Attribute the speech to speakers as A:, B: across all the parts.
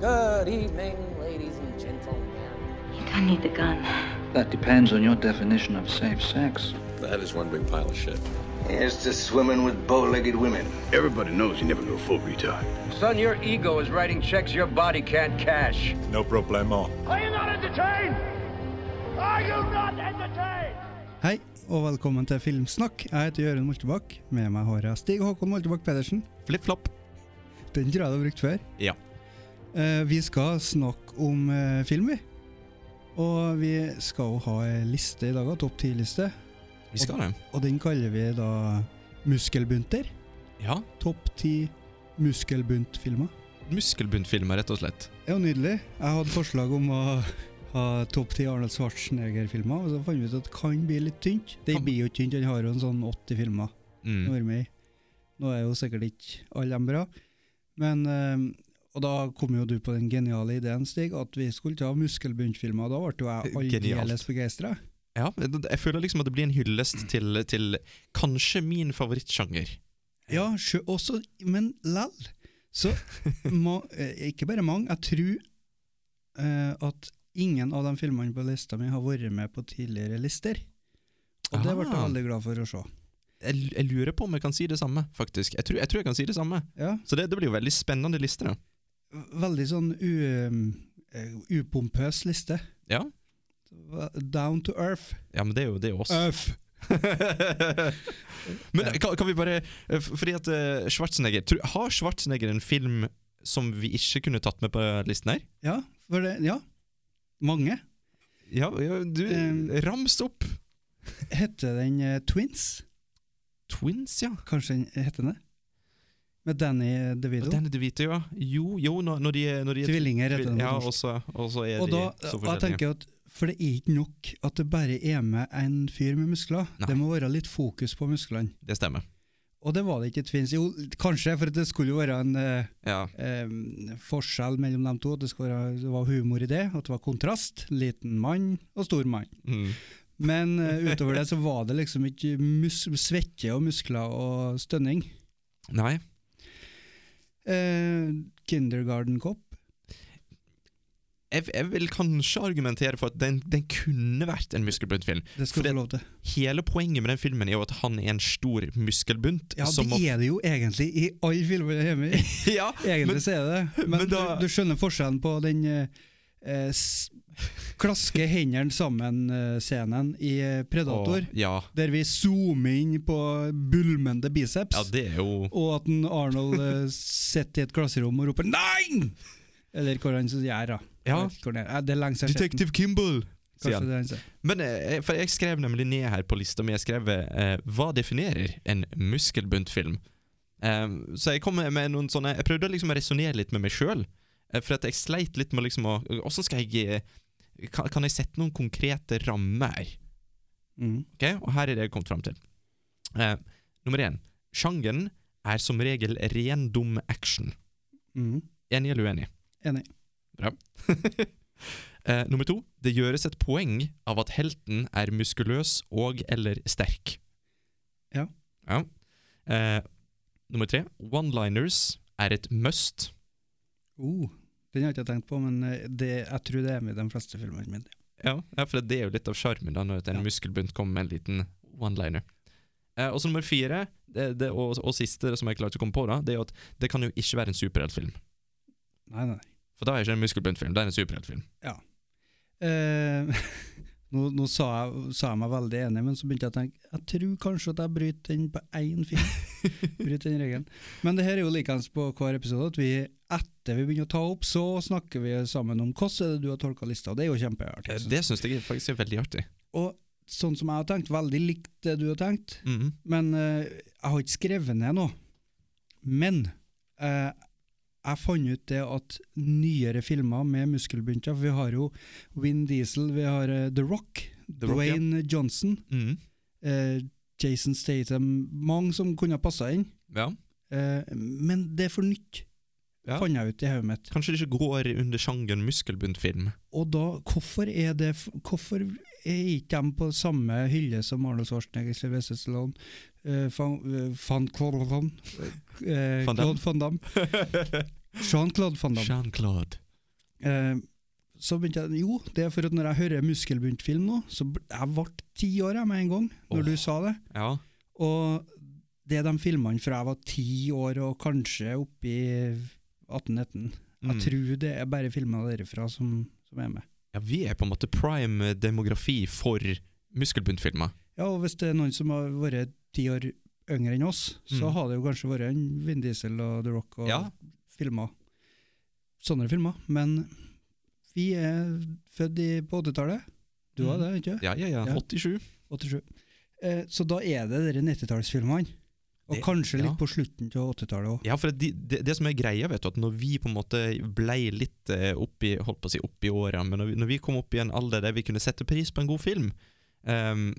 A: Good evening, ladies and gentlemen.
B: You don't need the gun.
C: That depends on your definition of safe sex.
D: The head is one big pile of shit.
E: Here's to swimming with bow-legged women.
F: Everybody knows you never go full retard.
G: Son, your ego is writing checks your body can't cash.
H: No problemo.
I: Are you not entertained? Are you not entertained?
J: Hei, og velkommen til Filmsnakk. Jeg heter Jørund Moltebakk. Med meg har jeg Stig Håkon Moltebakk Pedersen.
K: Flipp-flopp.
J: Den tror jeg du har brukt før.
K: Ja.
J: Eh, vi skal snakke om eh, film, vi. Og vi skal jo ha ei liste i dag, da, topp ti-liste.
K: Vi skal det.
J: Og den kaller vi da Muskelbunter.
K: Ja.
J: Topp ti muskelbuntfilmer.
K: Muskelbuntfilmer, rett og slett.
J: Det er jo nydelig. Jeg hadde forslag om å ha topp ti Arnold Schwarzenegger-filmer, og så fant vi ut at det kan bli litt tynt. Det
K: Kan-
J: blir jo tynt, han har jo en sånn 80 filmer.
K: Mm.
J: vært med i. Nå er jo sikkert ikke alle dem bra. Men, eh, og da kom jo du på den geniale ideen, Stig, at vi skulle ta muskelbuntfilmer. Da ble jo jeg
K: Genialt.
J: aldeles begeistra.
K: Ja, det- Jeg føler liksom at det blir en hyllest til, til kanskje min favorittsjanger.
J: Ja, sjø- også, men lell. Så ma, eh, ikke bare mange, jeg tror eh, at ingen av de filmene på lista mi har vært med på tidligere lister. Og det ble jeg
K: Ah.
J: veldig glad for å se.
K: Jeg, l- jeg lurer på om jeg kan si det samme, faktisk. Jeg tror jeg, tror jeg kan si det samme.
J: Ja,
K: Så det, det blir jo veldig spennende liste, da.
J: veldig sånn u, eh, upompøs liste.
K: Ja.
J: Down to earth.
K: ja, men det er jo det er jo oss.
J: Earth.
K: men kan, kan vi bare eh, f- Fordi at eh, Schwarzenegger tror- Har Schwarzenegger en film som vi ikke kunne tatt med på listen her?
J: Ja, for det, ja. Mange.
K: Ja, ja du
J: Eh,
K: Rams opp!
J: Hette den eh, Twins?
K: Twins, ja.
J: Kanskje den eh, heter den det? Med Danny DeVito.
K: Den er DeVito, ja. Jo, jo, når, når de er når de er
J: Tvillinger heter den. på
K: Ja,
J: norsk.
K: og så, og så er
J: og
K: de
J: da,
K: så
J: da
K: forskjellige.
J: tenker jeg at For det er ikke nok at det bare er med en fyr med muskler.
K: Nei.
J: Det må være litt fokus på musklene.
K: Det stemmer.
J: Og det var det ikke i Twins. Jo, kanskje, for det skulle jo være en eh,
K: Ja.
J: eh, forskjell mellom dem to. Det, skulle være, det var humor i det, at det var kontrast. Liten mann og stor mann.
K: Mm.
J: Men eh, utover det så var det liksom ikke mus svette og muskler og stønning.
K: Nei.
J: Eh, kindergarten Cop.
K: Jeg, jeg vil kanskje argumentere for at den, den kunne vært en muskelbunt film.
J: Det skal
K: For
J: du
K: det-
J: få lov til.
K: Hele poenget med den filmen er jo at han er en stor muskelbunt.
J: Ja,
K: som
J: det er det jo egentlig i alle filmer jeg er med i.
K: må- ja,
J: Egentlig
K: men-
J: så er det det. Men,
K: men da-
J: du, du skjønner forskjellen på den eh, eh, s- klaske hendene sammen-scenen i eh, Predator,
K: Å, ja.
J: der vi zoomer inn på bulmende biceps,
K: ja, det er jo
J: og at en Arnold eh, sitter i et klasserom og roper 'nei!' Eller hva han så gjør, da.
K: Ja.
J: Jeg vet ikke hvor det er. Eh, Det er lenge siden jeg har sett den.
K: Detective Kimble! sier
J: Kanskje
K: han.
J: det er han sier.
K: Men eh, for jeg skrev nemlig ned her på lista mi jeg skrev, eh, Hva definerer en muskelbunt film? Eh, så jeg kom med noen sånne Jeg prøvde liksom å resonnere litt med meg sjøl. Eh, for at jeg sleit litt med liksom å Åssen skal jeg eh, kan, kan jeg sette noen konkrete rammer her?
J: Mm.
K: Ok, Og her er det jeg kom fram til. Eh, nummer én. Sjangeren er som regel ren dum action.
J: Mm.
K: Enig eller uenig?
J: Enig.
K: Bra. eh, nummer to. Det gjøres et poeng av at helten er muskuløs og eller sterk.
J: Ja.
K: Ja. Eh, nummer tre. One-liners er et must.
J: Oh, den har ikke jeg tenkt på, men eh, det, jeg tror det er med i de fleste filmene mine.
K: Ja, ja for det er jo litt av sjarmen da, når en
J: Ja.
K: muskelbunt kommer med en liten one-liner. Eh, og så nummer fire, det, det, og, og siste som jeg klarte å komme på, da, det er jo at det kan jo ikke være en superheltfilm.
J: Nei, nei.
K: For da er det ikke en muskelbuntfilm, det er en superheltfilm.
J: Eh, nå nå sa, jeg, sa jeg meg veldig enig, men så begynte jeg å tenke Jeg tror kanskje at jeg bryter den på én film. bryter den regelen. Men det her er jo likeens på hver episode, at vi etter vi begynner å ta opp, så snakker vi sammen om hvordan er det du har tolka lista, og det er jo kjempeartig.
K: Eh,
J: synes jeg.
K: Det syns jeg er faktisk er veldig artig.
J: Og sånn som jeg har tenkt, veldig likt det du har tenkt,
K: Mhm.
J: Men eh, jeg har ikke skrevet ned noe. Men eh, jeg fant ut det at nyere filmer med muskelbunter for Vi har jo Vin Diesel, vi har eh, The Rock,
K: The Rock, ja.
J: Dwayne Johnson,
K: Mhm.
J: eh, Jason Statham Mange som kunne ha passa inn.
K: Ja.
J: Eh, men det er for nytt,
K: Ja.
J: fant jeg ut i hodet mitt.
K: Kanskje det ikke går under sjangeren muskelbuntfilm?
J: Og da, hvorfor er det f- Hvorfor er ikke de på samme hylle som Arnold Schwarzenegger, Sylvester Stallone, eh, van, eh, van Claude Van, eh,
K: Van Damme.
J: Claude van Damme Jean-Claude van Damme.
K: Jean-Claude.
J: Eh, så begynte jeg Jo, det er for at når jeg hører muskelbuntfilm nå, så bl- jeg ble ti år jeg, med en gang, når
K: Åh.
J: du sa det.
K: Ja.
J: Og det er de filmene fra jeg var ti år og kanskje oppi 18-19. Jeg
K: Mm.
J: tror det er bare filmer derifra som, som er med.
K: ja, vi er på en måte prime demografi for muskelbuntfilmer.
J: Ja, og hvis det er noen som har vært ti år yngre enn oss, så
K: Mm.
J: har det jo kanskje vært en Vin Diesel og The Rock og
K: Ja.
J: filmer. Sånne filmer. Men vi er født i, på 80-tallet. Du var
K: Mm.
J: det, ikke
K: Ja, ja, ja.
J: Ja.
K: 87.
J: 87. Eh, så da er det de 90-tallsfilmene. Og
K: Det-
J: kanskje litt
K: ja.
J: på slutten av 80-tallet òg.
K: Ja, for det, det, det som er greia, vet du, at når vi på en måte blei litt eh, opp i, holdt på å si opp i åra, men når vi, når vi kom opp i en alder der vi kunne sette pris på en god film, ehm,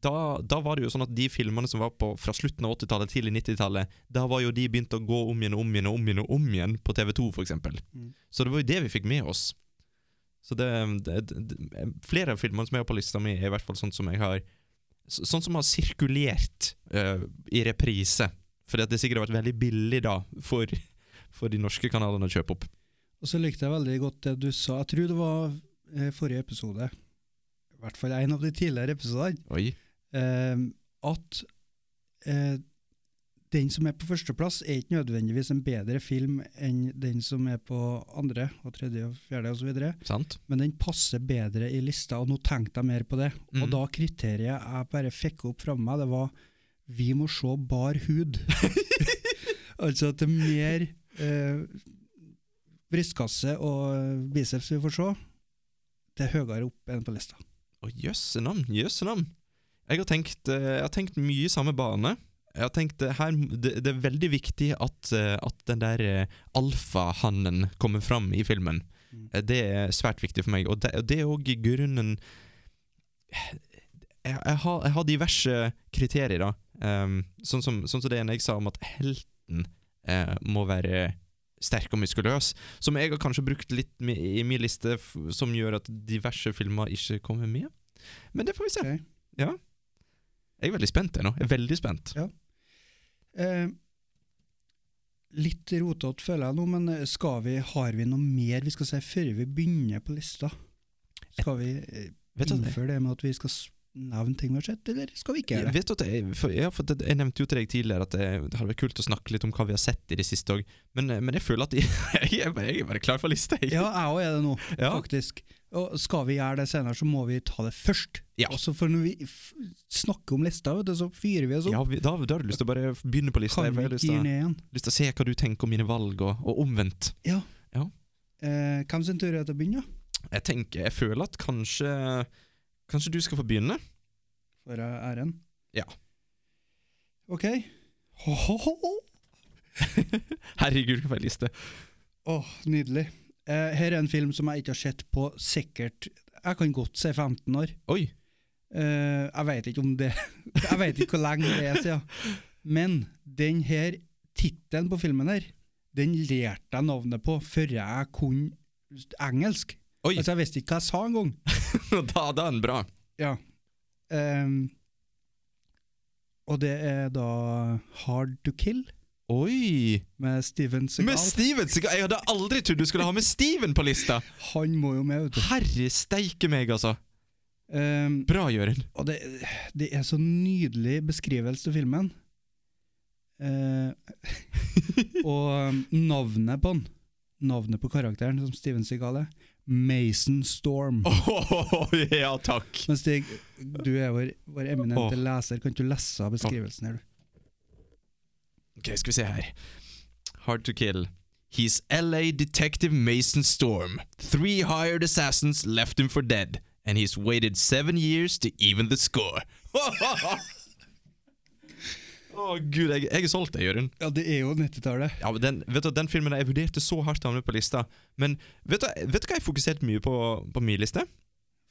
K: da, da var det jo sånn at de filmene som var på fra slutten av 80-tallet til 90-tallet, da var jo de begynt å gå om igjen og om igjen og om igjen og om igjen på TV2, for eksempel.
J: Mm.
K: Så det var jo det vi fikk med oss. Så det, det, det Flere av filmene som jeg har på lista mi, er i hvert fall sånn som jeg har så- Sånn som har sirkulert eh, i reprise. Fordi at det sikkert har vært veldig billig da for, for de norske kanalene å kjøpe opp.
J: Og så likte jeg veldig godt det du sa. Jeg tror det var eh, forrige episode, i hvert fall en av de tidligere episodene,
K: Oi.
J: eh, at eh, den som er på førsteplass, er ikke nødvendigvis en bedre film enn den som er på andre og tredje og fjerde osv.,
K: Sant?
J: men den passer bedre i lista, og nå tenkte jeg mer på det.
K: Mm.
J: Og da kriteriet jeg bare fikk opp fra meg, det var vi må se bar hud. altså at det er mer eh, brystkasse og biceps vi får se, det er høyere opp enn på lista.
K: Å, jøsse navn, jøsse navn. Jeg har tenkt, eh, jeg har tenkt mye i samme bane. Jeg har tenkt eh, her, det, det er veldig viktig at, eh, at den der eh, alfahannen kommer fram i filmen.
J: Mm.
K: Eh, Det er svært viktig for meg, og det, og det er òg grunnen eh, jeg, jeg, har, jeg har diverse kriterier, da. Ehm, sånn, som, sånn som det ene jeg sa om at helten eh, må være sterk og muskuløs. Som jeg har kanskje brukt litt med, i min liste, f som gjør at diverse filmer ikke kommer med. Men det får vi se.
J: Ok.
K: Ja. Jeg er veldig spent jeg nå. Jeg er veldig spent.
J: Ja. Eh, litt rotete føler jeg nå, men eh, skal vi, har vi noe mer vi skal si før vi begynner på lista? Skal vi eh,
K: Vet du at jeg,
J: innføre det med at vi skal s- nevne ting vi har sett, eller skal vi ikke gjøre det?
K: vet du at jeg, for, ja, for det, jeg nevnte jo til deg tidligere at det, det hadde vært kult å snakke litt om hva vi har sett i det siste òg, men, eh, men jeg føler at jeg, jeg, er bare, jeg er bare klar for lista, jeg.
J: Ja, jeg òg er det nå,
K: Ja.
J: faktisk. Og skal vi gjøre det senere, så må vi ta det først.
K: Ja.
J: Og så for når vi f snakker om lista, vet du, så fyrer vi oss opp.
K: Ja, vi, da, da har du lyst til å bare begynne på lista.
J: kan
K: Jeg
J: vi
K: har lyst
J: ikke gi
K: til,
J: ned igjen?
K: lyst til å se hva du tenker om mine valg, og, og omvendt.
J: Eh, hvem sin tur er det til å begynne? da?
K: Jeg tenker, jeg føler at kanskje Kanskje du skal få begynne?
J: Får jeg eh, æren?
K: Ja.
J: Ok. Ho, ho, ho.
K: Herregud, hva for en liste.
J: Åh, nydelig. Eh, her er en film som jeg ikke har sett på sikkert Jeg kan godt si 15 år.
K: Oi.
J: Eh, jeg vet ikke om det Jeg vet ikke hvor lenge det er siden. Men den her tittelen på filmen her, den lærte jeg navnet på før jeg kunne engelsk.
K: Oi.
J: Altså, jeg visste ikke hva jeg sa engang.
K: da, da er den bra.
J: Ja. Ehm, og det er da Hard to Kill
K: Oi!
J: med Steven
K: Med
J: Segal.
K: Steven! Seagal. Jeg hadde aldri trodd du skulle ha med Steven på lista!
J: Han må jo med, vet du.
K: Herre steike meg, altså.
J: Ehm,
K: Bra, Jørund.
J: Og det, det er så nydelig beskrivelse til filmen. Eh, og um, navnet på han, navnet på karakteren som Steven Seagal er, Mason Storm.
K: Åh, ja takk.
J: Men Stig, du er vår, vår
K: Åh.
J: eminente leser. Kan ikke du lese av beskrivelsen her, du?
K: Ok, skal vi se her. Hard to kill. He's LA detective Mason Storm. Three hired assassins left him for dead, and he's waited seven years to even the score. Å, gud, jeg, jeg er solgt, jeg, Jørund.
J: Ja, det er jo 90-tallet.
K: Ja, men den, vet du, den filmen der, Jeg vurderte så hardt å ha med på lista, men vet du, vet du hva jeg fokuserte mye på på min liste?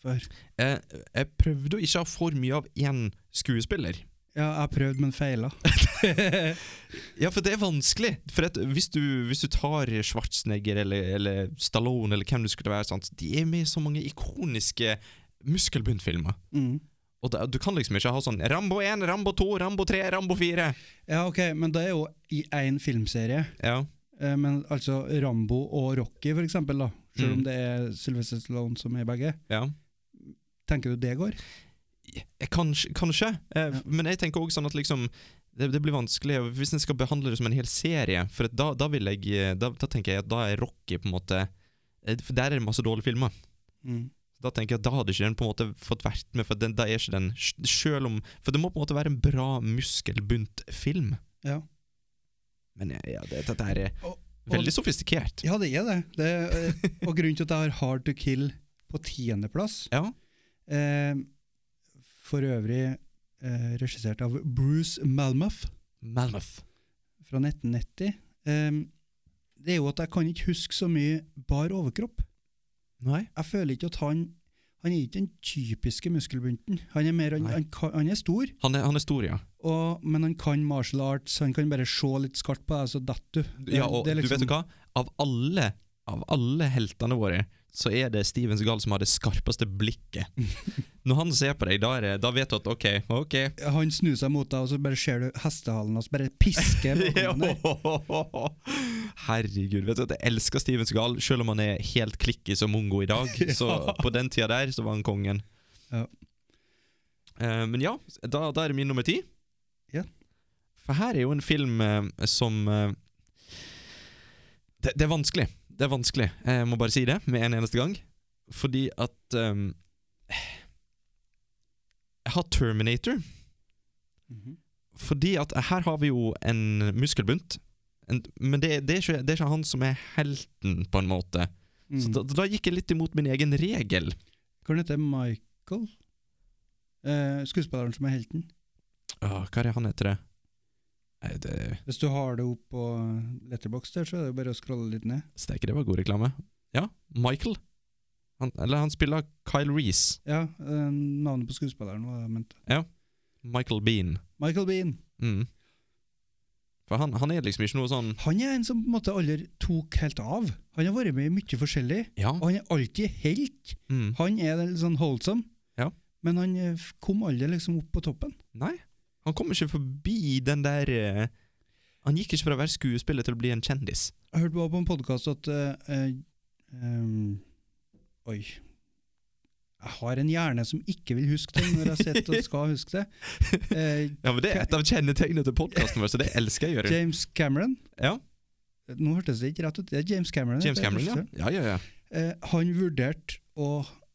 J: For-
K: Eh, jeg prøvde å ikke ha for mye av én skuespiller.
J: Ja, jeg prøvde, men feila.
K: Ja, for det er vanskelig. For at hvis, du, hvis du tar Schwarzenegger eller, eller Stallone eller hvem det skulle være, sant? de er med i så mange ikoniske muskelbuntfilmer.
J: Mm.
K: Og da, du kan liksom ikke ha sånn Rambo 1, Rambo 2, Rambo 3, Rambo 4.
J: Ja, ok, men det er jo i én filmserie.
K: Ja,
J: Eh, men altså Rambo og Rocky, for eksempel, da. selv om
K: Mm.
J: det er Sylvester Stallone som er begge.
K: Ja.
J: Tenker du det går?
K: Eh, Kanskje, kanskje. Eh, f-
J: Ja.
K: men jeg tenker også sånn at liksom det, det blir vanskelig og hvis en skal behandle det som en hel serie. For at da, da, vil jeg, eh, da, da tenker jeg at da er Rocky på en måte eh, For der er det masse dårlige filmer.
J: Mm.
K: Da tenker jeg at da hadde ikke den på en måte fått vært med, for den, da er ikke den sj- Selv om For det må på en måte være en bra muskelbunt film.
J: Ja.
K: Men eh, ja, det, dette her er
J: Og- og-
K: veldig sofistikert.
J: ja, det er det. det eh, og grunnen til at jeg har Hard to Kill på tiendeplass
K: Ja.
J: eh, For øvrig eh, regissert av Bruce Malmuth
K: Malmuth.
J: fra 1990. Eh, det er jo at jeg kan ikke huske så mye bar overkropp.
K: Nei.
J: jeg føler ikke at han Han er ikke den typiske muskelbunten. Han er, mer, han,
K: Nei.
J: han, kan- han er stor,
K: Han er, han er stor, ja.
J: og, men han kan martial arts. Han kan bare se litt skarpt på deg, så detter du. Det-
K: Ja, og
J: det er
K: du
J: liksom-
K: vet jo hva? Av alle, av alle heltene våre, så er det Steven Seagal som har det skarpeste blikket. Når han ser på deg, da, er det, da vet du at OK, OK.
J: Han snur seg mot deg, og så bare ser du hestehalen hans bare piske bakom deg.
K: Herregud, vet du at jeg elsker Steven Seagal, selv om han er helt klikkis og mongo i dag. Så på den tida der, så var han kongen.
J: Ja.
K: Eh, men ja, da, da er det min nummer ti.
J: Ja.
K: For her er jo en film eh, som eh, det, det er vanskelig. Det er vanskelig. Jeg må bare si det med en eneste gang. Fordi at eh, Jeg har Terminator.
J: Mhm.
K: Fordi at her har vi jo en muskelbunt. En, men det, det, er ikke, det er ikke han som er helten, på en måte. Så
J: Mm.
K: da, da gikk jeg litt imot min egen regel.
J: Hva heter han? Michael? Eh, skuespilleren som er helten.
K: Åh, Ah, hva er det han heter, det? Nei, det
J: Hvis du har det opp på letterbox der, så er det jo bare å scrolle litt ned.
K: Steike, det var god reklame. Ja, Michael. Han, eller han spiller Kyle Reece.
J: Ja, eh, Navnet på skuespilleren var det jeg mente.
K: Michael Bean.
J: Michael Bean.
K: Mm. For han, han er liksom ikke noe sånn
J: Han er en som på en måte aldri tok helt av. Han har vært med i mye forskjellig.
K: Ja.
J: Og han er alltid helt.
K: Mm.
J: Han er litt sånn holdsom,
K: Ja.
J: men han eh, f- kom aldri liksom opp på toppen.
K: Nei. Han kom ikke forbi den der eh, Han gikk ikke fra å være skuespiller til å bli en kjendis.
J: Jeg hørte bare på en podkast at eh, eh, ehm, Oi. Jeg har en hjerne som ikke vil huske det når jeg sitter og skal huske det. Eh,
K: Ja, men Det er et av kjennetegnene til podkasten vår, så det elsker jeg å gjøre.
J: James Cameron.
K: Ja,
J: Nå hørtes det ikke rett ut. Det er James Cameron.
K: James
J: heter
K: Cameron, ja.
J: regissøren.
K: Ja, ja, ja.
J: Eh, han vurderte å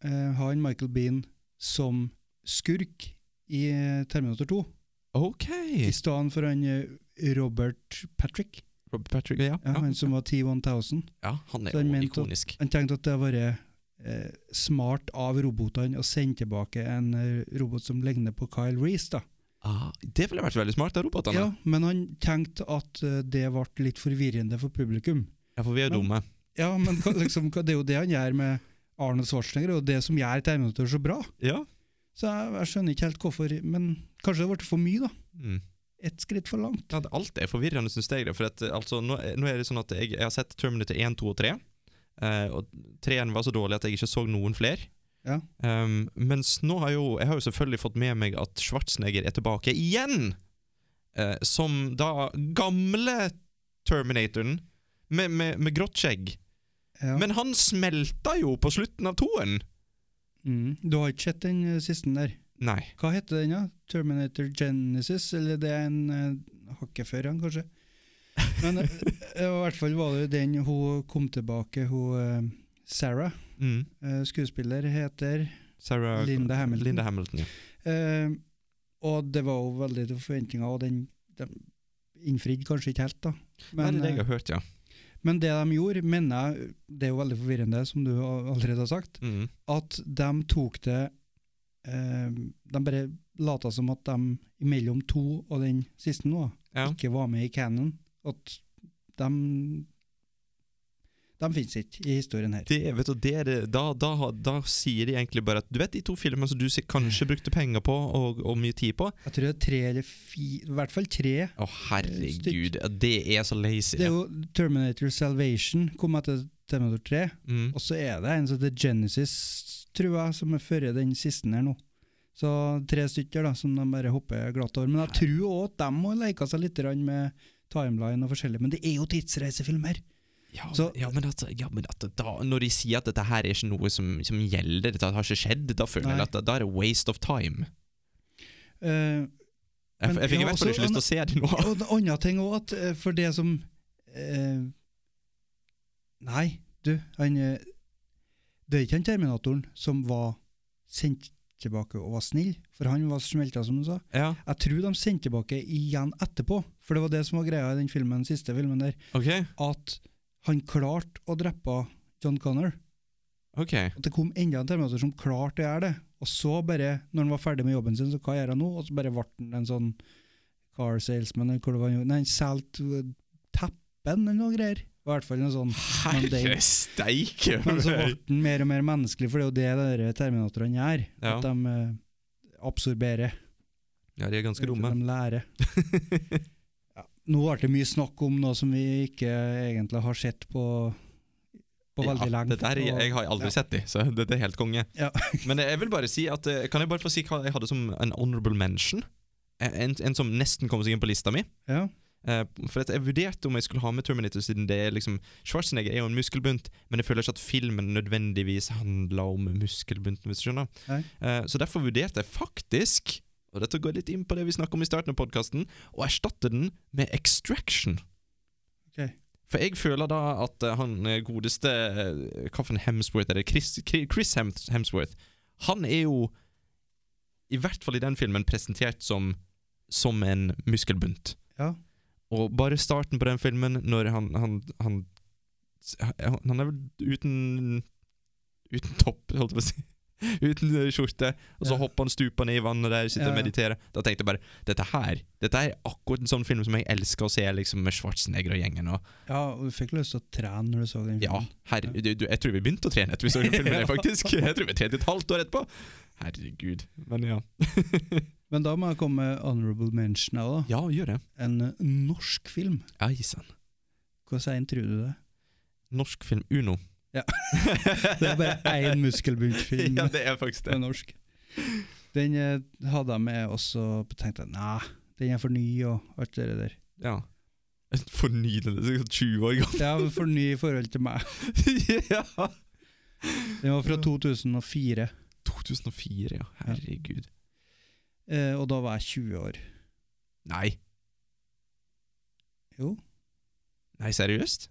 J: eh, ha en Michael Bean som skurk i eh, Terminator 2,
K: Ok.
J: i stedet for han eh, Robert Patrick,
K: Robert Patrick, ja.
J: ja,
K: ja.
J: han som var T-1000.
K: ja han er
J: Så han
K: jo
J: mente at-
K: ikonisk.
J: Han tenkte at det var eh, smart av robotene å sende tilbake en eh, robot som ligner på Kyle Reece. Da.
K: Ah, det ville vært veldig smart av robotene.
J: Ja,
K: Ja.
J: men han tenkte at eh, det ble litt forvirrende for publikum.
K: for vi er jo dumme.
J: Ja, men hva- liksom, hva- det er jo det han gjør med Arnold Schwarzenegger, og det som gjør Terminator så bra.
K: Ja.
J: Så jeg, jeg skjønner ikke helt hvorfor, men kanskje det ble for mye, da.
K: Mm.
J: Ett skritt for langt.
K: ja det- alt er forvirrende, syns jeg. da, For at, eh, altså, nå, er- nå er det sånn at jeg, jeg har sett Terminator 1, 2 og 3. eh, og 3-en var så dårlig at jeg ikke så noen flere.
J: Ja.
K: Um, mens nå har jo, jeg har jo selvfølgelig fått med meg at Schwarzenegger er tilbake igjen! Eh, som da gamle Terminatoren, med, med, med grått skjegg.
J: Ja.
K: Men han smelta jo på slutten av toen!
J: mm. Du har ikke sett den eh, siste der.
K: Nei.
J: Hva heter den, da? Terminator Genesis? Eller det er en uh, hakket før han, kanskje? Men eh, i hvert fall var det den hun kom tilbake, hun eh, Sarah,
K: Mm.
J: eh, skuespiller, heter
K: Sarah
J: Linda Hamilton.
K: Linda Hamilton, ja.
J: Eh, Og det var jo veldig til forventninger, og den, den innfridde kanskje ikke helt, da.
K: Nei, det er det
J: eh,
K: jeg har hørt, ja.
J: Men det de gjorde, mener jeg, det er jo veldig forvirrende, som du al- allerede har sagt,
K: Mm.
J: at de tok det eh, De bare lata som at de mellom to og den siste nå
K: Ja.
J: ikke var med i canon. At de De finnes ikke i historien her.
K: Det, vet du, det er det, da, da, har- da sier de egentlig bare at Du vet de to filmene som du si- kanskje brukte penger på og, og mye tid på?
J: Jeg tror det er tre eller fire I hvert fall tre.
K: Å, herregud. ja, Det er så lazy.
J: Det er jo Terminator Salvation kom etter Terminator 3,
K: Mm.
J: og så er det en som heter Genesis, tror jeg, som er før den siste her nå. Så tre stykker da, som de bare hopper glatt over. Men jeg tror òg at de må leke seg litt grann med timeline og forskjellig. Men det er jo tidsreisefilmer,
K: Ja,
J: Så-
K: ja, men, at, ja, men at da, når de sier at dette her er ikke noe som, som gjelder, dette har ikke skjedd, da føler
J: Nei.
K: jeg at da, da er det waste of time.
J: Eh,
K: Jeg,
J: Men
K: jeg fikk
J: ja,
K: i hvert fall
J: også
K: ikke lyst til å se det nå.
J: og en annen ting òg, at eh, for det som eh, Nei, du, han eh, Det er ikke han terminatoren som var sendt tilbake og var snill, for han var smelta, som du sa.
K: Ja,
J: Jeg tror de sendte tilbake igjen etterpå, for det var det som var greia i den filmen, siste filmen der,
K: ok,
J: at han klarte å drepe John Connor.
K: ok.
J: At det kom enda en terminator som klarte å gjøre det. Og så bare, når han var ferdig med jobben sin, så hva gjør han nå? Og så bare ble han en sånn car salesman, eller hvor det var han gjorde. Nei, han solgte eh, teppen eller noe greier. I hvert fall noe sånn. Men det-
K: Herre steike!
J: Men så ble han mer og mer menneskelig, for det er jo det de terminatorene gjør.
K: Ja.
J: At de eh, absorberer.
K: Ja, de er ganske dumme.
J: De lærer. ja. Nå ble det mye snakk om noe som vi ikke egentlig har sett på, på veldig
K: Ja,
J: lenge.
K: det der,
J: Og-
K: jeg har aldri
J: ja.
K: sett de, så det, det er helt konge.
J: Ja.
K: Men jeg vil bare si at eh, Kan jeg bare få si hva jeg hadde som en honorable mention? En, en som nesten kom seg inn på lista mi.
J: ja.
K: Eh, for at jeg vurderte om jeg skulle ha med Terminator, siden det er liksom Schwarzenegger er jo en muskelbunt, men jeg føler ikke at filmen nødvendigvis handler om muskelbunten, hvis du skjønner.
J: Nei.
K: Eh, så derfor vurderte jeg faktisk, og dette går litt inn på det vi snakket om i starten av podkasten, å erstatte den med Extraction.
J: Ok.
K: For jeg føler da at eh, han eh, godeste eh, Hva for en Hemsworth er det? Chris, Chris Hems- Hemsworth. Han er jo, i hvert fall i den filmen, presentert som, som en muskelbunt.
J: Ja.
K: Og bare starten på den filmen, når han Han, han, han er vel uten Uten topp, holdt jeg på å si. Uten eh, skjorte. Og så
J: Ja.
K: hopper han stuper ned i vannet der, sitter
J: Ja,
K: og
J: ja.
K: mediterer. Da tenkte jeg bare Dette her Dette er akkurat en sånn film som jeg elsker å se liksom med Schwarzenegger og gjengen. Og,
J: ja, og du fikk lyst til å trene når du så den.
K: ja,
J: filmen.
K: herre, du, du, jeg tror vi begynte å trene etter vi så den filmen,
J: Mm. Ja.
K: faktisk. Jeg tror vi trente et halvt år etterpå. Herregud. Men ja.
J: Men da må jeg komme med honorable mention her, da.
K: Ja, gjør det.
J: En eh, norsk film.
K: Ei sann.
J: Hvordan en tror du det?
K: Norsk film Uno.
J: Ja. Det er bare én muskelbuntfilm
K: Ja, det er faktisk det.
J: på norsk. Den eh, hadde jeg med også, tenkte jeg nei, den er for ny og alt det der.
K: Ja. Fornyende. det er sånn 20 år gammel.
J: Ja, men for ny i forhold til meg.
K: ja.
J: Den var fra 2004,
K: 2004, ja. Herregud.
J: eh, og da var jeg 20 år.
K: Nei.
J: Jo,
K: Nei, seriøst?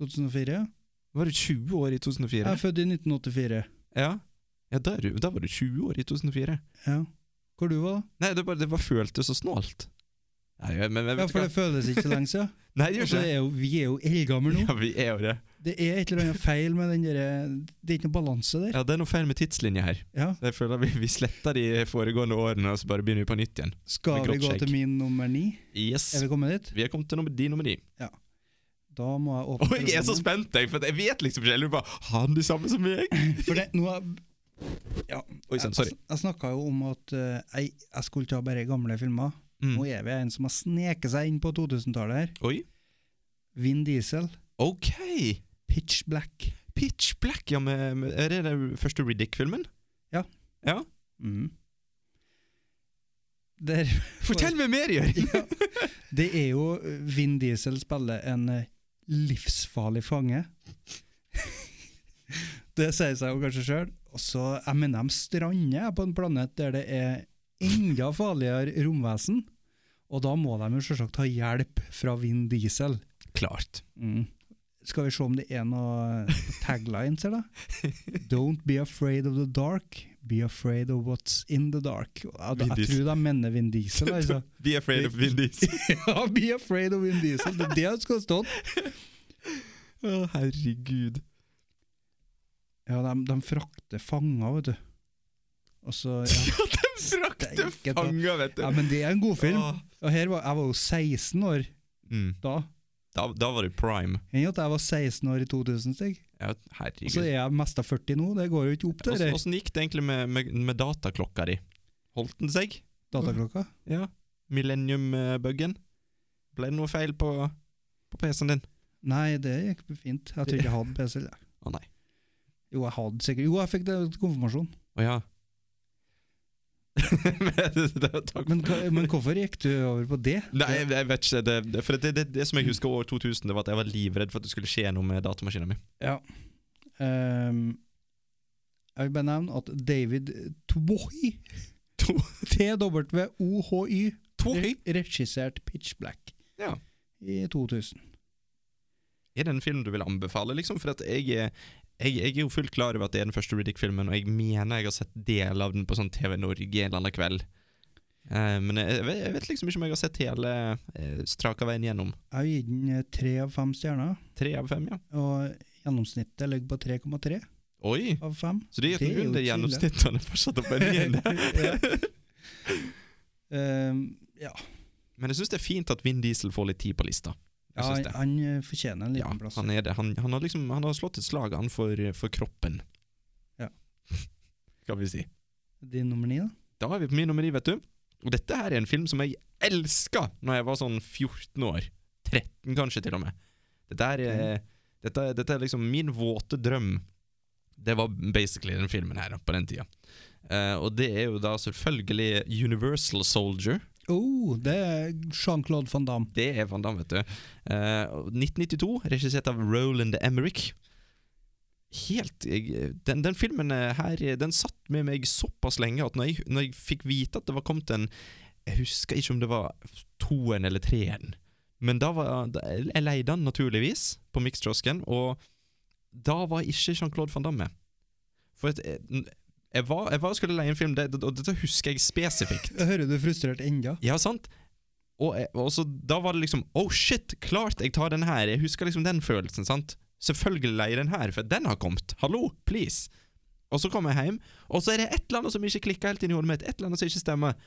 J: 2004, ja.
K: Var du 20 år i
J: Jeg
K: 2004?
J: er født i 1984.
K: Ja. Ja, da, er du, da var du 20 år i 2004.
J: Ja. Hvor du var da?
K: Nei, det, bare, det bare føltes så snålt. Nei, men, men vet
J: Ja,
K: du
J: for
K: hva?
J: det føles ikke så lenge siden.
K: Nei, det gjør ikke
J: Altså, det
K: det.
J: er jo, vi er jo eldgamle nå.
K: Ja, vi er jo det.
J: Det er et eller annet feil med den der Det er ikke noe balanse der.
K: Ja, Det er noe feil med tidslinja her.
J: Ja.
K: Så Jeg føler Vi, vi sletter de foregående årene og så bare begynner vi på nytt igjen.
J: Skal
K: Med
J: vi gå
K: kroppsshake.
J: til min nummer ni?
K: Yes.
J: Er vi kommet dit?
K: Vi er kommet til nummer, de nummer ni.
J: Da må jeg åpne
K: Og jeg er så
J: telefonen.
K: spent, jeg, for at jeg vet liksom ikke. Jeg lurer bare, Har han de samme som meg?
J: For det, nå er, ja,
K: Oi sann, sorry.
J: Jeg, jeg snakka jo om at eh, jeg, jeg skulle ta bare gamle filmer.
K: Mm.
J: Nå er vi en som har sneket seg inn på 2000-tallet her.
K: Oi.
J: Vin Diesel,
K: Ok.
J: Pitch Black.
K: Pitch Black, ja, med, med, er det den første Riddick-filmen?
J: Mm. Der,
K: Fortell meg mer, Jørgen!
J: ja, det er jo eh, Vin Diesel spiller en eh, livsfarlig fange. det sier seg jo kanskje sjøl. Og så, jeg mener, de strander på en planet der det er enda farligere romvesen. Og da må de jo selvsagt ha hjelp fra Vin Diesel.
K: Klart.
J: Skal vi se om det er noen taglines her, da? Don't be afraid of the dark, be afraid of what's in the dark. Jeg,
K: Vin
J: jeg
K: Diesel.
J: tror de mener Vin Diesel, altså.
K: Be afraid of Vin Diesel.
J: Ja, be afraid of Vin Diesel. Det er det han skal ha stått.
K: Å, herregud.
J: Ja, de, de frakter fanger, vet du. Og så ja.
K: Ja, de frakter
J: Steike ta.
K: fanger, vet du.
J: ja, men det er en god film.
K: Åh.
J: Og her var, jeg var jo 16 år
K: Mm.
J: da.
K: Da, da var du prime.
J: Enn at jeg var 16 år i 2000, steg.
K: Ja,
J: Og så
K: herregud.
J: er jeg mest av 40 nå. Det går jo ikke opp, det
K: Åssen
J: der.
K: åssen gikk det egentlig med, med, med dataklokka di? Holdt den seg?
J: Dataklokka.
K: Ja. Millennium-buggen? Ble det noe feil på, på PC-en din?
J: Nei, det gikk fint. Jeg tror ikke jeg hadde PC. eller?
K: Å nei.
J: Jo, jeg hadde sikkert Jo, jeg fikk det til konfirmasjon.
K: Å ja. Men det- det- takk.
J: Men, hva- men hvorfor gikk du over på det?
K: Nei, jeg, jeg vet ikke. Det, det, for det, det, det som jeg husker år 2000, det var at jeg var livredd for at det skulle skje noe med datamaskinen min.
J: Ja. Ehm, jeg vil bare nevne at David Twohy
K: To-
J: T-W-O-H-Y
K: Twohy?
J: regisserte Pitch Black
K: Ja.
J: i 2000.
K: Er det en film du vil anbefale, liksom? For at jeg, er- jeg, jeg er jo fullt klar over at det er den første Riddick-filmen, og jeg mener jeg har sett del av den på sånn TV Norge en eller annen kveld. Eh, men jeg, jeg, vet, jeg vet liksom ikke om jeg har sett hele eh, straka veien gjennom.
J: Jeg har gitt den eh, tre av fem stjerner,
K: Tre av fem, ja.
J: og gjennomsnittet ligger på 3,3
K: Oi!
J: av 5.
K: Så de er
J: Det er jo
K: under
J: ikke ille.
K: gjennomsnittene fortsatt oppe igjen.
J: Ehm, ja,
K: Men jeg syns det er fint at Vin Diesel får litt tid på lista. Jeg
J: ja
K: synes
J: han,
K: det.
J: han eh, fortjener en
K: Ja,
J: liten plass.
K: han er det. Han, han, har liksom, han har slått et slag an for, for kroppen.
J: Ja.
K: Skal vi si.
J: Din nummer ni, da?
K: Da er vi på min nummer i, vet du. Og dette her er en film som jeg elska når jeg var sånn 14 år. 13 kanskje, til og med. Dette, her er, eh, dette, dette er liksom min våte drøm. Det var basically den filmen her på den tida. Eh, og det er jo da selvfølgelig Universal Soldier.
J: Oh, det er Jean-Claude van Damme.
K: Det er Van Damme, vet du. Eh, og 1992, regissert av Roland Emmerich. Helt jeg, den, den filmen her Den satt med meg såpass lenge at når jeg, når jeg fikk vite at det var kommet en Jeg husker ikke om det var toen eller treen, men da var da, Jeg leide den naturligvis på Mixkiosken, og da var ikke Jean-Claude van Damme. For at, jeg, jeg, var, jeg var og skulle leie en film, det, og dette husker jeg spesifikt.
J: Jeg hører du er frustrert enda.
K: Ja, sant? Og, jeg- og så da var det liksom Oh shit, klart jeg tar den her. Jeg husker liksom den følelsen, sant? Selvfølgelig leier jeg den her, for den har kommet. Hallo, please. Og så kommer jeg hjem, og så er det et eller annet som ikke klikker helt inn i hodet mitt. Et eller annet som ikke stemmer.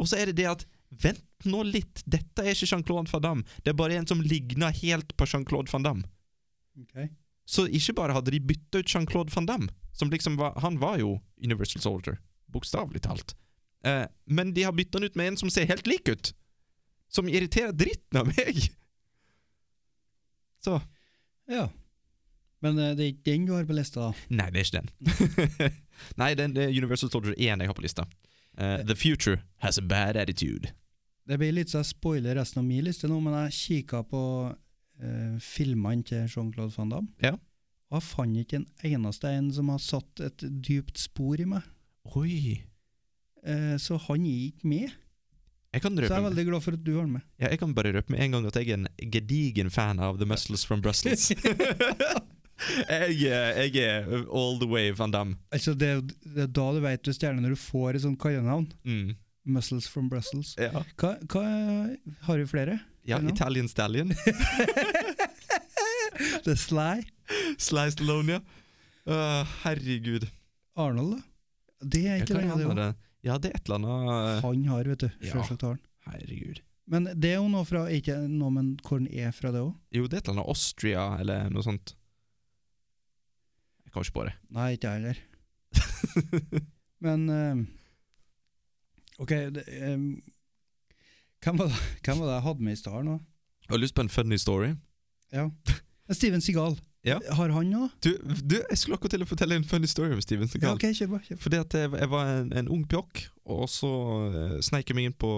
K: Og så er det det at Vent nå litt, dette er ikke Jean-Claude van Damme. Det er bare en som ligner helt på Jean-Claude van Damme.
J: Ok.
K: Så ikke bare hadde de bytta ut Jean-Claude van Damme, som liksom var, han var jo Universal Soldier, bokstavelig talt, eh, men de har bytta han ut med en som ser helt lik ut! Som irriterer dritten av meg! Så
J: Ja. Men eh, det er ikke den du har på lista, da?
K: Nei, det er ikke den. Nei, den, det er Universal Soldier 1 jeg har på lista. Eh, the future has a bad attitude.
J: Det blir litt så jeg spoiler resten av min liste nå, men jeg kikka på eh, filmene til Jean-Claude van Damme,
K: Ja.
J: og jeg fant ikke en eneste en som har satt et dypt spor i meg.
K: Oi.
J: Eh, så han er ikke med.
K: Jeg kan,
J: Så jeg
K: røpe,
J: er
K: med-
J: veldig glad for at du har den med.
K: ja, jeg kan bare røpe med en gang at jeg er en gedigen fan av The Muscles from Brussels. jeg, eh, jeg er all the way van Damme.
J: Altså, det, er jo- det er da du vet du er stjerne, når du får et sånt kallenavn.
K: Mm.
J: Muscles from Brussels.
K: Ja.
J: Hva, hva Har vi flere?
K: ja,
J: Ja.
K: Italian Stallion.
J: The Sly.
K: Slice Stallone, ja. Åh, herregud.
J: Arnold, da? Det er
K: Ja,
J: ikke
K: hva
J: lenge,
K: er
J: det
K: det?
J: òg.
K: Ja, det er et eller annet eh,
J: Han har, vet du.
K: Ja.
J: Selvsagt har han.
K: Herregud.
J: Men det er jo noe fra Ikke noe, men hvor den er fra, det òg?
K: Jo, det er et eller annet Austria, eller noe sånt. Jeg kommer ikke på det.
J: Nei, ikke jeg heller. Men eh, OK det, eh, hvem, var det, hvem var det jeg hadde med i stad nå?
K: Jeg har lyst på en funny story.
J: Ja. Steven Seagal.
K: Ja.
J: Har han òg?
K: Du, du jeg skulle akkurat til å fortelle en funny story om Steven
J: Ja,
K: Seagal.
J: OK, kjør på. kjør på.
K: Fordi at jeg, jeg var en, en ung pjokk, og så eh, sneik jeg meg inn på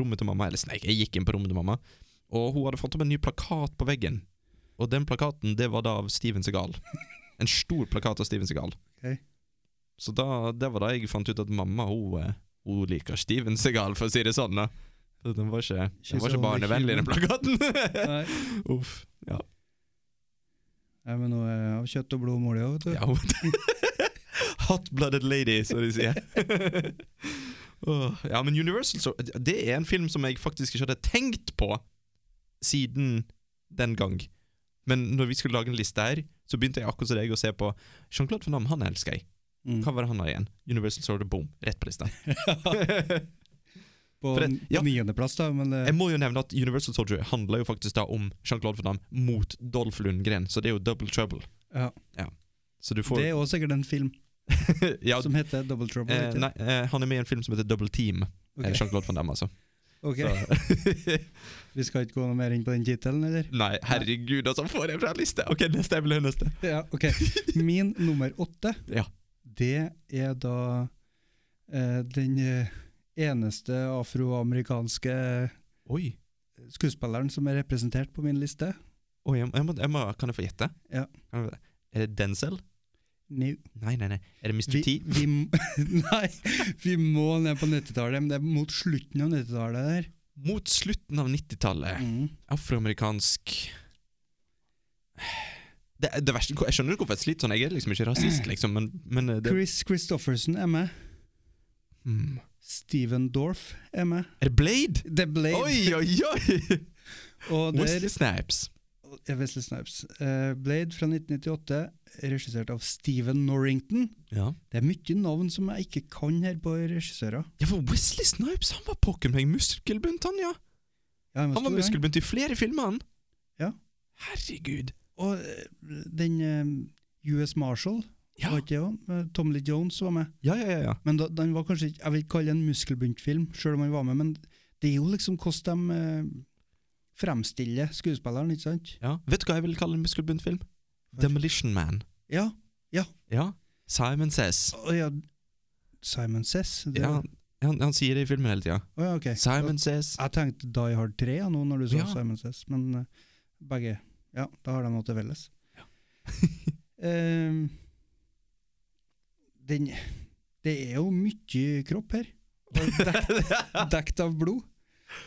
K: rommet til mamma. Eller sneik, jeg gikk inn på rommet til mamma, og hun hadde fått opp en ny plakat på veggen. Og den plakaten, det var da av Steven Segal. En stor plakat av Steven Segal.
J: Ok.
K: Så da, det var da jeg fant ut at mamma hun, eh, hun liker Steven Segal, for å si det sånn. da Så Den var ikke, den var
J: She's
K: ikke
J: only
K: barnevennlig, den plakaten.
J: Nei.
K: Uff. Ja.
J: Nei, men nå er jeg av kjøtt og blod målet òg, vet du.
K: Ja, hun- Hot-blooded lady, som de sier. Åh, ja, men Universal så, Det er en film som jeg faktisk ikke hadde tenkt på siden den gang. Men når vi skulle lage en liste her, så begynte jeg akkurat som deg å se på Jean-Claude Van Damme, han elsker jeg.
J: Mm.
K: Hva var det han har igjen? Universal Soldier, boom, rett på lista.
J: På
K: For det-
J: n-
K: ja.
J: niendeplass, da, men eh, det,
K: Jeg må jo nevne at Universal Soldier handler jo faktisk da om Jean-Claude Van Damme mot Dolph Lundgren, så det er jo double trouble.
J: ja.
K: Så du
J: det
K: får
J: er òg sikkert en film
K: ja,
J: som heter Double Trouble.
K: eh,
J: ikke?
K: Nei, eh, han er med i en film som heter Double Team.
J: Ok,
K: Eh, Jean-Claude van Damme, altså.
J: ok.
K: Så,
J: Vi skal ikke gå noe mer inn på den tittelen, eller?
K: nei, herregud, altså, får jeg fra liste! Ok, neste jeg vil høre neste.
J: Ja, ok. Min nummer åtte,
K: Ja.
J: det er da eh, den eh, eneste afroamerikanske
K: Oi.
J: skuespilleren som er representert på min liste.
K: Oi jeg, må- jeg må, jeg må, kan jeg få gjette?
J: Ja.
K: Kan jeg, er det Denzel?
J: Nå.
K: Nei, nei, nei. Er det Mr.
J: Vi,
K: T?
J: vi, m- nei, vi må ned på 90-tallet, men det er mot slutten av 90-tallet der.
K: Mot slutten av 90-tallet.
J: Mm.
K: Afroamerikansk det, det verste, Jeg skjønner ikke hvorfor jeg sliter sånn. Jeg er liksom ikke rasist, liksom, men, men det,
J: Chris Christofferson er med.
K: Hmm.
J: Steven Dorff er med.
K: Er det Blade?
J: The Blade.
K: Oi, oi, oi!
J: Og der,
K: Wesley Snaps.
J: Ja, Wesley Snipes. Eh, Blade fra 1998, regissert av Steven Norrington.
K: Ja.
J: Det er mye navn som jeg ikke kan her på regissører.
K: ja, for Wesley Snipes han var pokker meg muskelbunt, han, ja!
J: Ja,
K: Han var
J: stor,
K: muskelbunt i flere filmer, han!
J: Ja.
K: Herregud.
J: Og eh, den eh, US Marshall,
K: Ja.
J: var ikke det også? Eh, Tom Lee Jones var med.
K: Ja, ja, ja. ja.
J: Men da, den var kanskje ikke, jeg vil ikke kalle det en muskelbunt film, selv om han var med, men det er jo liksom hvordan de eh, fremstiller skuespilleren, ikke sant?
K: ja. Vet du hva jeg vil kalle en muskelbunt film? Demolition Man.
J: Ja,
K: Ja. Simon Says.
J: og ja, Simon Says. Det,
K: Ja, han, han, han sier det i filmen hele tida.
J: Å ja, ok.
K: Simon Says.
J: Jeg tenkte Die Hard 3 ja, nå når du sa
K: Ja.
J: Simon Says, men eh, begge Ja, da har de noe til felles. Ehm, den Det er jo mye kropp her, og dekt- dekt av blod.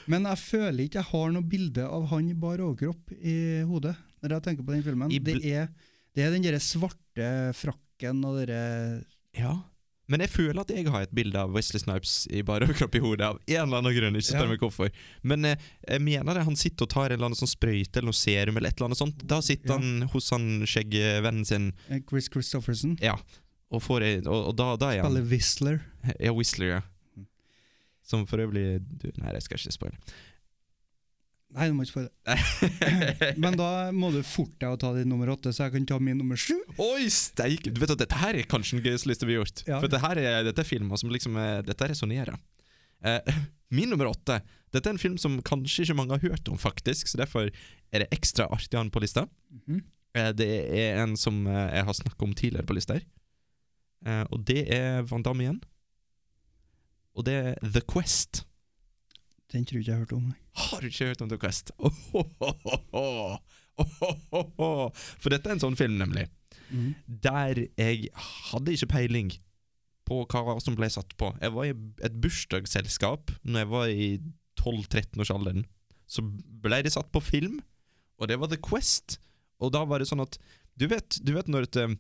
J: Men jeg føler ikke jeg har noe bilde av han i bar overkropp i hodet når jeg tenker på den filmen.
K: I
J: Det
K: bl-
J: er, det er den derre svarte frakken og derre
K: Ja. Men jeg føler at jeg har et bilde av Wesley Snipes i bare overkropp i hodet, av en eller annen grunn. Ikke spør
J: Ja.
K: meg hvorfor. Men eh, jeg mener det, han sitter og tar en eller annen sånn sprøyte eller noe serum eller et eller annet sånt. Da sitter
J: Ja.
K: han hos han skjeggvennen sin
J: eh, Chris Christofferson.
K: og får ei Og, og da, da er han
J: Eller Whistler.
K: Ja, Whistler, ja.
J: Mm.
K: Som for øvrig du, Nei, jeg skal ikke
J: Nei, du må ikke få
K: spoile.
J: Men da må du forte deg å ta din nummer åtte, så jeg kan ta min nummer sju.
K: Oi, steik! Du vet at dette her er kanskje den gøyeste lista vi har gjort.
J: Ja.
K: For dette, her er, dette er filmer som liksom eh, Dette resonnerer. Eh, min nummer åtte Dette er en film som kanskje ikke mange har hørt om, faktisk, så derfor er det ekstra artig å ha den på lista. Eh, det er en som eh, jeg har snakka om tidligere på lista her, Eh, og det er Van Damme igjen. Og det er The Quest.
J: Den tror jeg ikke jeg hørte om. nei.
K: Har du ikke hørt om The Quest? Ohohoho. Ohohoho. For dette er en sånn film, nemlig.
J: Mhm.
K: Der jeg hadde ikke peiling på hva som ble satt på. Jeg var i et bursdagsselskap Når jeg var i 12-13-årsalderen. Så ble det satt på film, og det var The Quest. Og da var det sånn at Du vet, du vet når et eh,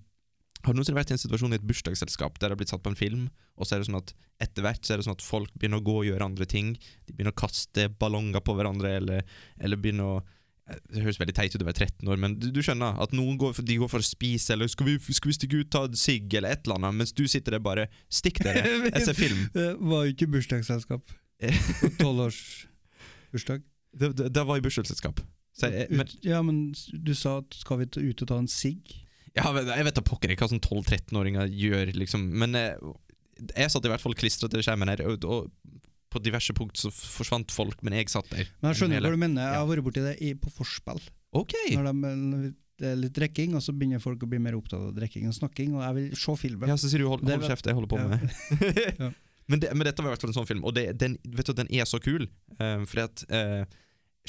K: har du noensinne vært i en situasjon i et bursdagsselskap der det har blitt satt på en film, og så er det sånn at etter hvert så er det sånn at folk begynner å gå og gjøre andre ting? De begynner å kaste ballonger på hverandre, eller, eller begynner å eh, Det høres veldig teit ut å være 13 år, men du, du skjønner at noen går for, de går for å spise, eller skal vi, 'Skal vi stikke ut, ta en sigg', eller et eller annet, mens du sitter der bare 'Stikk dere, jeg ser film'.
J: Det Eh, var jo ikke bursdagsselskap. Tolvårsbursdag.
K: Det, det, det var i bursdagsselskap. Så jeg, men,
J: Ut- Ja, men s- du sa at skal vi ta- ut og ta en sigg?
K: Ja, men jeg vet da pokker ikke hva sånn 12-13-åringer gjør, liksom. Men eh, jeg satt i hvert fall klistra til skjermen her, og, og på diverse punkt så forsvant folk, men jeg satt der.
J: Men jeg skjønner
K: Hele-
J: hva du mener. Jeg har vært borti det i, på forspill.
K: Ok!
J: Når de, når det er litt drikking, og så begynner folk å bli mer opptatt av drikking og snakking, og jeg vil se filmen.
K: Ja, så sier du hold,
J: Det
K: hold
J: vet-
K: kjeft, jeg holder på
J: Ja.
K: med det.
J: Ja.
K: men, det, men dette var i hvert fall en sånn film, og det, den, vet du, den er så kul, eh, fordi at eh,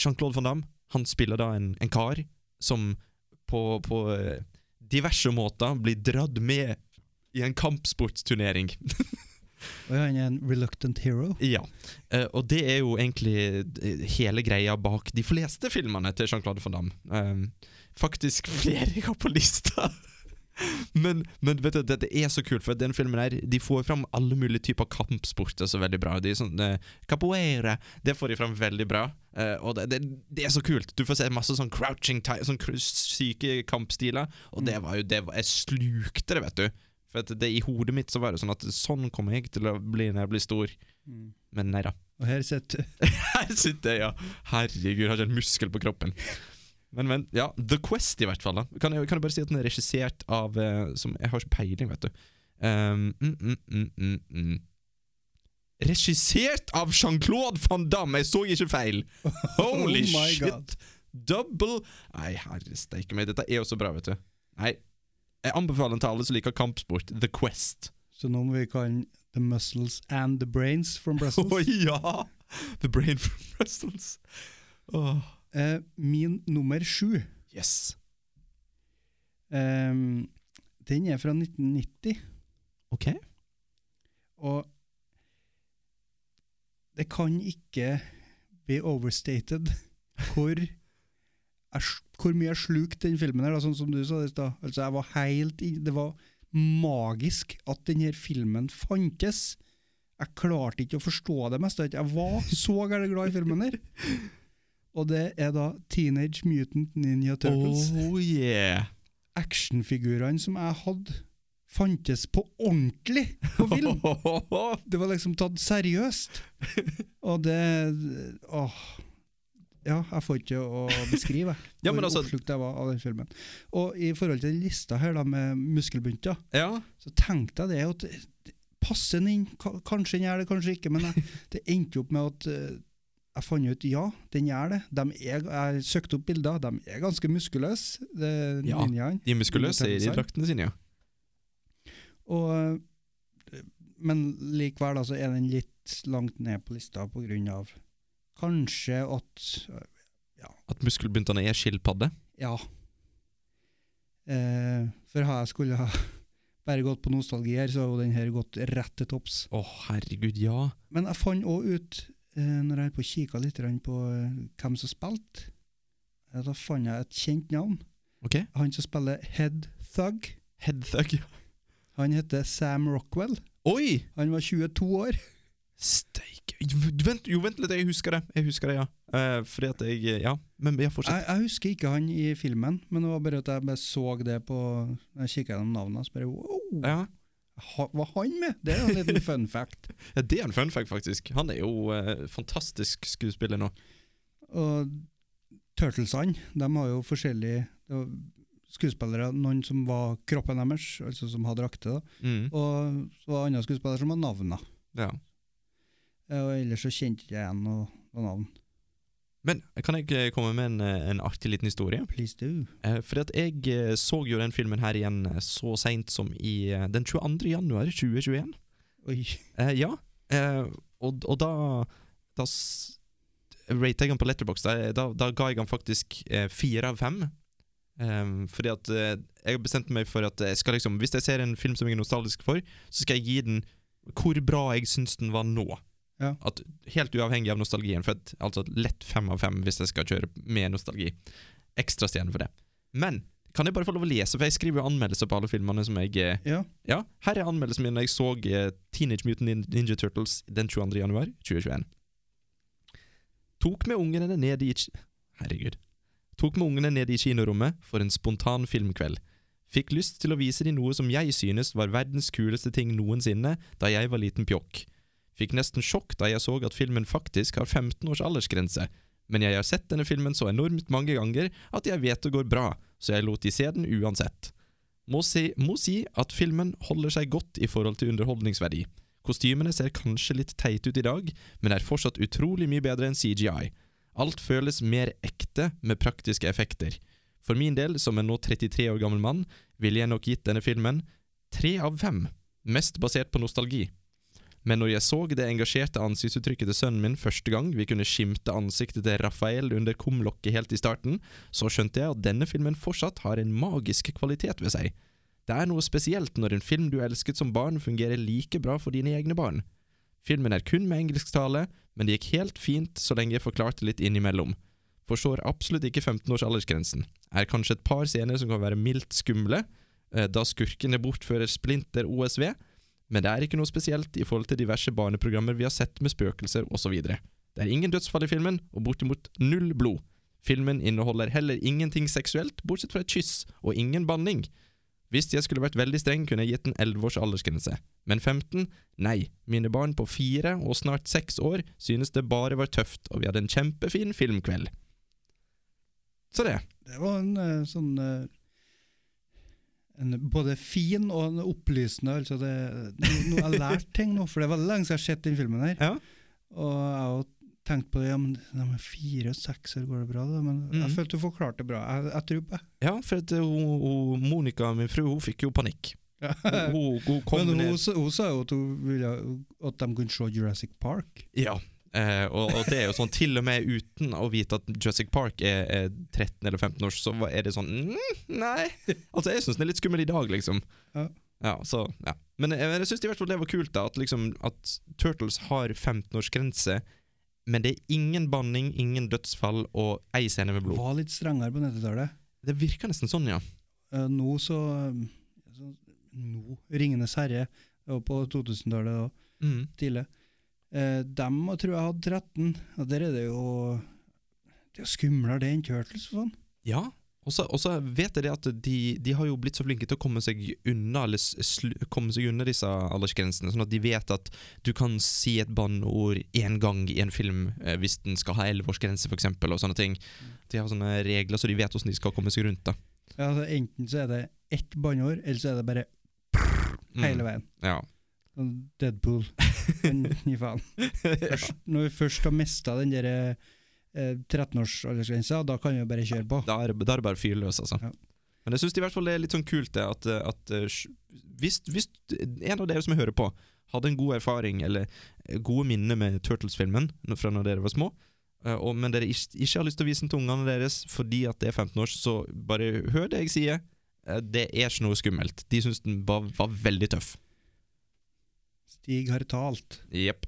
K: Jean-Claude Van Damme, han spiller da en, en kar som på, på eh, diverse måter blir dratt med i en kampsportsturnering.
J: Og han er en reluctant hero.
K: Ja, eh, og det er jo egentlig eh, hele greia bak de fleste filmene til Jean-Claude van Damme. Eh, faktisk flere jeg har på lista! men, men vet du, dette er så kult, for den filmen her De får fram alle mulige typer kampsporter så veldig bra. De er sånn, eh, capoeira Det får de fram veldig bra. Eh, og det, det, det er så kult. Du får se masse sånn crouching ti- Sånn kru- syke kampstiler. Og det var jo det var, Jeg slukte det, vet du. For at det, I hodet mitt så var det sånn at sånn kommer jeg til å bli når jeg blir stor. Men nei da.
J: Og her sitter
K: Her sitter jeg, ja. Herregud, jeg har ikke en muskel på kroppen. Men, men, ja, The Quest i hvert fall. da Kan jeg, kan jeg bare si at den er regissert av eh, Som Jeg har ikke peiling, vet du. Um, mm, mm, mm, mm, mm. Regissert av Jean-Claude van Damme! Jeg så ikke feil! Holy
J: Oh my
K: shit!
J: God.
K: Double Nei, herre steike meg, dette er jo så bra, vet du. Nei, jeg anbefaler den til alle som liker kampsport. The Quest.
J: Så nå må vi kalle den The Muscles and the Brains from Brussels.
K: Å ja! The Brain from Brussels. Åh,
J: Eh, min nummer sju,
K: yes.
J: eh, den er fra 1990,
K: OK.
J: og det kan ikke bli overstated hvor, jeg s- hvor mye jeg slukte den filmen her, da, sånn som du sa det i stad. Altså, jeg var helt i Det var magisk at denne filmen fantes. Jeg klarte ikke å forstå det meste. Jeg var så gærent glad i filmen der. Og det er da Teenage Mutant Ninja Turtles.
K: Oh yeah.
J: actionfigurene som jeg hadde, fantes på ordentlig på film. Det var liksom tatt seriøst. Og det Åh. Ja, jeg får ikke å beskrive jeg,
K: Ja, men
J: hvor
K: altså-
J: oppslukt jeg var av den filmen. Og i forhold til den lista her da med muskelbunter,
K: Ja.
J: så tenkte jeg det at det- passer den inn? Ka- Kanskje den gjør det, kanskje ikke. Men jeg, det endte jo opp med at eh, jeg fant ut ja, den gjør det. De er, jeg søkte opp bilder, de er ganske muskuløse, det-
K: Ja.
J: ninjaene.
K: De er muskuløse i de draktene sine, ja.
J: Og, eh, men likevel altså, er den litt langt ned på lista på grunn av kanskje at eh,
K: At muskelbuntene er skilpadde.
J: Ja. Eh, for har jeg skulle ha bare gått på nostalgi her, så har jo den her gått rett til topps.
K: Å, herregud, ja.
J: Men jeg fant òg ut, eh, når jeg holdt på å kikke litt grann på eh, hvem som spilte, eh, da fant jeg et kjent navn.
K: OK.
J: Han som spiller Head Thug,
K: Headthug.
J: han heter Sam Rockwell.
K: Oi!
J: Han var 22 år.
K: Steike Jo, vent, jo, vent litt, jeg husker det. Jeg husker det, ja. Eh, fordi at jeg eh, Ja, men ja, fortsett.
J: Jeg, jeg husker ikke han i filmen, men det var bare at jeg bare så det på Når jeg kikka gjennom navnet hans, bare wow!
K: Ja.
J: Ha, var han med?! Det er jo en liten fun fact.
K: ja, Det er en fun fact, faktisk. Han er jo eh, fantastisk skuespiller nå.
J: Og Turtlesene, de har jo forskjellige det var skuespillere, noen som var kroppen deres, altså som hadde drakter, da,
K: Mm.
J: og så var det andre skuespillere som hadde navnene.
K: Ja.
J: Eh, Og ellers så kjente ikke jeg igjen noe, noe navn.
K: Men kan jeg eh, komme med en, eh, en artig liten historie?
J: Please do.
K: Eh, fordi at jeg eh, så jo den filmen her igjen eh, så seint som i eh, den 22. januar 2021.
J: Oi.
K: Eh, ja, eh, og, og da, da s- ratet jeg han på Letterbox. Da, eh, da, da ga jeg han faktisk eh, fire av fem. Ehm, fordi at eh, jeg har bestemt meg for at jeg skal liksom, hvis jeg ser en film som jeg er nostalgisk for, så skal jeg gi den hvor bra jeg syns den var nå.
J: Ja.
K: At, helt uavhengig av nostalgien. For at, altså lett fem av fem hvis jeg skal kjøre med nostalgi. Ekstra stjerne for det. Men kan jeg bare få lov å lese, for jeg skriver jo anmeldelser på alle filmene som jeg eh,
J: Ja.
K: ja, her er anmeldelsen min da jeg så eh, Teenage Mutant Nin- Ninja Turtles den 22. januar 2021. Tok med ungene ned i ki- Herregud. Tok med ungene ned i kinorommet for en spontan filmkveld. Fikk lyst til å vise dem noe som jeg synes var verdens kuleste ting noensinne da jeg var liten pjokk. Fikk nesten sjokk da jeg så at filmen faktisk har 15 års aldersgrense. Men jeg har sett denne filmen så enormt mange ganger at jeg vet det går bra, så jeg lot de se den uansett. Må si, må si at filmen holder seg godt i forhold til underholdningsverdi. Kostymene ser kanskje litt teite ut i dag, men er fortsatt utrolig mye bedre enn CGI. Alt føles mer ekte med praktiske effekter. For min del, som en nå 33 år gammel mann, ville jeg nok gitt denne filmen tre av fem, mest basert på nostalgi. Men når jeg så det engasjerte ansiktsuttrykket til sønnen min første gang vi kunne skimte ansiktet til Raphael under kumlokket helt i starten, så skjønte jeg at denne filmen fortsatt har en magisk kvalitet ved seg. Det er noe spesielt når en film du elsket som barn fungerer like bra for dine egne barn. Filmen er kun med engelsktale, men det gikk helt fint så lenge jeg forklarte litt innimellom. Forstår absolutt ikke 15-års aldersgrensen. Er kanskje et par scener som kan være mildt skumle, eh, da skurkene bortfører Splinter OSV, men det er ikke noe spesielt i forhold til diverse barneprogrammer vi har sett med spøkelser osv. Det er ingen dødsfall i filmen, og bortimot null blod. Filmen inneholder heller ingenting seksuelt, bortsett fra et kyss, og ingen banning. Hvis jeg skulle vært veldig streng, kunne jeg gitt en 11 års aldersgrense. Men 15? Nei. Mine barn på fire og snart seks år synes det bare var tøft, og vi hadde en kjempefin filmkveld. Så det.
J: Det var en eh, sånn eh, en både fin og en opplysende altså det, Nå nå har jeg lært ting nå, for det var lenge siden jeg har sett den filmen her.
K: Ja.
J: Og jeg har jo tenkt på det, ja, men nei, men fire og seks år går det bra, da. Men jeg
K: Mhm. eh,
J: følte du forklarte det bra. Jeg, jeg tror på det.
K: Ja, for at hun, hun, Monica, min frue, hun fikk jo panikk. Hun, hun kom
J: Men hun,
K: ned
J: sa- hun sa jo at, hun ville, at de kunne se Jurassic Park.
K: Ja. Eh, og, og det er jo sånn, til og med uten å vite at Jurassic Park er, er 13 eller 15 år, så var- er det sånn mm, Nei. Altså, jeg syns den er litt skummel i dag, liksom.
J: Ja.
K: Ja, så, ja. Men jeg, jeg syns i hvert fall det var kult, da, at, liksom, at Turtles har 15-årsgrense, men det er ingen banning, ingen dødsfall og ei scene med blod.
J: Var litt strengere på 90-tallet.
K: Det virker nesten sånn, ja.
J: Eh, nå så, så Nå, Ringenes herre, og på 2000-tallet og
K: Mm.
J: tidlig. Eh, dem og tror jeg hadde 13, og der er det jo Det er jo skumlere det enn Turtles og sånn.
K: Ja, og så og så vet jeg det at de, de har jo blitt så flinke til å komme seg unna Eller sl komme seg unna disse aldersgrensene, sånn at de vet at du kan si et banneord én gang i en film eh, hvis den skal ha elleveårsgrense, f.eks., og sånne ting. De har sånne regler, så de vet hvordan de skal komme seg rundt. da
J: Ja, altså, enten så er det ett banneord, eller så er det bare
K: Mm.
J: hele veien.
K: Ja.
J: Sånn Deadpool. Men gi faen. Først, når vi først har mista den der eh, 13-årsaldersgrensa, da kan vi jo bare kjøre på.
K: Da er, det- da er det bare fyr løs, altså.
J: Ja.
K: Men jeg syns i hvert fall det er litt sånn kult, det, at, eh, at eh, sj- hvis, hvis en av dere som hører på, hadde en god erfaring eller eh, gode minner med Turtles-filmen når- fra når dere var små, eh, og, men dere ikke, ikke har lyst til å vise den til ungene deres fordi at det er 15 år, så bare hør det jeg sier. Eh, Det er ikke noe skummelt. De syns den var, var veldig tøff.
J: Stig har talt.
K: Jepp.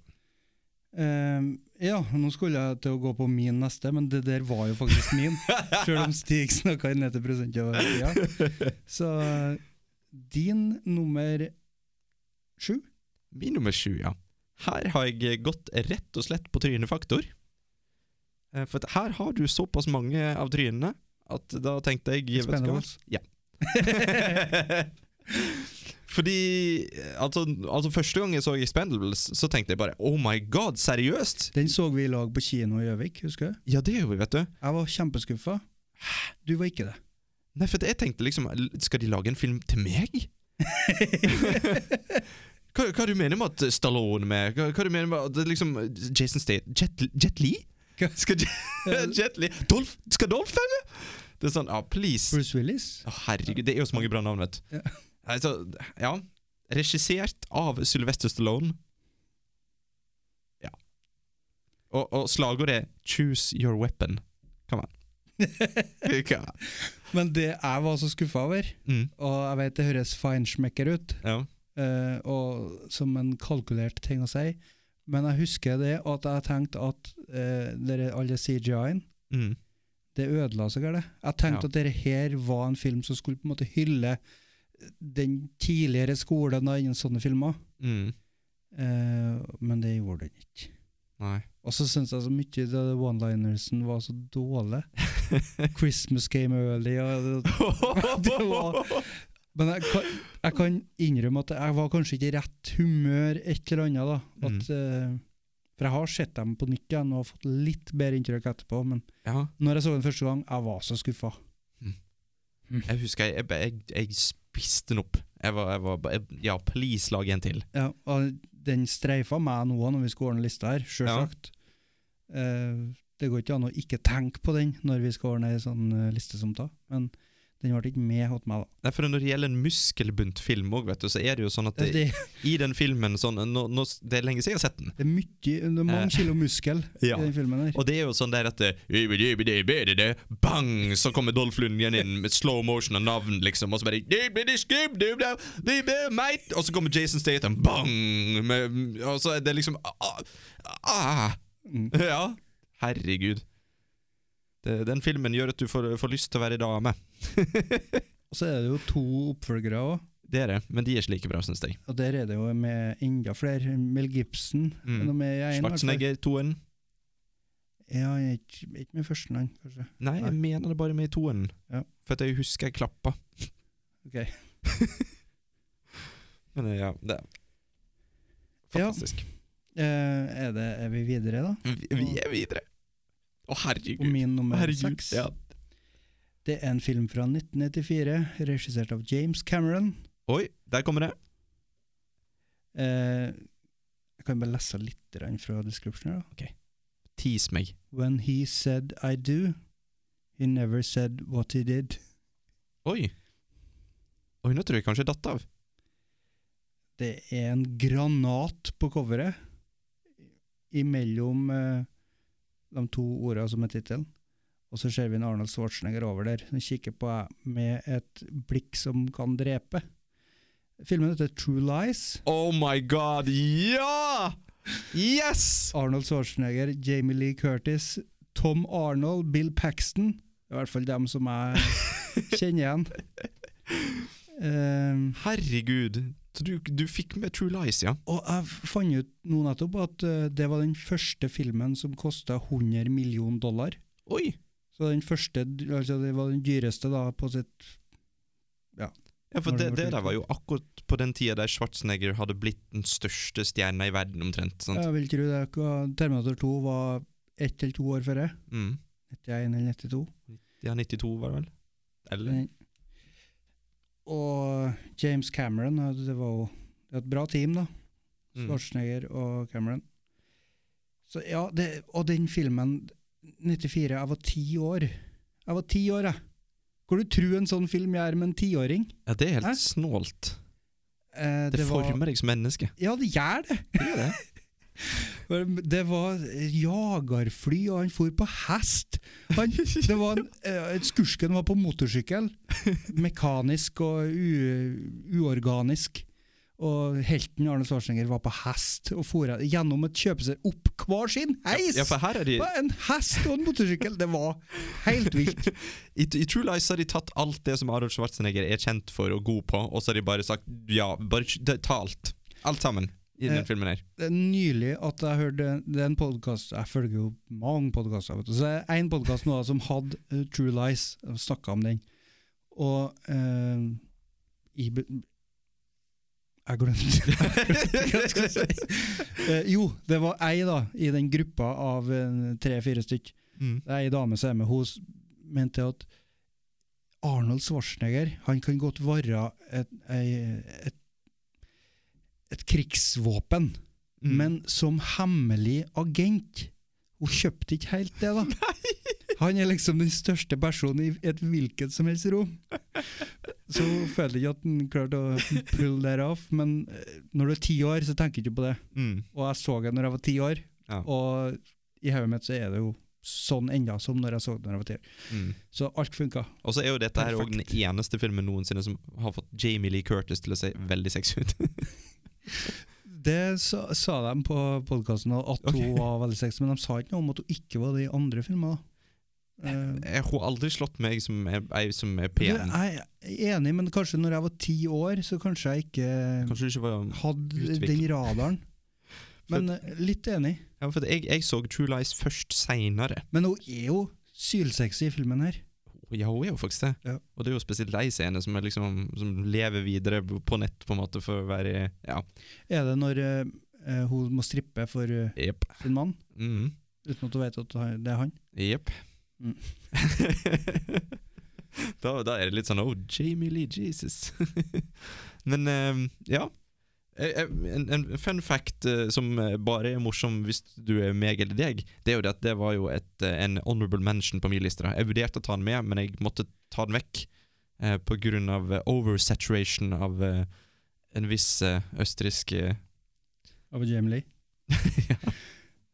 J: Eh, ja, nå skulle jeg til å gå på min neste, men det der var jo faktisk min. Selv om Stig snakka i 90 av tida. Så din nummer sju
K: Min nummer sju, ja. Her har jeg gått rett og slett på trynefaktor. Eh, For at her har du såpass mange av trynene at da tenkte jeg vet du hva?
J: Expendables.
K: Ja. Fordi altså, altså, første gang jeg så Expendables, så tenkte jeg bare Oh my god, seriøst?
J: Den så vi i lag på kino i Gjøvik, husker du?
K: Ja, det gjør vi, vet du.
J: Jeg var kjempeskuffa. Du var ikke det.
K: Nei, for at jeg tenkte liksom Skal de lage en film til meg? hva, hva du mener med at Stallone med Hva, hva du mener med at det liksom Jason State Jet, Jet Li?
J: Hva?
K: Skal Jet, Jet Li Dolph, Skal Dolph være med? Det er sånn, ja, please.
J: Bruce Willis?
K: Å, herregud, det er jo så mange bra navn, vet du.
J: Ja.
K: Altså, ja. Regissert av Sylvester Stallone. Ja. Og, og slagordet er 'Choose your weapon'. Come on. Come on.
J: Men det jeg var så skuffa over,
K: Mm,
J: og jeg vet det høres feinschmecker ut,
K: ja.
J: eh, og som en kalkulert ting å si, men jeg husker det, og at jeg tenkte at eh, dere, alle CGI-en
K: Mm.
J: det ødela seg galt. Jeg tenkte
K: Ja.
J: at dette her var en film som skulle på en måte hylle den tidligere skolen da, innen sånne filmer,
K: Mm.
J: Eh, men det gjorde den ikke.
K: Nei.
J: Og så syns jeg så mye av det one-linersen var så dårlig. 'Christmas came early' og Det var- Men jeg kan, jeg kan innrømme at jeg var kanskje ikke i rett humør et eller annet. da. At, eh, for jeg har sett dem på nytt igjen og fått litt bedre inntrykk etterpå. Men
K: Ja,
J: når jeg så den første gang, jeg var så Mm. skuffa.
K: jeg husker jeg, jeg, jeg, jeg spiste den opp. Jeg var, jeg var ba- jeg, Ja, please, lag en til.
J: Ja, og den streifa meg nå når vi skulle ordne lista her, sjølsagt. Eh, det går ikke an å ikke tenke på den når vi skal ordne ei sånn eh, liste som da. Men den ble ikke med hos meg, da.
K: Nei, for Når det gjelder en muskelbunt film òg, vet du, så er det jo sånn at
J: Det,
K: det,
J: det,
K: i den filmen sånn, nå, nå, Det er lenge siden jeg har sett den.
J: det er mye, det er mange
K: Eh.
J: kilo muskel
K: Ja.
J: i den filmen her.
K: Og det er jo sånn der at det, «Ubidi-ubidi-ubidi-det», Bang! Så kommer Dolph Lundgren inn med slow motion og navn, liksom. Og så bare «Dibidi-skibdi-bla-dibi, mate!» Og så kommer Jason Statham. Bang! Med, og så er det liksom ah, ah. Ja. Herregud. Det, den filmen gjør at du får, får lyst til å være dame.
J: Og så er det jo to oppfølgere òg.
K: Det er det, men de er ikke like bra, syns jeg.
J: Og der er det jo med enda flere. Mel Gibson.
K: Mm.
J: er noe med i en, i hvert fall.
K: Schwarzenegger-toen.
J: Ja, han er ikke, ikke med første navn, kanskje.
K: Nei, jeg mener det bare med i toen.
J: Ja.
K: For at jeg husker jeg klappa.
J: Ok.
K: Men eh, ja, det er
J: Ja.
K: fantastisk.
J: Eh, er, det, er vi videre, da?
K: Vi, vi er videre. Å, herregud.
J: På min nummer
K: herregud.
J: seks.
K: Ja.
J: Det er en film fra 1994, regissert av James Cameron.
K: Oi, der kommer det.
J: Eh, jeg kan bare lese litt grann fra descriptionen. da.
K: Tis meg.
J: When he said I do, he never said what he did.
K: Oi. Oi, nå tror jeg kanskje jeg datt av.
J: Det er en granat på coveret imellom eh, de to ordene som er tittelen. Og så ser vi en Arnold Schwarzenegger over der, som kikker på meg med et blikk som kan drepe. Filmen heter True Lies.
K: Oh my god, ja! Yes!
J: Arnold Schwarzenegger, Jamie Lee Curtis, Tom Arnold, Bill Paxton. I hvert fall dem som jeg kjenner igjen. Um,
K: Herregud. Så du, du fikk med True Lies, ja?
J: og jeg fant ut nå nettopp at eh, det var den første filmen som kosta 100 millioner dollar.
K: Oi!
J: Så den første, altså det var den dyreste da på sitt
K: Ja, for
J: Har
K: det,
J: det vært
K: det der
J: ute?
K: var jo akkurat på den tida der Schwarzenegger hadde blitt den største stjerna i verden, omtrent. sant?
J: Jeg vil tro det var- Terminator 2 var ett eller to år før det.
K: Mm.
J: 91 eller 92.
K: Ja, 92 var det vel? Eller?
J: Men- Og James Cameron, ja, det var jo det var et bra team, da.
K: Mm.
J: Schwarzenegger og Cameron. Så ja, det, Og den filmen, 94, jeg var ti år. Jeg var ti år, jeg! Hvor du tro en sånn film gjør med en tiåring?
K: Ja, det er helt
J: Hæ?
K: snålt.
J: Eh,
K: Det,
J: var-
K: former deg som menneske.
J: Ja, det gjør det. Men Det var eh, jagerfly, og han for på hest. Han, det var en, eh, skursken var på motorsykkel. Mekanisk og u, uorganisk. Og helten Arne Schwarzenegger var på hest og for gjennom et kjøpesenter opp hver sin heis!
K: Ja, for her er de
J: Hva, en hest og en motorsykkel! Det var helt vilt.
K: I, I True Lies har de tatt alt det som Arnold Schwarzenegger er kjent for og god på, og så har de bare sagt ja, bare sk- det- ta alt. Alt sammen i den
J: Eh,
K: filmen her.
J: Det er nylig at jeg hørte det er en podkast Jeg følger jo mange podkaster. Så det er en podkast nå som hadde eh, True Lies, og snakka om den. Og eh, i be- Jeg glemte hva jeg skulle si. Eh, jo, det var ei da, i den gruppa av eh, tre-fire stykk.
K: Mm.
J: Det er ei dame som er med. Hun s- mente at Arnold Schwarzenegger han kan godt være et, ei- et, et krigsvåpen
K: Mm.
J: men som hemmelig agent. Hun kjøpte ikke helt det, da. Han er liksom den største personen i et hvilket som helst rom. Så hun føler ikke at han klarte å pull that off, men eh, når du er ti år, så tenker du ikke på det.
K: Mm.
J: Og jeg så det når jeg var ti år,
K: Ja.
J: og i hodet mitt så er det jo sånn enda som når jeg så det når jeg var ti år.
K: Mm.
J: Så alt funka.
K: Og så er jo dette her også den
J: Perfekt.
K: eneste filmen noensinne som har fått Jamie Lee Curtis til å se veldig sexy ut.
J: Det sa, sa de på podkasten, at hun
K: Ok.
J: var veldig sexy, men de sa ikke noe om at hun ikke var det i andre filmer. da. Eh,
K: Jeg har aldri slått meg som er, ei som er
J: Du,
K: pen.
J: Jeg er enig, men kanskje når jeg var ti år, så kanskje jeg ikke
K: Kanskje du ikke var
J: hadde
K: Utvikling.
J: den radaren. Men eh, litt enig.
K: Ja, for jeg, jeg så True Lies først seinere.
J: Men hun er jo sylsexy i filmen her.
K: Ja, hun er jo faktisk det.
J: Ja.
K: Og det er jo spesielt de scenene som, er liksom, som lever videre på nett, på en måte, for å være Ja.
J: Er det når eh, eh, hun må strippe for eh,
K: Jepp.
J: sin mann,
K: Mm.
J: uten at hun vet at han- det er han?
K: Jepp.
J: Mm.
K: da, da er det litt sånn Oh, Jamie Lee Jesus. Men eh, ja. Eh, eh, En, en fun fact eh, som eh, bare er morsom hvis du er meg eller deg, det er jo det at det var jo et, eh, en honorable mention på min liste. da. Jeg vurderte å ta den med, men jeg måtte ta den vekk eh, på grunn av eh, oversaturation av eh, en viss eh, østerriksk eh,
J: Av Jamie Lee?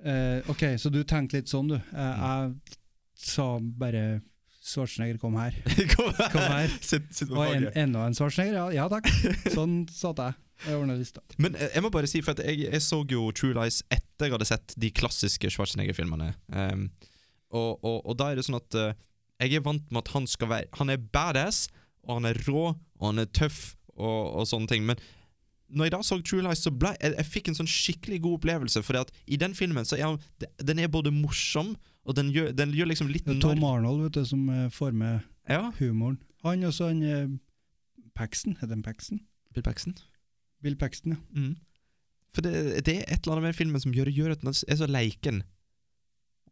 J: Eh, ok, så du tenkte litt sånn, du. Eh, jeg sa bare Schwarzenegger kom her.
K: Kom her!
J: Kom her.
K: Sitt, sitt på
J: Og en,
K: faget.
J: enda en Schwarzenegger? Ja, ja takk. Sånn satt jeg. Jeg ordna lista.
K: Men eh, jeg må bare si, for at jeg, jeg så jo True Lies etter jeg hadde sett de klassiske Schwarzenegger-filmene. Ehm, og, og, og da er det sånn at eh, jeg er vant med at han skal være Han er badass, og han er rå, og han er tøff, og, og sånne ting. Men når jeg da så True Lies, så ble, jeg, jeg fikk en sånn skikkelig god opplevelse. For i den filmen så er han, den er både morsom, og den gjør, den gjør liksom litt
J: Det er
K: narr-
J: Tom Arnold vet du, som eh, får med
K: Ja,
J: humoren. Han og så han eh, Paxton, heter han Paxton?
K: Bill Paxton.
J: Bill Paxton, ja.
K: Mm. For det, det er et eller annet med filmen som gjør, gjør at den er så leiken.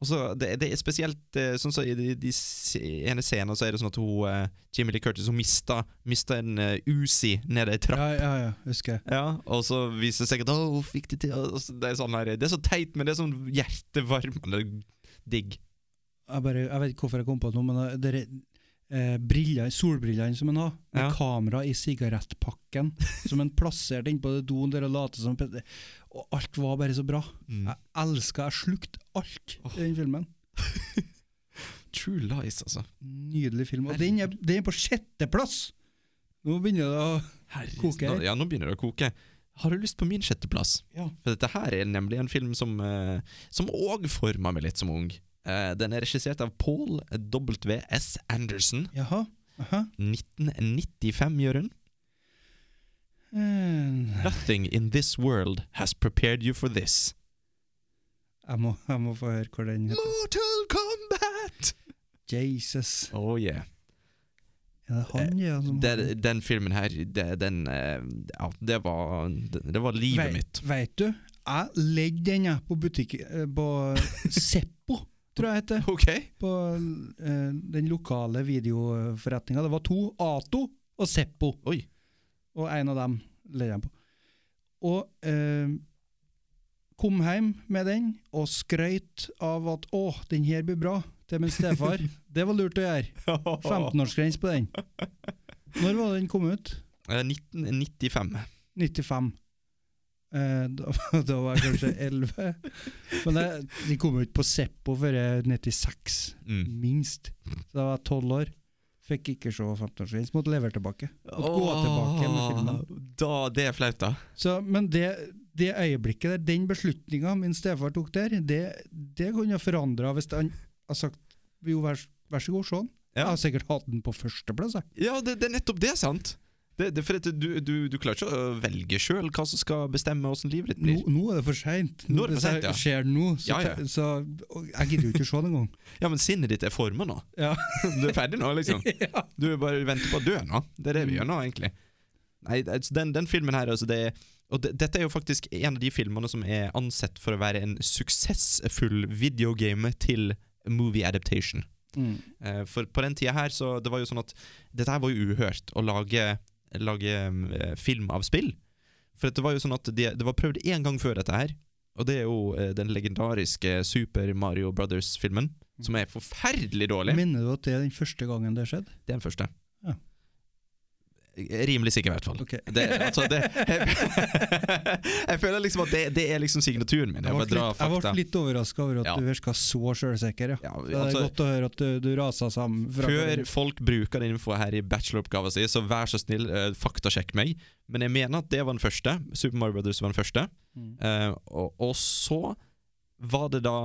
K: Og så, det, det er spesielt eh, sånn så I de, de s- ene scenen så er det sånn at hun eh, Jimmy Lee Curtis Hun mista, mista en eh, Uzi nede i trappa.
J: Ja, ja, ja, husker jeg.
K: Ja. og så viser det seg at Å, hun fikk det til og så, det, er sånn her, det er så teit, men det er sånn hjertevarmende digg.
J: Jeg, bare, jeg vet ikke hvorfor jeg kom på det nå, men det, det, eh, briller, solbrillene som han har, med
K: Ja.
J: kamera i sigarettpakken, som han plasserte innpå det doen der og lot som Og alt var bare så bra.
K: Mm.
J: Jeg elska, jeg slukte alt i den filmen.
K: True Lies, altså.
J: Nydelig film. Og den er, den er på sjetteplass! Nå begynner det å Koke her.
K: Nå, ja, nå begynner det å koke. Har du lyst på min sjetteplass?
J: Ja.
K: For dette her er nemlig en film som eh, Som òg forma meg litt som ung. Eh, den er regissert av Paul W.S. Anderson.
J: Jaha. Aha.
K: 1995, Jørund.
J: Eh,
K: Nothing in this world has prepared you for this.
J: Jeg må, jeg må få høre hvor den heter.
K: Mortal Kombat!
J: Jesus.
K: Oh yeah.
J: Er det han, ja? Som
K: Eh, Det, den filmen her, det, den eh, Ja, det var Det, det var livet
J: Vei-
K: mitt.
J: Vet du, jeg ledde den jeg på butikk... eh, På Seppo, tror jeg heter.
K: OK?
J: På eh, den lokale videoforretninga. Det var to, Ato og Seppo,
K: Oi.
J: og en av dem ledde jeg på. Og eh, kom hjem med den og skrøyt av at 'å, den her blir bra', til min stefar. det var lurt å gjøre. 15-årsgrense på den. Når var den kom ut?
K: Eh, 1995.
J: 95. Eh, da, da var jeg kanskje 11. Men det, de kom ut på Seppo før jeg 96,
K: Mm.
J: minst. Så da var jeg 12 år. Fikk ikke se 15-årsgrense, måtte levere tilbake. Måtte gå tilbake med filmen.
K: Da, det er flaut, da.
J: Så, men det, det øyeblikket der, den beslutninga min stefar tok der, det, det kunne jeg forandra hvis han hadde sagt jo, vær, vær så god, se den.
K: Ja.
J: Jeg har sikkert hatt den på førsteplass, jeg.
K: Ja, det, det er nettopp det, sant? Det, det, for at du, du, du klarer ikke å velge sjøl hva som skal bestemme åssen livet ditt
J: Nå,
K: blir.
J: nå er det for seint.
K: Nå er det for sent, ja.
J: skjer det nå, så,
K: Ja, ja.
J: te- så og jeg gidder jo ikke å se den engang.
K: Ja, men sinnet ditt er forma nå.
J: Ja.
K: Du er ferdig nå, liksom.
J: ja.
K: Du er bare venter på å dø nå. Det er det vi gjør nå, egentlig. Nei, det- altså, den, den filmen her, altså det er- Og det, dette er jo faktisk en av de filmene som er ansett for å være en suksessfull videogame til movie adaptation. Eh, For på den tida her, så det var jo sånn at Dette her var jo uhørt, å lage, lage eh, film av spill. For at det var jo sånn at de, det var prøvd én gang før dette her, og det er jo eh, den legendariske Super Mario Brothers-filmen,
J: Mm.
K: som er forferdelig dårlig.
J: Minner du at det er den første gangen det skjedde?
K: Det er den første.
J: Ja.
K: Jeg er Rimelig sikker, i hvert fall.
J: Ok.
K: Det, altså, det, jeg, jeg føler liksom at det, det er liksom signaturen min. Jeg bare
J: ble
K: drar
J: litt, jeg
K: fakta.
J: ble litt overraska over at
K: Ja.
J: du virka så sjølsikker. Ja.
K: Ja,
J: Så det
K: altså-
J: er godt å høre at du, du rasa sammen. fra-
K: Før folk bruker den infoen her i bacheloroppgaven sin, så vær så snill, eh, faktasjekk meg. Men jeg mener at det var den første. Super Mario Brothers var den første.
J: Mm.
K: Eh, og, og så var det da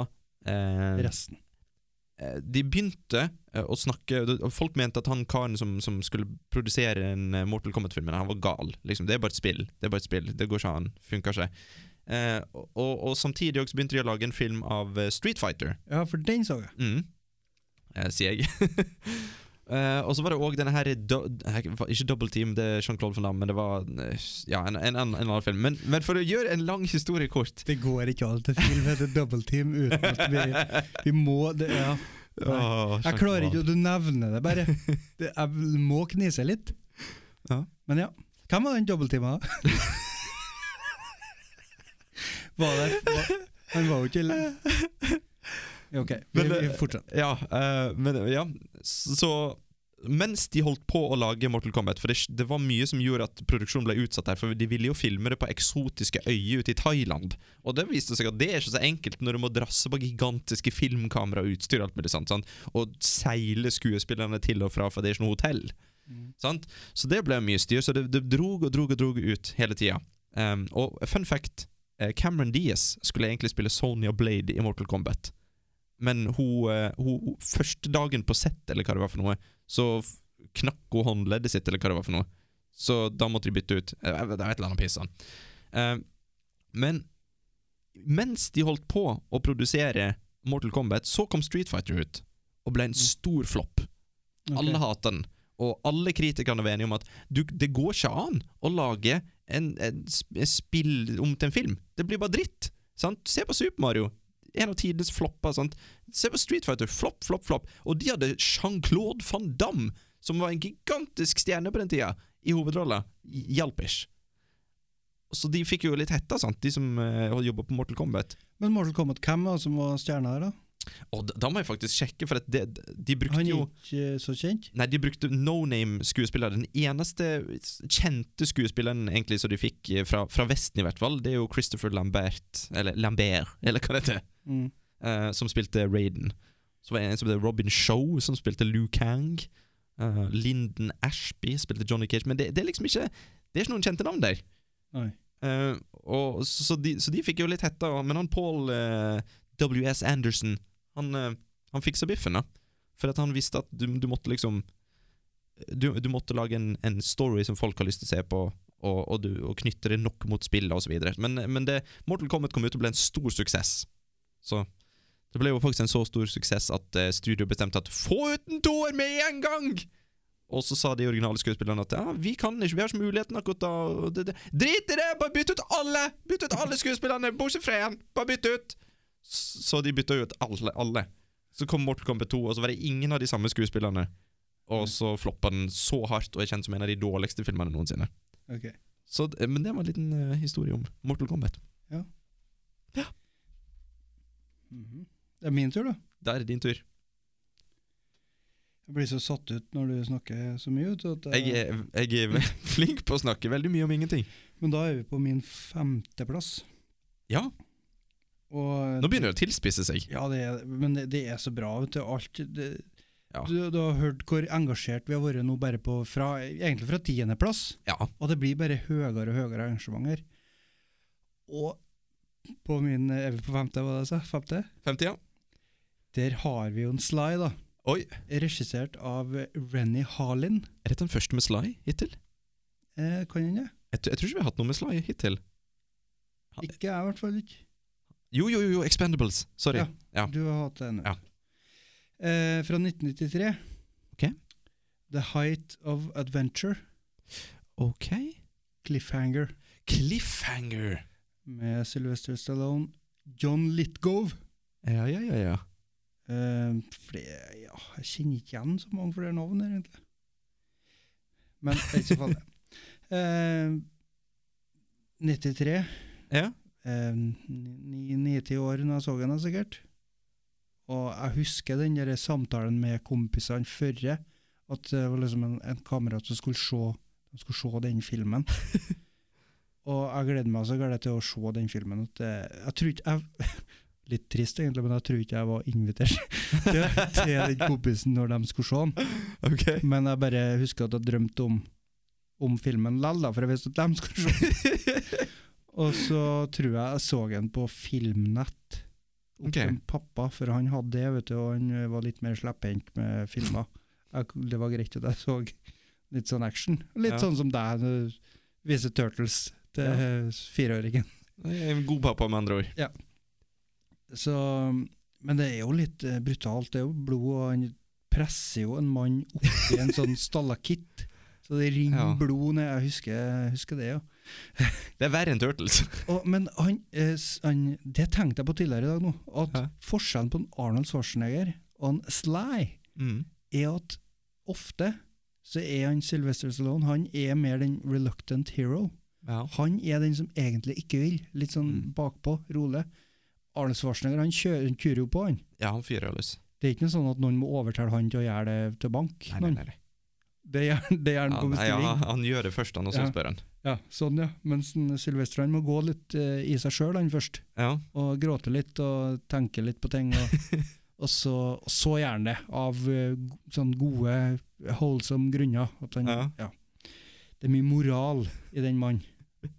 K: eh,
J: resten.
K: eh, De begynte eh, å snakke og Folk mente at han karen som, som skulle produsere en eh, Mortal Kombat-film, han var gal. Liksom, det er bare et spill. Det er bare et spill. Det går ikke an. Funker ikke. Eh, og, og samtidig også begynte de å lage en film av eh, Street Fighter.
J: Ja, for den så jeg.
K: Mm. Eh, sier jeg. Eh, og så var det òg denne her do, eh, Ikke Double Team, det er Jean-Claude Van Damme, men det var eh, ja, en, en, annen- en annen film. Men, men for å gjøre en lang historie kort
J: Det går ikke an til film heter Double Team uten at vi, vi må det, ja. Nei.
K: Åh,
J: Jeg klarer
K: Jean-Claude.
J: ikke, og du nevner det bare. Det, jeg må knise litt.
K: Ja.
J: Men ja. Hvem var den dobbelttima? var det var, Han var jo ikke le- Ja, Ok, vi,
K: Men det-
J: vi fortsetter.
K: Ja, eh, men, ja. Så mens de holdt på å lage Mortal Kombat For det, det var mye som gjorde at produksjonen ble utsatt her, for de ville jo filme det på eksotiske øyer ute i Thailand. Og det viste seg at det er ikke så enkelt når du må drasse på gigantiske filmkamera og utstyr og alt mulig sånt, sant? og seile skuespillerne til og fra, for det er ikke noe hotell. Sant? Så det ble mye styr, så det, det drog og drog og drog ut hele tida. Um, og fun fact, eh, Cameron Diaz skulle egentlig spille Sonya Blade i Mortal Kombat. Men hun, eh, hun, hun første dagen på sett, eller hva det var for noe, så f- knakk hun håndleddet sitt, eller hva det var for noe. Så da måtte de bytte ut. Eh, Det var et eller annet piss, han. Eh, men mens de holdt på å produsere Mortal Kombat, så kom Street Fighter ut, og ble en stor flopp.
J: Ok.
K: Alle hater den. Og alle kritikerne var enige om at du, det går ikke an å lage en, en sp- spill om til en film. Det blir bare dritt. Sant? Se på Super Mario. En av tidenes flopper. Sant? Se på Street Fighter. Flopp, flopp, flopp. Og de hadde Jean-Claude van Damme, som var en gigantisk stjerne på den tida, i hovedrolla. Hjalp ikke. Så de fikk jo litt hetta, sant, de som uh, jobba på Mortal Kombat.
J: Men Mortal Kombat, hvem var det som var stjerna her, da?
K: Og da, da må jeg faktisk sjekke, for at det, de brukte
J: Han er
K: jo
J: ikke eh, så kjent.
K: Nei, de brukte no name-skuespiller. Den eneste kjente skuespilleren egentlig som de fikk eh, fra, fra Vesten, i hvert fall, det er jo Christopher Lambert, eller Lambert, eller hva det heter,
J: Mm.
K: eh, som spilte Raiden. Så var det en som het Robin Show, som spilte Liu Kang. Eh, Linden Ashby spilte Johnny Cage. Men det, det er liksom ikke Det er ikke noen kjente navn der.
J: Nei.
K: Eh, og, så, så, de, så de fikk jo litt hetta, og- men han Paul eh, W.S. Anderson, han, eh, han fiksa biffen, da. For at han visste at du, du måtte liksom du, du måtte lage en, en story som folk har lyst til å se på, og, og, du, og knytte det nok mot spillet osv. Men, men det, Mortal Kombat kom ut og ble en stor suksess. Så det ble jo faktisk en så stor suksess at eh, studio bestemte at få ut en toer med en gang! Og så sa de originale skuespillerne at ja, vi kan ikke, vi har ikke muligheten akkurat da. og Det, det. Drit i det! Bare bytt ut alle! Bytt ut alle skuespillerne, bortsett fra én! Bare bytt ut! S- Så de bytta ut alle, alle. Så kom Mortal Kombat 2, og så var det ingen av de samme skuespillerne. Og så floppa den så hardt og er kjent som en av de dårligste filmene noensinne.
J: Ok.
K: Så, d- men det var en liten eh, historie om Mortal Kombat.
J: Mhm. Det er min tur, da.
K: Da er det din tur.
J: Jeg blir så satt ut når du snakker så mye. Ut, at jeg-
K: Jeg er, jeg er flink på å snakke veldig mye om ingenting.
J: eh, Men da er vi på min femteplass.
K: Ja,
J: Og
K: nå begynner det å tilspisse seg.
J: Ja, det er, men det, det er så bra. Vet du, alt, det,
K: Ja.
J: du, du har hørt hvor engasjert vi har vært nå, bare på, fra, egentlig fra tiendeplass.
K: Ja.
J: Og det blir bare høyere og høyere arrangement her. Og på min Er vi på femte, hva det jeg sa? Femte?
K: 50, ja.
J: Der har vi jo en Sly, da.
K: Oi,
J: Regissert av Renny Harlin.
K: er dette den første med Sly hittil?
J: Eh, kan hende.
K: Jeg, tr- jeg tror ikke vi har hatt noe med Sly hittil. Ha-
J: Ikke jeg, i hvert fall. ikke.
K: Jo, jo, jo, jo Expendables. Sorry.
J: Ja.
K: Ja.
J: Du har hatt den.
K: Ja.
J: Eh, fra 1993.
K: Ok.
J: The Height of Adventure.
K: Ok.
J: Cliffhanger.
K: Cliffhanger.
J: med Sylvester Stallone. John Litgove.
K: Ja, ja, ja, ja.
J: Eh, flere, ja, jeg kjenner ikke igjen så mange flere navn, her, egentlig. Men det er ikke så farlig. Eh, 93.
K: Ja.
J: eh, ni- ni- 90 år da jeg så den, da, sikkert. Og jeg husker den der samtalen med kompisene førre. At det var liksom en, en kamerat som skulle se, de skulle se den filmen. og jeg gleder meg så gleder jeg til å se den filmen. At det, jeg tror ikke jeg, Litt trist, egentlig, men jeg tror ikke jeg var invitert til, til den kompisen når de skulle se den.
K: Ok.
J: Men jeg bare husker at jeg drømte om, om filmen lell, da, for jeg visste at de skulle se den. Og så tror jeg jeg så den på Filmnett. opp
K: Ok.
J: til Pappa, for han hadde det, vet du, og han eh, var litt mer slepphendt med filmer. Jeg, det var greit at jeg så litt sånn action. Litt
K: Ja.
J: sånn som deg, når du viser Turtles til
K: Ja.
J: eh, fireåringen.
K: Jeg er en god pappa, med andre ord.
J: Så, men det er jo litt eh, brutalt. Det er jo blod, og han presser jo en mann oppi en sånn stallakitt. Så det rinner
K: Ja.
J: blod ned. Jeg husker, jeg husker det, ja.
K: Det er verre enn Turtles.
J: Og, men han, eh, s- han Det tenkte jeg på tidligere i dag nå. At
K: Hæ?
J: forskjellen på en Arnold Schwarzenegger og en Sly
K: Mm.
J: er at ofte så er han Sylvester Stallone han er mer den reluctant hero.
K: Ja.
J: Han er den som egentlig ikke vil. Litt sånn
K: Mm.
J: bakpå, rolig. Arnold Schwarzenegger han kjører, han kurer jo på, han.
K: ja, han fyrer jo løs.
J: Det er ikke noe sånn at noen må overtale han til å gjøre det til bank.
K: Nei, nei,
J: noen.
K: nei, nei.
J: Det gjør det gjør han
K: Ja, nei,
J: på
K: ja,
J: bestilling. Ja,
K: han gjør det først, han, og så
J: Ja.
K: spør han.
J: sånn ja. Mens en Sylvester han må gå litt eh, i seg sjøl han først,
K: Ja.
J: og gråte litt og tenke litt på ting. Og, og, så, og så gjør han det, av eh, go- sånn gode, holdsomme grunner. At han,
K: Ja.
J: Ja. Det er mye moral i den mannen.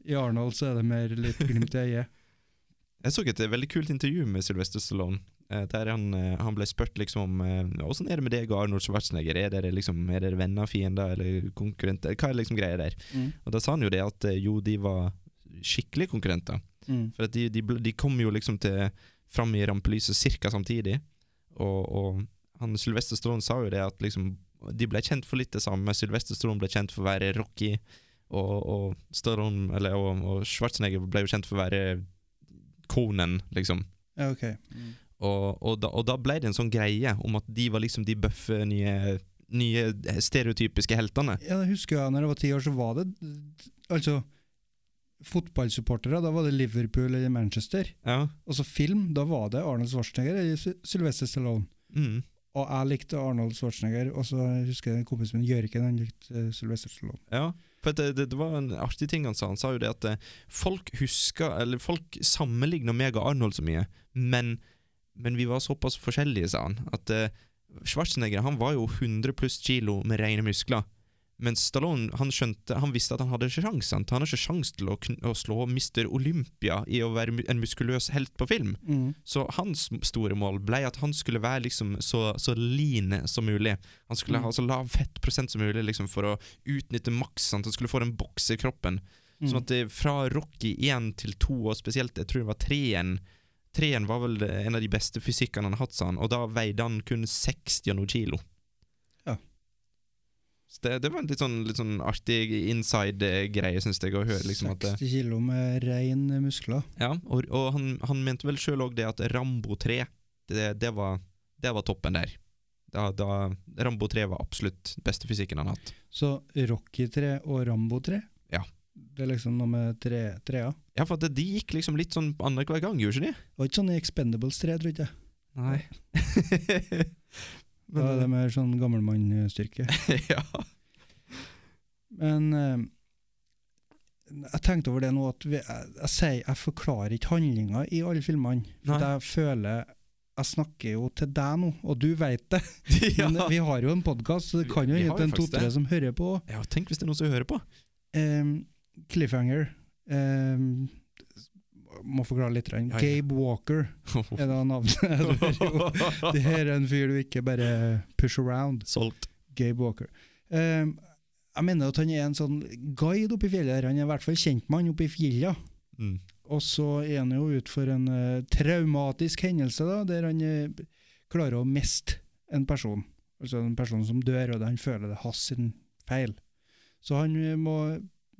J: I Arnold så er det mer litt glimt i øyet.
K: Jeg så et eh, veldig kult intervju med Sylvester Stallone. eh, Der han, eh, han ble spurt liksom om eh, Åssen er det med deg og Arnold Schwarzenegger? Er dere, liksom, er dere venner, fiender eller konkurrenter? Hva er liksom greia der?
J: Mm.
K: Og da sa han jo det at eh, jo, de var skikkelig konkurrenter.
J: Mm.
K: For at de, de, ble- de kom jo liksom til fram i rampelyset cirka samtidig. Og, og han Sylvester Stallone sa jo det at liksom de ble kjent for litt det samme. Sylvester Stallone ble kjent for å være Rocky, og, og Stallone eller, og, og Schwarzenegger ble jo kjent for å være Conan, liksom.
J: Ja, ok.
K: Og, og, da, og da ble det en sånn greie om at de var liksom de bøffe nye, nye stereotypiske heltene.
J: Ja, det husker jeg når jeg var ti år, så var det Altså, fotballsupportere, da var det Liverpool eller Manchester.
K: Ja.
J: Og så film, da var det Arnold Schwarzenegger eller Sy- Sylvester Stallone.
K: Mm.
J: Og jeg likte Arnold Schwarzenegger, og så husker jeg en kompis min, Jørgen, han likte eh, Sylvester Stallone.
K: Ja, for det, det, det var en artig ting han sa. Han sa jo det at eh, folk husker Eller folk sammenligner meg og Arnold så mye, men, men vi var såpass forskjellige, sa han, at eh, Schwarzenegger han var jo 100 pluss kilo med rene muskler. Mens Stallone han skjønte, han visste at han hadde ikke sjans, sant? Han har ikke sjans til å, kn å slå Mr. Olympia i å være mu- en muskuløs helt på film.
J: Mm.
K: Så hans store mål ble at han skulle være liksom så, så lean som mulig. Han skulle ha så lav fettprosent som mulig liksom for å utnytte maks. Sant? Han skulle få den boksekroppen. Sånn at det, fra Rocky 1 til 2, og spesielt jeg tror det var 3-en Treen var vel en av de beste fysikkene han har hatt, sa han, og da veide han kun 60 og noe kilo.
J: Ja.
K: Så det, det var en litt sånn, litt sånn artig inside-greie, syns jeg, å høre. liksom at det,
J: 60 kilo med rein muskler.
K: ja, og, og han, han mente vel sjøl òg det at Rambo 3, det, det, var, det var toppen der. Da, da Rambo 3 var absolutt beste fysikken han har hatt.
J: Så Rocky 3 og Rambo 3,
K: Ja.
J: det er liksom noe med tre- trea.
K: Ja, for at de gikk liksom litt sånn annenhver gang, gjorde ikke de?
J: Det var ikke sånn i Expendables 3, tror jeg. ikke.
K: Nei.
J: Da er det
K: Men,
J: mer sånn gammelmannstyrke.
K: ja.
J: Men eh, jeg tenkte over det nå at vi, jeg, jeg sier jeg forklarer ikke handlinga i alle filmene. For
K: Nei.
J: at jeg føler Jeg snakker jo til deg nå, og du veit det.
K: ja.
J: Men eh, vi har jo en podkast, så det
K: Vi-
J: kan jo
K: vi har
J: hende
K: jo
J: en
K: faktisk
J: to-tre
K: det.
J: som hører på.
K: ja, tenk hvis det er noen som hører på.
J: Em, cliffhanger Em, Må forklare litt. grann.
K: Ja, ja.
J: Gabe Walker er da navnet. Det er jo- det her er en fyr du ikke bare push around.
K: Solgt.
J: Gabe Walker. Em, jeg mener at han er en sånn guide oppe i fjellet. her. Han er i hvert fall kjent med han oppe i fjellet.
K: Mm.
J: Og så er han jo ut for en eh, traumatisk hendelse, da, der han eh, klarer å miste en person. Altså en person som dør, og han føler det er hans sin feil. Så han eh, må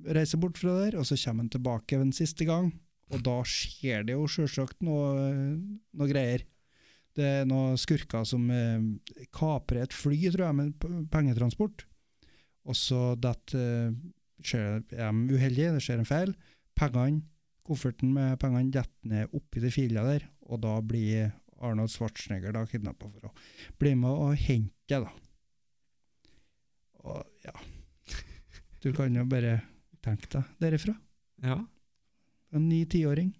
J: reise bort fra der, og så kommer han tilbake en siste gang. Og da skjer det jo sjølsagt noe, eh, noe greier. Det er noen skurker som eh, kaprer et fly, tror jeg, med p- pengetransport. Og så detter eh, skjer- er de uheldige, det skjer en feil. Pengene, kofferten med pengene detter ned oppi det fila der, og da blir Arnold Schwarzenegger da kidnappa for å bli med og hente det, da. Og ja Du kan jo bare tenke deg derifra.
K: Ja.
J: En ny-tiåring.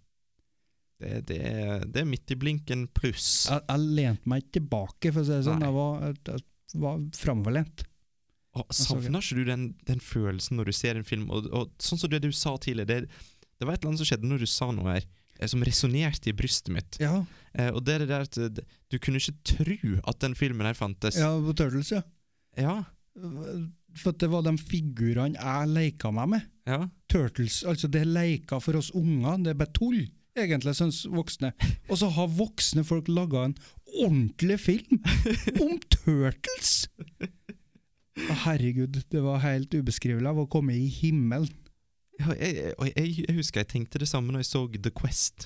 K: Det, det, er, det er midt i blinken pluss.
J: Jeg, jeg lente meg ikke tilbake, for å si det sånn.
K: Nei.
J: Jeg var, jeg, jeg var framoverlent.
K: Og
J: så gøy.
K: savner ikke du den, den følelsen når du ser en film, og, og sånn som det du sa tidligere, det, det var et eller annet som skjedde når du sa noe her, eh, som resonerte i brystet mitt.
J: Ja,
K: Eh, og det er det der at eh, d- du kunne ikke tro at den filmen her fantes.
J: ja, på Turtles, ja.
K: Ja,
J: For at det var de figurene jeg leka meg med.
K: ja.
J: Turtles, altså det er leker for oss unger, det er bare tull, egentlig, som voksne. Og så har voksne folk laga en ordentlig film om Turtles! Å, herregud, det var helt ubeskrivelig. Jeg var kommet i himmelen.
K: Ja, og jeg, og jeg, jeg husker jeg tenkte det samme når jeg så The Quest.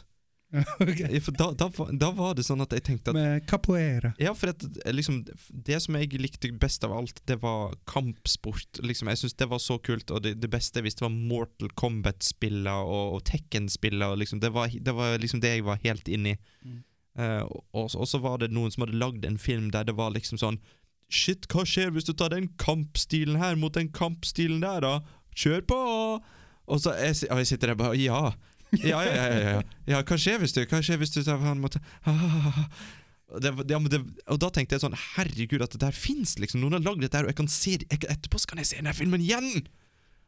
J: Ok.
K: Eh, For da, da, var- da var det sånn at jeg tenkte at
J: Med capoeira.
K: Ja, for at, eh, liksom, det som jeg likte best av alt, det var kampsport. Liksom. Jeg synes det var så kult, og det, det beste jeg visste var Mortal Kombat-spiller og, og Tekken-spiller. og Liksom. Det, var, det var liksom det jeg var helt inni. Eh, og- og, så- og så var det noen som hadde lagd en film der det var liksom sånn Shit, hva skjer hvis du tar den kampstilen her mot den kampstilen der, da? Kjør på! Og så jeg, si- og jeg sitter der bare Ja. Ja, ja, ja, ja, ja. ja hva skjer hvis du Hva skjer hvis du tar han mot "Ah, og det, var- ja, men det, og da tenkte jeg sånn Herregud, at det der fins, liksom! Noen har lagd dette her, og jeg kan se det, jeg, etterpå så kan jeg se denne filmen igjen!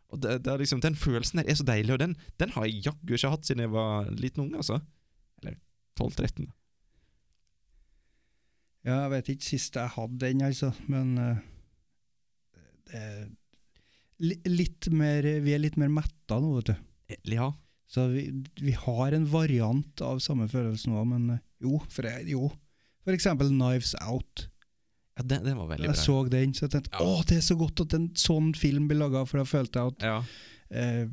K: Og det, det er liksom, Den følelsen der er så deilig, og den, den har jeg jaggu ikke hatt siden jeg var liten unge, altså. Eller 12-13.
J: Ja, jeg vet ikke sist jeg hadde den, altså, men eh, det er li- litt mer, Vi er litt mer metta nå, vet du.
K: Ja.
J: Så vi, vi har en variant av samme følelse nå, men eh, jo, for, jeg, jo. for eksempel Knives Out.
K: ja den, den var veldig
J: Jeg
K: bra.
J: så den, så jeg tenkte å, det er så godt at en sånn film blir laga, for da følte jeg at
K: Ja.
J: eh,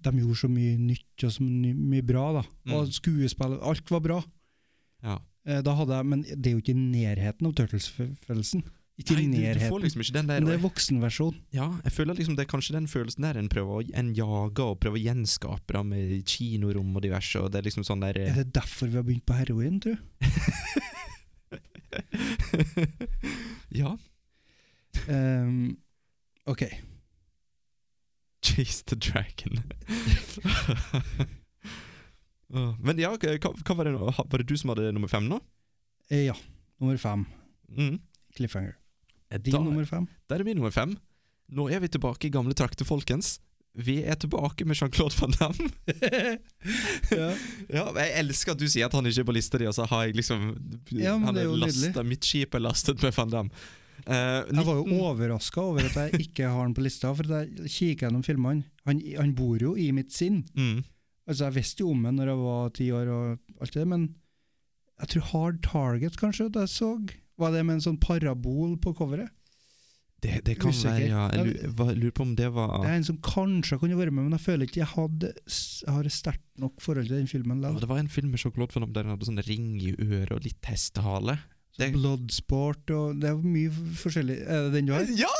J: de gjorde så mye nytt og så mye, mye bra, da.
K: Mm.
J: Og skuespill, alt var bra.
K: ja.
J: Eh, da hadde jeg, men det er jo ikke i nærheten av Turtles-følelsen. Ikke i
K: Nei, du, du får
J: nærheten.
K: liksom ikke den der
J: Men det er voksenversjon.
K: Ja, jeg føler liksom det er kanskje den følelsen der en prøver å en jager og prøver å gjenskape da, med kinorom og diverse, og det er liksom sånn der eh,
J: Er det derfor vi har begynt på heroin, tror du?
K: Ja,
J: Ehm, ok.
K: chase the dragon. Åh, Men ja, hva, hva var, det, nå? Ha- var det du som hadde nummer fem nå?
J: Eh, ja. Nummer fem.
K: Mm.
J: Cliffhanger. Din
K: Da,
J: nummer fem.
K: der er min nummer fem. Nå er vi tilbake i gamle trakter, folkens. Vi er tilbake med Jean-Claude Van Damme.
J: ja.
K: Ja, men Jeg elsker at du sier at han ikke er på lista di, og så har jeg liksom
J: Ja, men
K: han
J: det er jo
K: lastet-
J: nydelig.
K: Mitt skip er lastet med Van Damme. Eh,
J: Jeg var jo
K: 19
J: overraska over at jeg ikke har han på lista, for at jeg kikker gjennom filmene. Han, han bor jo i mitt sinn.
K: mm.
J: Altså, jeg visste jo om den når jeg var ti år og alt det, men jeg tror Hard Target kanskje at jeg så. Var det med en sånn parabol på coveret?
K: Det, det kan
J: Usikker.
K: være, ja. Jeg
J: Ja,
K: lu- hva- lurer på om det var
J: Det er en som kanskje kunne vært med, men jeg føler ikke jeg hadde, s- har et sterkt nok forhold til den filmen.
K: Ja,
J: likevel.
K: det var en film med sjokolade for dem der han hadde sånn ring i øret og litt hestehale. det-
J: Bloodsport og Det er mye forskjellig. Er det den du har?
K: Ja!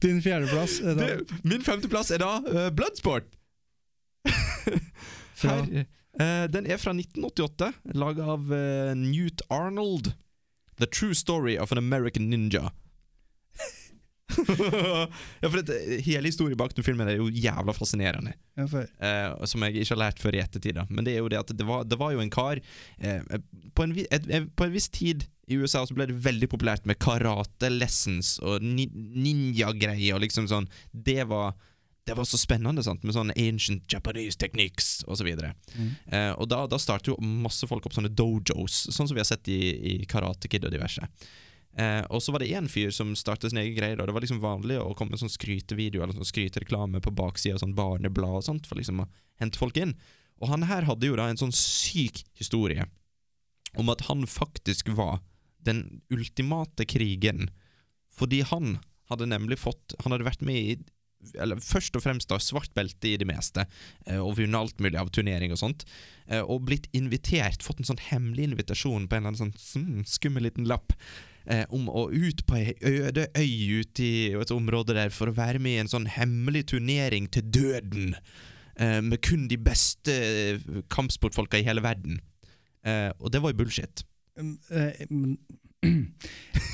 J: Din fjerdeplass er da
K: Du, min femteplass er da eh, Bloodsport.
J: fra
K: Her, eh, den er fra 1988, laga av eh, Newt Arnold. The True Story of an American Ninja. ja, for det, Hele historien bak den filmen er jo jævla fascinerende.
J: ja, for,
K: eh, som jeg ikke har lært før i ettertid. Da. Men det er jo det at det var, det var jo en kar eh, på, en, vi- et, eh, på en viss tid i USA så ble det veldig populært med karate-lessons og ni, ninja-greier. og Liksom sånn. Det var det var så spennende sant? med sånne ancient Japanese techniques osv. Og, så videre.
J: Mm.
K: eh, og da, da starter jo masse folk opp sånne dojos, sånn som vi har sett i, i Karate Kid og diverse. Eh, og så var det én fyr som startet sin egen greie. Da. Det var liksom vanlig å komme med sånn skrytevideo eller sånn skrytereklame på baksida av sånn barneblad og sånt, for liksom å hente folk inn. Og han her hadde jo da en sånn syk historie om at han faktisk var den ultimate krigen. Fordi han hadde nemlig fått Han hadde vært med i eller først og fremst da svart belte i det meste, eh, og vunnet alt mulig av turnering og sånt, eh, og blitt invitert, fått en sånn hemmelig invitasjon på en eller annen sånn mm, skummel liten lapp, eh, om å ut på ei øde øy ute i et område der for å være med i en sånn hemmelig turnering til døden, eh, med kun de beste eh, kampsportfolka i hele verden. Eh, og det var jo bullshit.
J: Um, eh, men-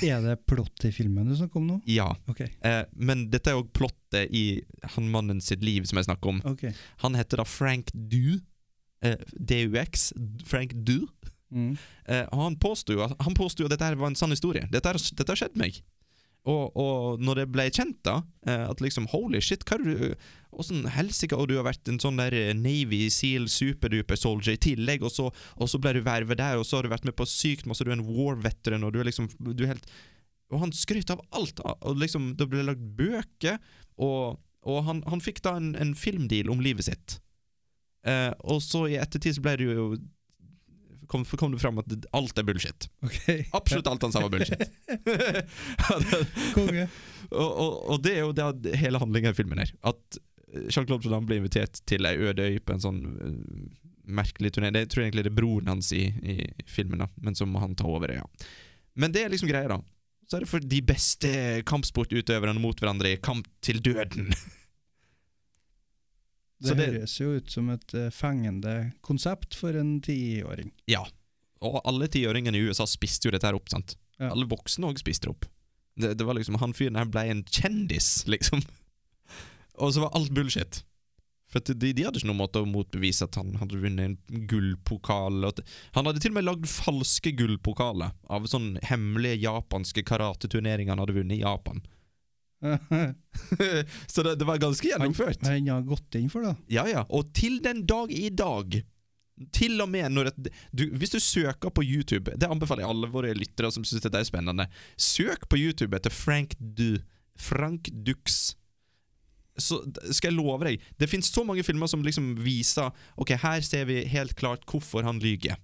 J: er det plott i filmen du snakker om nå?
K: Ja.
J: Ok.
K: Eh, men dette er jo plottet i han mannen sitt liv som jeg snakker om.
J: ok.
K: Han heter da Frank Du. Eh, DUX. Frank Du.
J: Mm.
K: Eh, og han påsto jo at, han påsto jo at dette her var en sann historie. Dette, har- dette har skjedd meg. Og, og når det ble kjent, da, eh, at liksom holy shit, hva er det du Åssen helsike, og du har vært en sånn der eh, Navy Seal superduper soldier i tillegg, og så, og så ble du vervet der, og så har du vært med på sykt masse, du er en war veteran, og du er liksom du er helt Og han skrøt av alt, da, og liksom, det ble lagd bøker, og, og han, han fikk da en, en filmdeal om livet sitt. Eh, og så i ettertid så ble det jo Kom, kom det fram at det- alt er bullshit.
J: ok.
K: Absolutt alt han sa var bullshit. Ja, det-
J: Konge.
K: og, og, og det er jo det at hele handlinga i filmen her. At eh, Jean-Claude Van Damme blir invitert til ei øde øy på en sånn eh, merkelig turné. Det jeg tror egentlig det er broren hans i, i filmen, da men så må han ta over øya. Men det er liksom greia, da. Så er det for de beste kampsportutøverne mot hverandre i kamp til døden.
J: Det,
K: Så det-
J: høres jo ut som et eh, fengende konsept for en tiåring.
K: Og alle tiåringene i USA spiste jo dette her opp, sant?
J: Ja.
K: Alle voksne òg spiste det opp. Det, det var liksom, Han fyren her blei en kjendis, liksom. Og så var alt bullshit. For at de, de hadde ikke noen måte å motbevise at han hadde vunnet en gullpokal. og at- Han hadde til og med lagd falske gullpokaler av sånne hemmelige japanske karateturneringer han hadde vunnet i Japan.
J: Hva
K: så det, det var ganske gjennomført.
J: har han gått inn for, da?
K: Ja, ja. Og til den dag i dag til og med når et, du, Hvis du søker på YouTube Det anbefaler jeg alle våre lyttere som syns dette er spennende. Søk på YouTube etter Frank Du. Frank Dux. Så d- skal jeg love deg Det finnes så mange filmer som liksom viser Ok, her ser vi helt klart hvorfor han lyger.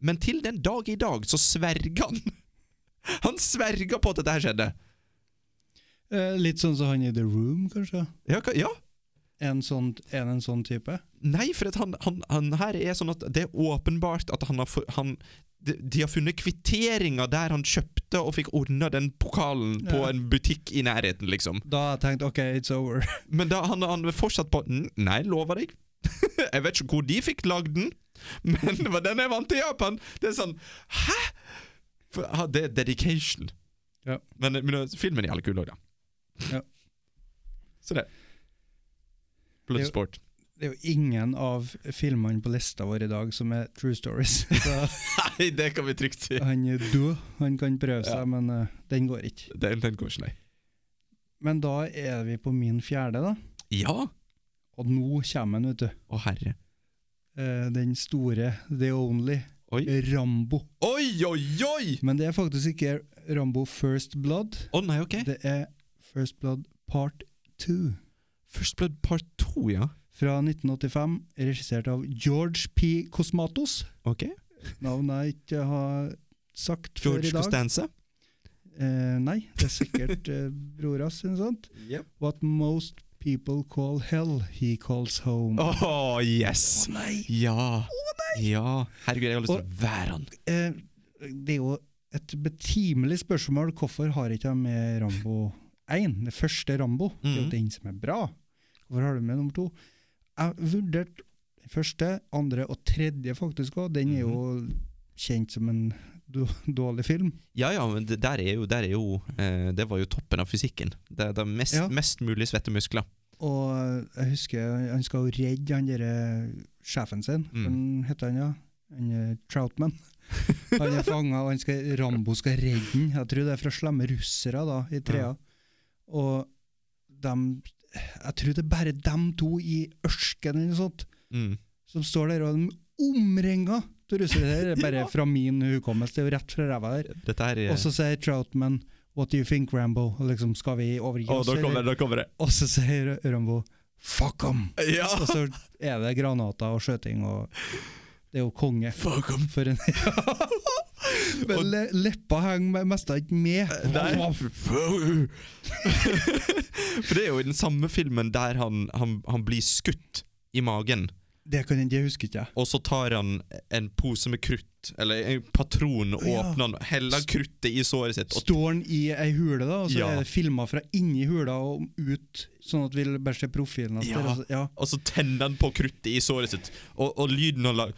K: Men til den dag i dag så sverger han! Han sverger på at dette her skjedde!
J: Eh, litt sånn som han i The Room, kanskje?
K: Ja, hva, ja.
J: En sånn, en, en sånn type?
K: Nei, for at han, han, han her er sånn at det er åpenbart at han har for, han, de, de har funnet kvitteringa der han kjøpte og fikk ordna den pokalen på
J: Ja.
K: en butikk i nærheten, liksom.
J: Da har jeg tenkt OK, it's over.
K: Men da han, han fortsatt på "N- Nei, lover deg. jeg vet ikke hvor de fikk lagd den, men det var den jeg vant i Japan. Det er sånn Hæ?! For, ah, det er dedication.
J: Ja.
K: Men, eh, men filmen er jævlig kul òg, da.
J: Ja.
K: Så det. Bloodsport.
J: Det er jo ingen av filmene på lista vår i dag som er true stories. Så
K: Nei, det kan vi trygt si.
J: han er død, han kan prøve seg,
K: Ja.
J: men eh, den går ikke.
K: Den, den går ikke, nei.
J: Men da er vi på min fjerde, da.
K: Ja! Å,
J: Og nå kommer han, vet du.
K: herre.
J: Eh, den store, the only,
K: Oi.
J: Eh. Rambo.
K: Oi, oi, oi!
J: Men det er faktisk ikke Rambo First Blood.
K: Å nei, ok.
J: Det er First Blood Part 2
K: First Blood Part 2, ja.
J: fra 1985, regissert av George P. Cosmatos.
K: Ok.
J: Navnet jeg ikke har sagt
K: George
J: før i dag.
K: Costanza.
J: Eh, nei, det er sikkert eh, bror hans, eller noe sånt. What most people call hell, he calls home.
K: Åh, yes!
J: Nei,
K: Ja. ja. Herregud, jeg har lyst til
J: Og-
K: å være han.
J: eh, det er jo et betimelig spørsmål. Hvorfor har ikke jeg med Rambo 1, det første Rambo? Det er
K: Mhm.
J: jo den som er bra. Hvorfor har du med nummer to? Jeg vurderte den første, andre og tredje faktisk òg. Den er jo kjent som en då- dårlig film.
K: Ja, ja, men det der er jo, der er jo eh, Det var jo toppen av fysikken. Det, det er mest,
J: Ja.
K: mest mulig svette muskler.
J: Og jeg husker han skal jo redde han derre sjefen sin,
K: Mm.
J: han heter han ja. Han er Troutman. Han er fanga, og han skal, Rambo skal redde han. Jeg tror det er fra slemme russere da, i trea. Og dem Jeg tror det er bare dem to i ørskenen eller noe sånt
K: Mm.
J: som står der, og de omringa av russere. Det er bare fra min hukommelse, det er jo rett fra ræva der.
K: Dette her eh, er
J: Og så sier Troutman 'What do you think, Rambo?' Og liksom, skal vi overgi
K: Å,
J: oss?
K: da kommer
J: eller?
K: det! Da kommer det.
J: Og så sier Rambo 'fuck 'em'.
K: Ja!
J: Og så er det granater og skjøting og Det er jo konge.
K: Fuck him.
J: For en Men le, leppa henger meg mest ikke med.
K: Eh, Nei. For det er jo i den samme filmen der han, han, han blir skutt i magen,
J: Det kan jeg, det husker ikke jeg.
K: og så tar han en pose med krutt, eller en patron, og
J: Ja.
K: åpner den, og heller kruttet i såret sitt, og
J: Står han i ei hule, da, og så
K: Ja.
J: er det filma fra inni hula og ut, sånn at vi bare ser profilen hans
K: Ja.
J: der. og så- ja.
K: Og så tenner han på kruttet i såret sitt, og, og lyden han lager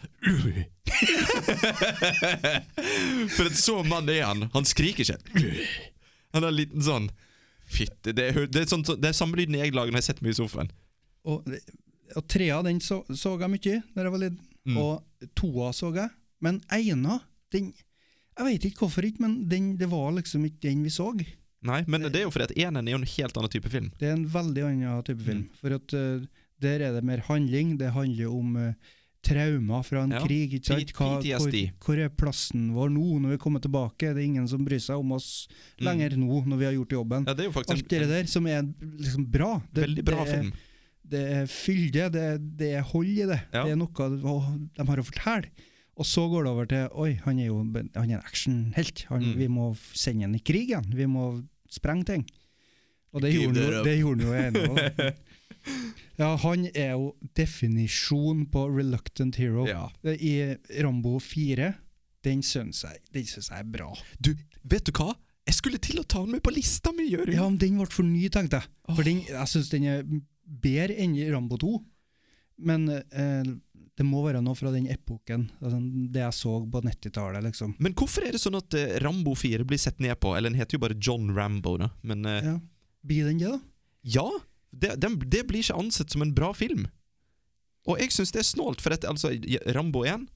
K: For en så mann er han. Han skriker ikke. Han er en liten sånn Fytte. Det er, hø- det er, sånn, det er samme lyden jeg lager når jeg setter meg i sofaen.
J: Og, og trea den så, så jeg mye da jeg var liten,
K: Mm.
J: og toa så jeg. Men ena, den Jeg veit ikke hvorfor ikke, men den, det var liksom ikke den vi så.
K: Nei, Men det er jo fordi at eneren er jo en helt annen type film.
J: Det er en veldig annen type film.
K: Mm.
J: For at eh, der er det mer handling. Det handler om eh, traumer fra en
K: Ja,
J: krig. ikke
K: P-
J: sant?
K: PTSD.
J: hvor, hvor er plassen vår nå, når vi kommer tilbake? Det er ingen som bryr seg om oss
K: Mm.
J: lenger nå, når vi har gjort jobben.
K: Ja, Det er jo
J: Alt
K: faktisk
J: det
K: en,
J: der som er liksom bra.
K: en
J: Det,
K: veldig bra
J: det er,
K: film.
J: Det er fylde, det, er- det er hold i det.
K: Ja.
J: Det er noe å, de har å fortelle. Og så går det over til Oi, han er jo han er en actionhelt. Han-
K: Mm.
J: Vi må f- sende han i krig igjen. Vi må sprenge ting. Og det
K: Give
J: gjorde han
K: it
J: jo-
K: up.
J: det gjorde han jo ene òg. Ja, han er jo definisjon på reluctant hero.
K: Ja.
J: Det- I Rambo 4, den syns jeg, den syns jeg er bra.
K: Du, vet du hva? Jeg skulle til å ta den med på lista mi, Jørund!
J: Ja, men den ble for ny, tenkte jeg. For
K: Åh.
J: den, jeg syns den er bedre enn i Rambo 2. Men eh, det må være noe fra den epoken, altså, det jeg så på 90-tallet, liksom.
K: Men hvorfor er det sånn at eh, Rambo 4 blir sett ned på? Eller den heter jo bare John Rambo, da. Men eh,
J: Ja. Blir den det, da?
K: Ja, det, den, det blir ikke ansett som en bra film. Og jeg syns det er snålt, for at, altså, Rambo 1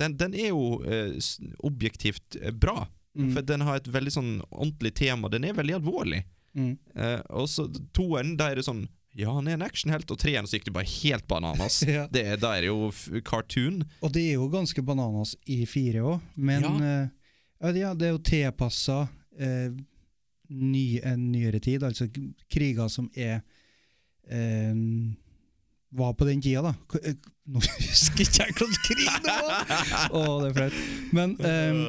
K: den, den er jo eh, s- objektivt eh, bra.
J: Mm.
K: For den har et veldig sånn ordentlig tema. Den er veldig alvorlig.
J: Mm.
K: Eh, og så toeren, da er det sånn Ja, han er en actionhelt. Og treeren så gikk det bare helt bananas.
J: Ja.
K: det, er- da er det jo f cartoon.
J: Og det er jo ganske bananas i fire òg, men
K: Ja.
J: eh, ja. det- ja, det er jo tilpassa eh, ny, en nyere tid, altså k- kriger som er eh, var på den tida, da. K- eh, Nå husker ikke jeg hvilken krig det var! Å, det er flaut. Men eh,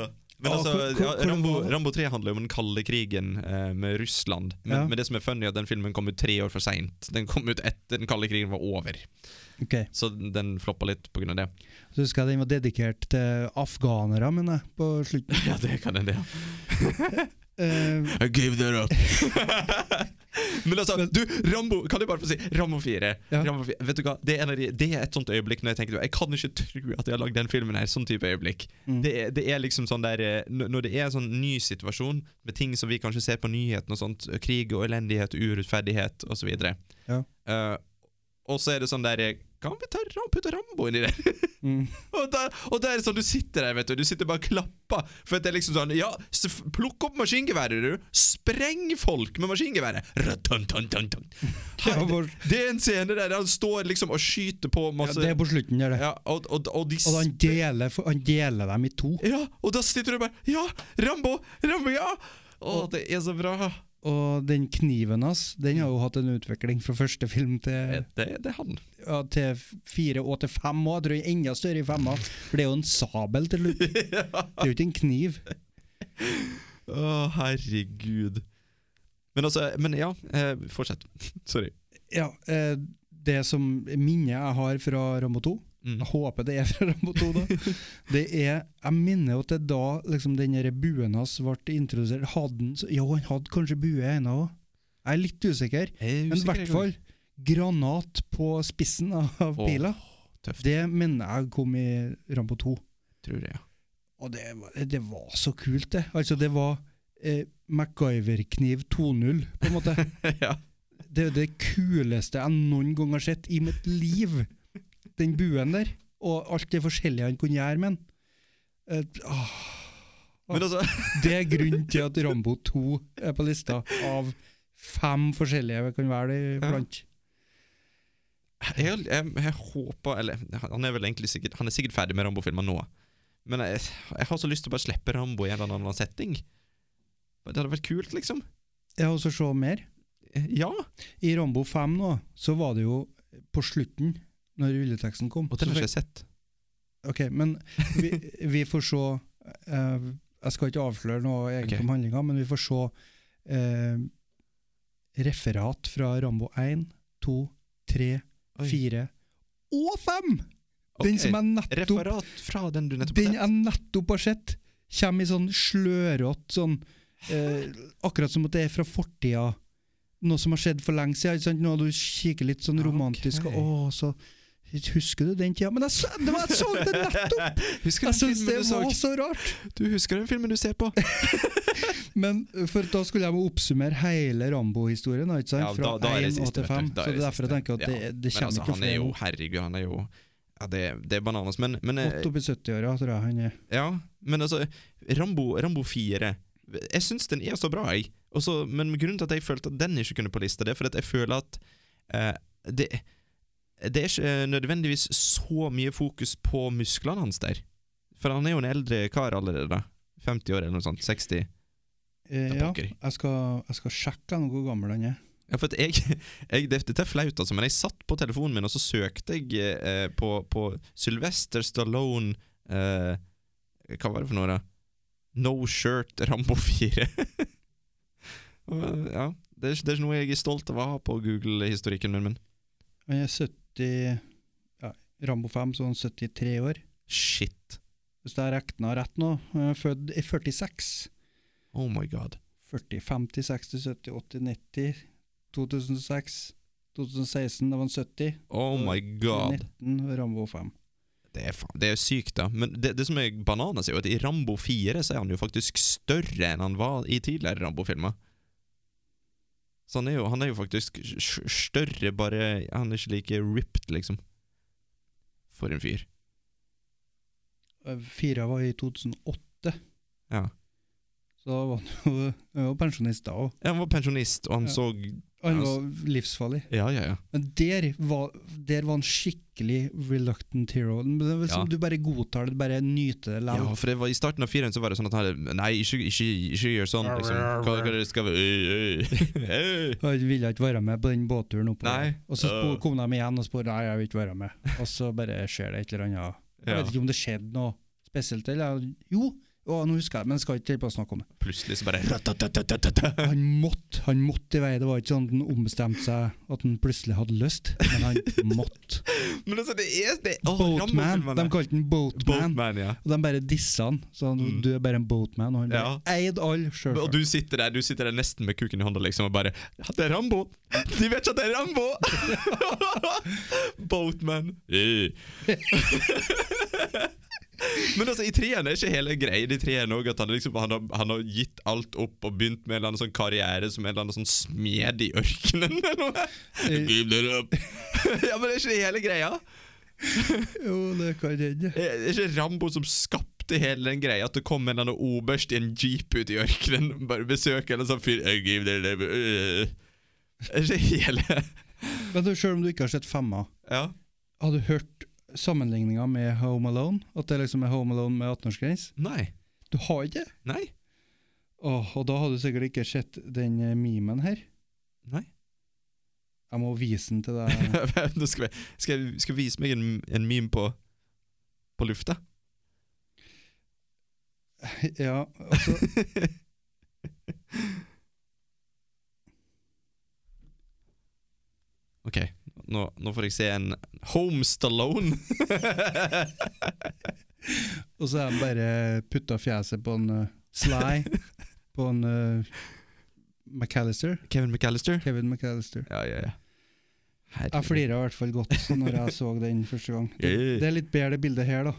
K: Men
J: Ja,
K: altså,
J: hvor- hvor-
K: ja,
J: hvor
K: Rambo,
J: var-
K: Rambo 3 handler jo om den kalde krigen eh, med Russland. Men,
J: Ja.
K: men det som er funny, er at den filmen kom ut tre år for seint. Den kom ut etter den kalde krigen var over.
J: Ok,
K: Så den floppa litt pga. det.
J: Så husker jeg den var dedikert til afghanere, mener jeg, på slutten.
K: Ja, det kan hende, ja.
J: Eh,
K: I gave that up. Men altså, du, Rambo Kan jeg bare få si Rambo 4.
J: Ja.
K: Rambo 4 vet du hva? Det er, en av de, det er et sånt øyeblikk når jeg tenker Jeg kan ikke tro at jeg har lagd den filmen her. Sånn type øyeblikk.
J: Mm.
K: Det, er, det er liksom sånn der eh, n- Når det er en sånn ny situasjon med ting som vi kanskje ser på nyheten og sånt, eh, krig og elendighet, urettferdighet osv.
J: Ja.
K: Uh, og så er det sånn der eh, Kan vi ta Ram- putte Rambo inn i det?
J: mm.
K: Og der, og der er det sånn, du sitter der, vet du. Du sitter bare og klapper. For at det er liksom sånn Ja, s- f- plukk opp maskingeværet, du. Spreng folk med maskingeværet. Ratantantantan.
J: Ja, hvor-
K: Det er en scene der han står liksom og skyter på
J: ja,
K: masse
J: det er på slutten der, det.
K: Ja, og, og, og de
J: Og han deler, for- han deler dem i to.
K: Ja, og da sitter du bare Ja, Rambo! Rambo, ja! Å, det er så bra.
J: Og den kniven hans, den har jo hatt en utvikling fra første film til,
K: Eh, Det, det er han.
J: ja, til fire og til fem òg. Jeg tror den er enda større i femma, for det er jo en sabel til slutt. Det er jo ikke en kniv.
K: Å, herregud. Men altså Men ja, eh, fortsett. Sorry.
J: Ja, eh, det som minnet jeg har fra Rambo 2
K: Mm.
J: Jeg håper det er fra Rambo 2, da. Det er, jeg minner jo at det er da liksom, den der buen hans ble introdusert. Hadde han så- Jo, han hadde kanskje bue i ena òg. Jeg er litt usikker.
K: Jeg er usikker,
J: Men i
K: jeg
J: hvert fall granat på spissen av
K: Åh,
J: pila.
K: tøft.
J: Det minner jeg kom i Rambo 2.
K: Tror jeg, ja.
J: Og det, var- det var så kult, det. Altså, det var eh, MacGyver-kniv 2.0, på en måte.
K: ja.
J: Det er det kuleste jeg noen gang har sett i mitt liv. Den buen der, og alt det forskjellige han kunne gjøre med den. Eh, ah,
K: Men altså
J: Det er grunnen til at Rambo 2 er på lista av fem forskjellige vi kan være det blant.
K: jeg, jeg, jeg håper Eller han er vel egentlig sikkert Han er sikkert ferdig med Rambo-filmer nå. Men jeg, jeg har så lyst til å bare slippe Rambo i en eller annen setting. Det hadde vært kult, liksom.
J: Jeg har også se mer.
K: Ja!
J: I Rambo 5 nå, så var det jo på slutten, når rulleteksten kom
K: Og den
J: så
K: har
J: fikk-
K: ikke jeg sett.
J: Ok, men vi, vi får se eh, Jeg skal ikke avsløre noe egentlig
K: Ok.
J: om handlinga, men vi får se eh, referat fra Rambo 1, 2, 3,
K: Oi.
J: 4 og 5!
K: Ok,
J: Den som jeg nettopp,
K: Referat fra den du nettopp
J: den
K: har sett.
J: jeg nettopp har sett, kommer i sånn slørete sånn eh, Akkurat som at det er fra fortida. Noe som har skjedd for lenge siden. Ikke sant? Nå du kikker litt sånn
K: Ah, Ok.
J: romantisk og å, så Husker du den tida? Men jeg, så- det var, jeg så det nettopp!
K: Husker
J: Jeg
K: du den
J: syns det
K: filmen du så?
J: var så rart!
K: Du husker den filmen du ser på?
J: Men uh, for da skulle jeg jo oppsummere hele Rambo-historien, da, ikke sant?
K: Ja,
J: Fra
K: da- da er det
J: 1 og
K: siste,
J: til
K: vet du.
J: 5.
K: Da er
J: Så
K: det
J: det er derfor jeg
K: siste.
J: tenker at det,
K: Ja,
J: det
K: Men
J: kommer
K: altså,
J: ikke
K: han er
J: flere
K: jo
J: nå.
K: Herregud, han er jo ja, det, det er bananas. Men, men eh,
J: Godt opp i 70-åra, tror jeg han er.
K: Ja, men altså Rambo, Rambo 4 Jeg syns den er så bra, jeg. Og så- men grunnen til at jeg følte at den ikke kunne på lista, det er fordi at jeg føler at eh, det, det er ikke eh, nødvendigvis så mye fokus på musklene hans der. For han er jo en eldre kar allerede. da 50 år eller noe sånt. 60.
J: Eh,
K: Da
J: ja,
K: pokker.
J: jeg skal, jeg skal sjekke han hvor gammel han er.
K: Ja, for at jeg, jeg, det- Dette er flaut, altså, men jeg satt på telefonen min, og så søkte jeg eh, på, på Sylvester Stallone eh, Hva var det for noe, da? No Shirt Rambo 4. Og, ja, det er, ikke- det er ikke noe jeg er stolt av å ha på Google-historikken min, men
J: Han er 70 ja, Rambo 5, så han er 73 år.
K: shit.
J: Hvis jeg regna rett nå, han er født i 46.
K: Oh my god.
J: 40, 50, 60, 70, 80, 90, 2006, 2016, da var han 70.
K: Oh my god.
J: 19 var Rambo 5.
K: Det er, faen, det er sykt, da. Men det, det som er bananas, er jo at i Rambo 4 så er han jo faktisk større enn han var i tidligere Rambo-filmer. Så han er jo, han er jo faktisk s- s- større, bare han er ikke like ripped, liksom. For en fyr.
J: Eh, Fire var i 2008.
K: Ja.
J: Så da var han jo, han var pensjonist da òg.
K: Ja, Han var pensjonist, og han
J: Ja.
K: så
J: Han
K: Ja, altså.
J: var livsfarlig.
K: Ja, ja, ja.
J: Men der var, der var han skikkelig reluctant hero. Men det er vel som
K: Ja.
J: Du bare godtar det, du bare nyter det.
K: Ja,
J: likevel.
K: for det var I starten av fireren så var det sånn at han hadde Nei, ikke, ikke, ikke gjør sånn, liksom. Hva, hva er det skal vi Øy, øy.
J: Han ville ikke være med på den båtturen oppover.
K: Nei.
J: Og så
K: Øh.
J: spor, kom de igjen og spurte Nei, jeg vil ikke være med. Og så bare skjer det et eller annet. Jeg
K: Ja.
J: vet ikke om det skjedde noe spesielt. Eller, jo, Å, nå husker jeg, men jeg skal ikke holde på å snakke om det.
K: Plutselig så bare ratatatatata.
J: Han måtte han måtte i vei. Det var ikke sånn at han ombestemte seg at han plutselig hadde lyst, men han måtte.
K: Men altså, det er det, Åh,
J: Boatman.
K: Rambo-filmene.
J: De kalte han Boatman.
K: Boatman, ja.
J: Og de bare dissa han. Så han, du er bare en boatman. Og han bare eid alle,
K: Og
J: sjølsagt.
K: du sitter der du sitter der nesten med kuken i hånda liksom og bare Ja, det er Rambo! De vet ikke at det er Rambo! Boatman. Eh. Men altså, i treeren er ikke hele greia i treeren òg at han, liksom, han, har, han har gitt alt opp og begynt med en eller annen sånn karriere som en eller annen sånn smed i ørkenen eller noe. Give that up. Eh. ja, men det er ikke det hele greia.
J: Jo, det kan hende.
K: Eh, Det er ikke Rambo som skapte hele den greia at det kom en eller annen oberst i en jeep ut i ørkenen bare besøker en sånn fyr «Eh, give the- the- eh». Det er ikke hele
J: Men du, Sjøl om du ikke har sett femma,
K: Ja.
J: har du hørt sammenligninga med Home Alone? At det liksom er Home Alone med 18-årsgrense?
K: Nei.
J: Du har ikke det?
K: Nei.
J: Åh, og da har du sikkert ikke sett den eh, memen her.
K: Nei.
J: Jeg må vise den til deg.
K: Nå skal jeg, skal jeg skal jeg vise meg en, en meme på, på lufta.
J: Ja, altså
K: OK, nå, nå får jeg se en Home Stallone.
J: Og så har de bare putta fjeset på en eh, Sly, på en eh, McAllister.
K: Kevin McAllister.
J: Kevin McAllister.
K: Ja, ja, ja.
J: Jeg
K: Herregud.
J: flira i hvert fall godt når jeg så den første gang. Det, det er litt bedre det bildet her, da.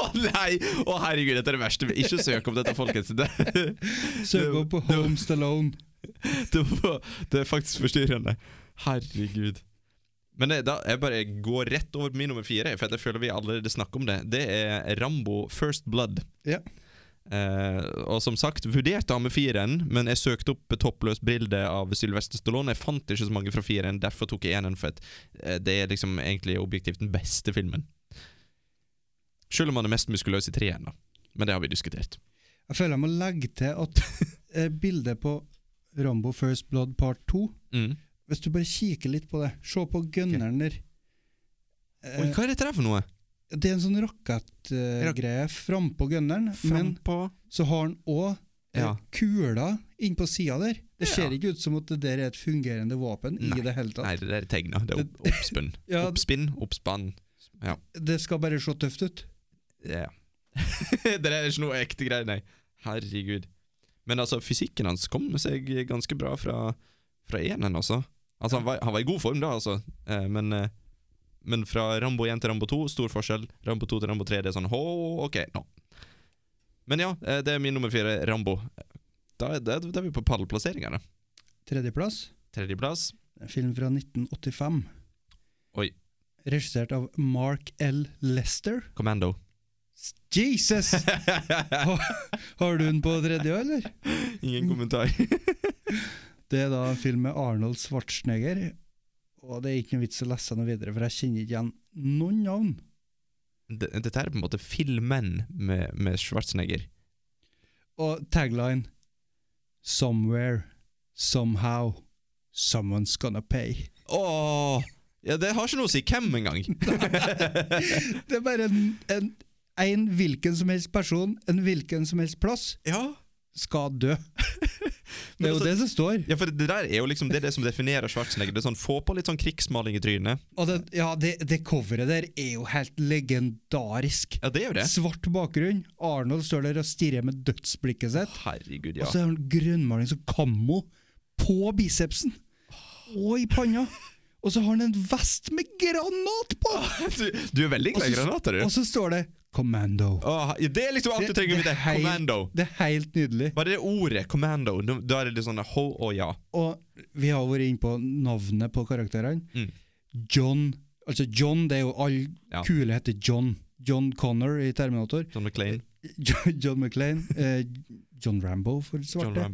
K: Å nei! Å herregud, dette er det verste. Ikke søk om dette, folkens. Det,
J: Søk opp på Home Stallone.
K: det, var, det er faktisk forstyrrende. Herregud. Men det, da, jeg bare går rett over på min nummer fire, for at jeg føler vi allerede snakker om det. Det er Rambo First Blood.
J: Ja.
K: Eh, og som sagt, vurderte han med fireren, men jeg søkte opp et toppløst bilde av Sylvester Stallone. Jeg fant ikke så mange fra fireren, derfor tok jeg eneren, for at eh, det er liksom egentlig objektivt den beste filmen. Selv om han er mest muskuløs i treeren, da. Men det har vi diskutert.
J: Jeg føler jeg må legge til at eh, bildet på Rambo First Blood Part 2
K: Mm.
J: Hvis du bare kikker litt på det Se på gunneren der.
K: Oi,
J: Eh,
K: hva er dette der for noe?
J: det er en sånn rakettgreie
K: Rak-
J: uh, greie frampå gunneren, men eh,
K: Frampå
J: så har han òg
K: Ja.
J: kula inn på sida der. Det
K: Ja.
J: ser ikke ut som at det der er et fungerende våpen
K: Nei,
J: i det hele tatt.
K: Nei, det der er tegna. Det er opp, oppspinn.
J: Ja.
K: Oppspinn, oppspann. Ja.
J: Det skal bare se tøft ut.
K: ja. det der er ikke noe ekte greier, nei. Herregud. Men altså, fysikken hans kom seg ganske bra fra, fra eneren, altså. Altså, han var, han var i god form da, altså. Eh, men, eh, men fra Rambo 1 til Rambo 2, stor forskjell. Rambo 2 til Rambo 3, det er sånn hå, ok, nå. Men ja, eh, det er min nummer fire, Rambo. Da er, da er da er vi på pallplasseringa, da.
J: Tredjeplass,
K: Tredjeplass.
J: en film fra 1985.
K: Oi.
J: Regissert av Mark L. Lester.
K: Commando.
J: Jesus! har, har du den på tredje, eller?
K: Ingen kommentar.
J: Det er da en film med Arnold Schwarzenegger. Og det er ikke noe vits å lese noe videre, for jeg kjenner ikke igjen noen navn.
K: D- Dette er på en måte filmen med, med Schwarzenegger.
J: Og tagline Somewhere, somehow, someone's gonna pay.
K: Åh, ja, det har ikke noe å si hvem engang.
J: Det er bare en, en, en hvilken som helst person, en hvilken som helst plass,
K: ja.
J: skal dø. Det er jo
K: altså-
J: det som står.
K: ja, for det der er jo liksom det, er det som definerer Schwarzenegger. Det er sånn, Få på litt sånn krigsmaling i trynet.
J: Og det, ja, det, det coveret der er jo helt legendarisk.
K: Ja, det er jo det.
J: Svart bakgrunn, Arnold står der og stirrer med dødsblikket sitt,
K: Herregud,
J: og
K: ja.
J: så er han grønnmaling som kammo på bicepsen og i panna. Og så har han en vest med granat på!
K: Du, du er veldig
J: Og
K: glad i
J: så-
K: granater,
J: Og
K: du.
J: så står det 'Commando'.
K: Åh, ja, altså, det er liksom alt du trenger å vite.
J: er helt-
K: Commando.
J: Det er helt nydelig.
K: Bare det ordet, commando, da da er det litt sånn ho og ja.
J: Og vi har vært inne på navnet på karakterene.
K: Mm.
J: John Altså John, det er jo alle
K: Ja.
J: kule heter John. John Connor i Terminator.
K: John McClain,
J: John, John McClane. Eh, John Rambo for
K: John
J: svarte.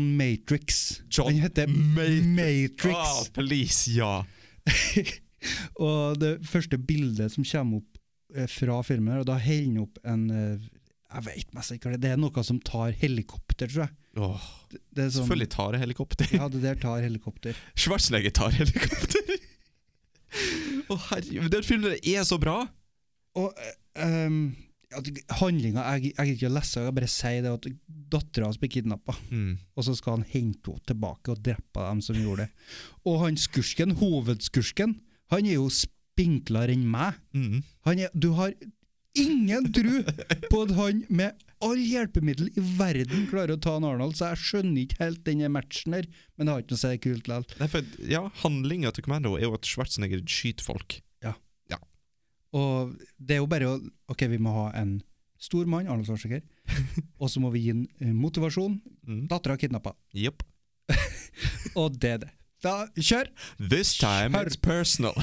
K: Rambo.
J: Matrix.
K: John
J: Han heter Matrix.
K: Åh, please, ja. Ah.
J: Og det første bildet som kommer opp eh, fra filmen, og da holder han opp en eh, Jeg vet nesten ikke hva det er. Det er noe som tar helikopter, tror jeg.
K: Åh,
J: Det er sånn,
K: selvfølgelig tar jeg helikopter.
J: Ja, det der tar helikopter.
K: Schwarzenegger tar helikopter. Å, herregud. Den filmen er så bra!
J: Og eh, ehm, at handlinga Jeg jeg gidder ikke å lese, jeg bare sier det at dattera hans blir kidnappa,
K: Mm.
J: og så skal han hente henne tilbake og drepe dem som gjorde det. Og han skurken, hovedskurken, han er jo spinklere enn meg.
K: Mm.
J: Han er, du har ingen tro på at han med all hjelpemiddel i verden klarer å ta en Arnold, så jeg skjønner ikke helt denne matchen her, men det har ikke noe å si kult likevel.
K: Nei, for, ja, handlinga til Commando er jo at Schwarzenegger skyter folk.
J: Og det er jo bare å Ok, vi må ha en stor mann, Arnold Schwarzenegger, og så må vi gi ham motivasjon.
K: Mm.
J: Dattera kidnappa.
K: Yep.
J: Og det er det. Da, kjør!
K: This time
J: Skjerp.
K: it's personal.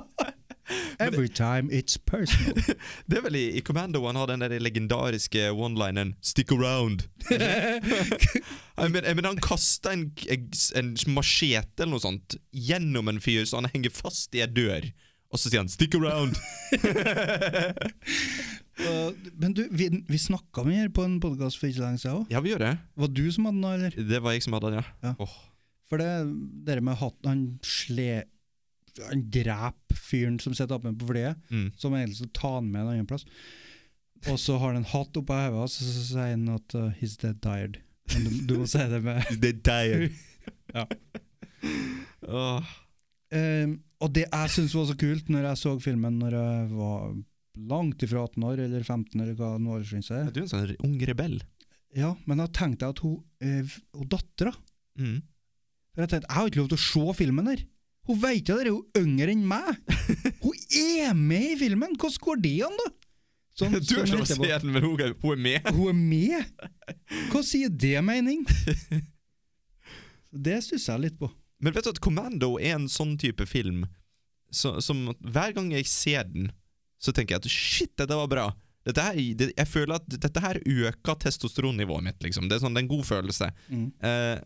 J: Every time it's personal.
K: Det er vel i, i Commando han har den der legendariske one-lineren 'Stick around'. jeg mener, jeg mener han kasta en, en, en machete eller noe sånt gjennom en fyr, så han henger fast i ei dør. Og så sier han 'stick around'.
J: Og- Men du, vi, vi snakka om den her på en podkast for ikke lenge siden òg.
K: ja, vi gjør det.
J: Var du som hadde den, eller?
K: Det var jeg som hadde den, ja.
J: Ja.
K: Åh.
J: For det dere med hatten Han sle... Han dreper fyren som sitter oppe på flyet,
K: Mm.
J: som egentlig skal ta han med en annen plass. Og så har han en hatt oppå hodet, og så så sier han at uh, 'he's dead tired'. Men du, du må si det med
K: Det er deg.
J: Ja.
K: Åh.
J: Ehm, Og det jeg syns var så kult, når jeg så filmen når jeg var langt ifra 18 år, eller 15, eller hva nå aldersgrensa
K: Ja,
J: er
K: Du er en sånn ung rebell.
J: Ja, Men da tenkte jeg at hun, uh, hun dattera
K: Mm.
J: For jeg tenkte, jeg har ikke lov til å se filmen her. Hun veit jo at dere er jo yngre enn meg! Hun er med i filmen! Hvordan går det an, da? Sånn-
K: Du er
J: sånn
K: ikke lov å
J: etterpå.
K: se den, men hun er- hun er med.
J: Hun er med! Hva sier det mening? Så Det stusser jeg litt på.
K: Men vet du at Commando er en sånn type film så, som at hver gang jeg ser den, så tenker jeg at shit, dette var bra. Dette her, det, jeg føler at dette her øker testosteronnivået mitt, liksom. Det er sånn, det er en god følelse.
J: Mm.
K: Eh,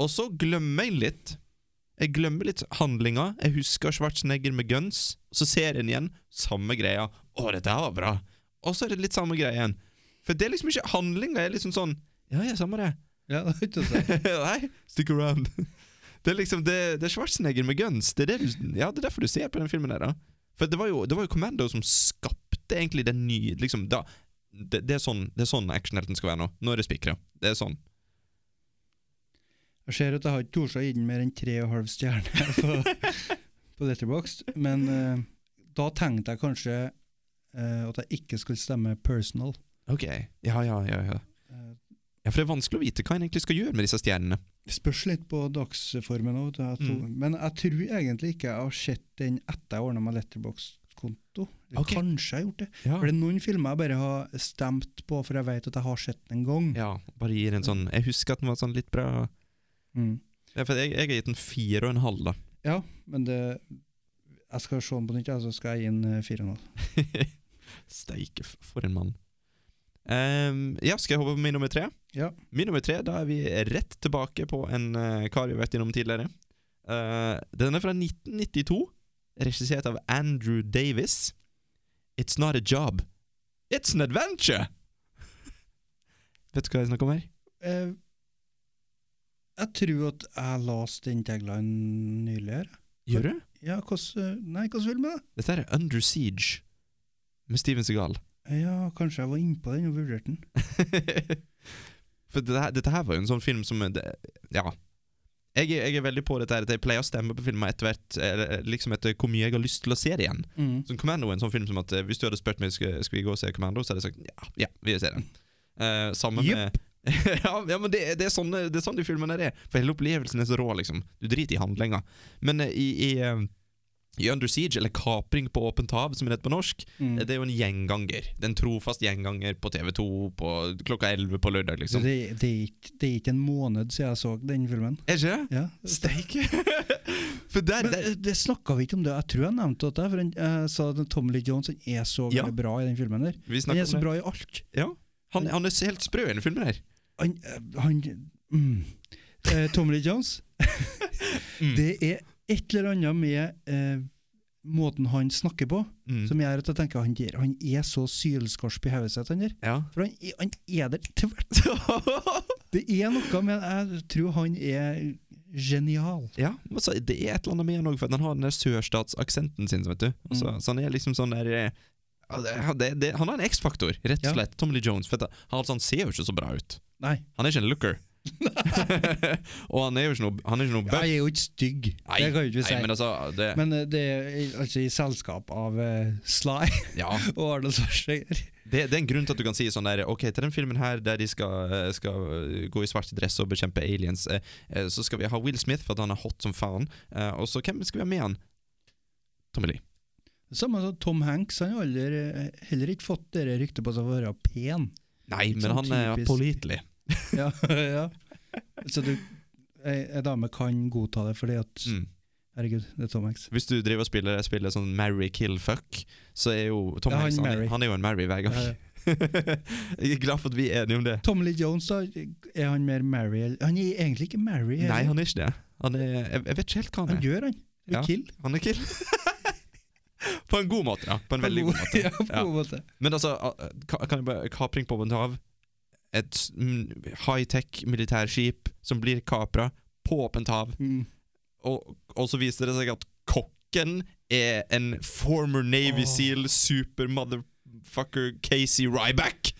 K: og så glemmer jeg litt. Jeg glemmer litt handlinga. Jeg husker Schwarzenegger med guns. Så ser jeg den igjen. Samme greia. Å, dette her var bra. Og så er det litt samme greia igjen. For det er liksom ikke handlinga. er liksom sånn Ja, ja, samme det.
J: Ja, det er ikke å si.
K: Nei, stick around. Det er liksom det, det er Schwarzenegger med guns. Det er, det, du, ja, det er derfor du ser på den filmen der. da For det var jo, det var jo Commando som skapte egentlig den nye liksom, da, det, det er sånn, det er sånn actionhelten skal være nå. Nå er det spikra. Det er sånn.
J: Jeg ser at jeg har ikke tort å gi den mer enn tre og halv stjerne på, på Letterboxd, men eh, da tenkte jeg kanskje eh, at jeg ikke skulle stemme personal.
K: Ok, ja, ja, ja, ja.
J: Eh,
K: ja For det er vanskelig å vite hva en egentlig skal gjøre med disse stjernene.
J: Det spørs litt på dagsformen òg.
K: Mm.
J: Men jeg tror egentlig ikke jeg har sett den etter jeg ordna meg Letterbox-konto. Eller
K: Ok.
J: Kanskje jeg har gjort det.
K: Ja.
J: For det er noen filmer jeg bare har stemt på, for jeg vet at jeg har sett den en gang.
K: ja, Bare gir en sånn Jeg husker at den var sånn litt bra.
J: Mm.
K: Ja, for jeg, jeg har gitt den fire og en halv, da.
J: ja men det jeg skal se den på nytt, ja, så skal jeg gi den eh, fire og en halv.
K: Steike, f- for en mann. Ehm, ja, skal jeg hoppe på min nummer tre?
J: Ja.
K: Min nummer tre, da er vi rett tilbake på en eh, kar vi har vært innom tidligere. Eh, den er fra 1992, regissert av Andrew Davis. It's not a job, it's an adventure! Vet du hva jeg snakker om her?
J: Eh, jeg tror at jeg leste den taglinen nylig her.
K: Gjør du?
J: Ja, hvordan Nei, hvordan film er det?
K: Dette her er Under Siege med Steven Segal.
J: Ja, kanskje jeg var innpå den og vurderte den.
K: For dette, her- dette her var jo en sånn film som det, Ja. Jeg, er- jeg er veldig på dette her at jeg pleier å stemme på filmer etter hvert eller, liksom etter hvor mye jeg har lyst til å se det igjen.
J: Mm.
K: Så Commando er en sånn film som at eh, hvis du hadde spurt meg skal, skal vi gå og se Commando, så hadde jeg sagt ja, ja vi vil se den. Eh, sammen med ja, ja, men det, det, er sånne, det er sånn de filmene der er. For hele opplevelsen er så rå, liksom. Du driter i handlinga. Men eh, i, i, eh, i Under Siege, eller Kapring på åpent hav, som er rett på norsk, eh,
J: Mm.
K: det er jo en gjenganger. Det er en trofast gjenganger på TV2 på klokka 11 på lørdag,
J: Så
K: liksom.
J: det, det, er ikke, det er ikke en måned siden jeg så den filmen.
K: Er ikke det?
J: Ja.
K: Steike! For der,
J: Men
K: der
J: det snakka vi ikke om det. Jeg tror jeg nevnte det, for han eh, sa at Tommy Lee Jones han er så
K: Ja.
J: veldig bra i den filmen. der
K: Vi
J: Han er
K: snakker
J: så
K: om det.
J: bra i alt.
K: Ja. Han, han er helt sprø i denne filmen her.
J: Han, eh, han mm. eh, Tommy Lee Jones
K: Mm.
J: Det er et eller annet med eh, måten han snakker på,
K: Mm.
J: som gjør at jeg tenker han, der, han er så sylskarp i hodet sitt, han der.
K: Ja.
J: For han, er- han er der tvert. Det er noe med Jeg tror han er genial.
K: Ja, men så
J: Mm.
K: det er et eller annet med han òg, for at han har den der sørstatsaksenten sin, vet du. Og så- Så han er liksom sånn der eh, Ja, det, ja, det, det, han har en X-faktor, rett
J: Ja.
K: og slett. Tommy Lee Jones. For at han, altså, han ser jo ikke så bra ut.
J: Nei.
K: Han er ikke en looker. og han er jo ikke noe, han er ikke noe
J: Ja,
K: buff.
J: Jeg er jo ikke stygg, det kan jo ikke vi si.
K: nei, men altså det,
J: Men eh, det er i- altså i selskap av eh, Sly
K: Ja,
J: og Arnold Schwarzenegger.
K: det, det er en grunn til at du kan si sånn der Ok, til den filmen her der de skal, eh, skal eh, gå i svart dress og bekjempe aliens, eh, eh, så skal vi ha Will Smith, for at han er hot som faen. Eh, og så hvem skal vi ha med han? Tommy Lee.
J: Samme som Tom Hanks, han har aldri, eh, heller ikke fått det ryktet på seg for å være pen.
K: Nei,
J: Litt
K: men
J: sånn
K: han er
J: typisk.
K: pålitelig.
J: Ja, ja. Så du, ei, ei dame kan godta det fordi at
K: Mm.
J: Herregud, det er Tom Hanks.
K: Hvis du driver og spiller jeg spiller sånn marry, kill, fuck, så er jo Tom
J: Ja, han
K: Hanks han,
J: marry.
K: er- han er jo en marry hver gang.
J: Ja, ja.
K: jeg er glad for at vi er enige om det.
J: Tom Lee Jones, da, er han mer Mary eller- Han er egentlig ikke Mary.
K: Nei, han er ikke det. Han er, jeg, jeg vet ikke helt hva han
J: han
K: er.
J: gjør han. Det er
K: Ja.
J: Kill.
K: Han er kill. på en god måte, ja. På en veldig god måte.
J: ja, på en måte.
K: Men altså, a- ka- kan jeg bare kapring på åpent hav? Et s- mm, high-tech militærskip som blir kapra på åpent hav,
J: Mm.
K: og, og så viser det seg at kokken er en former Navy
J: Åh.
K: Seal super motherfucker Casey Ryback!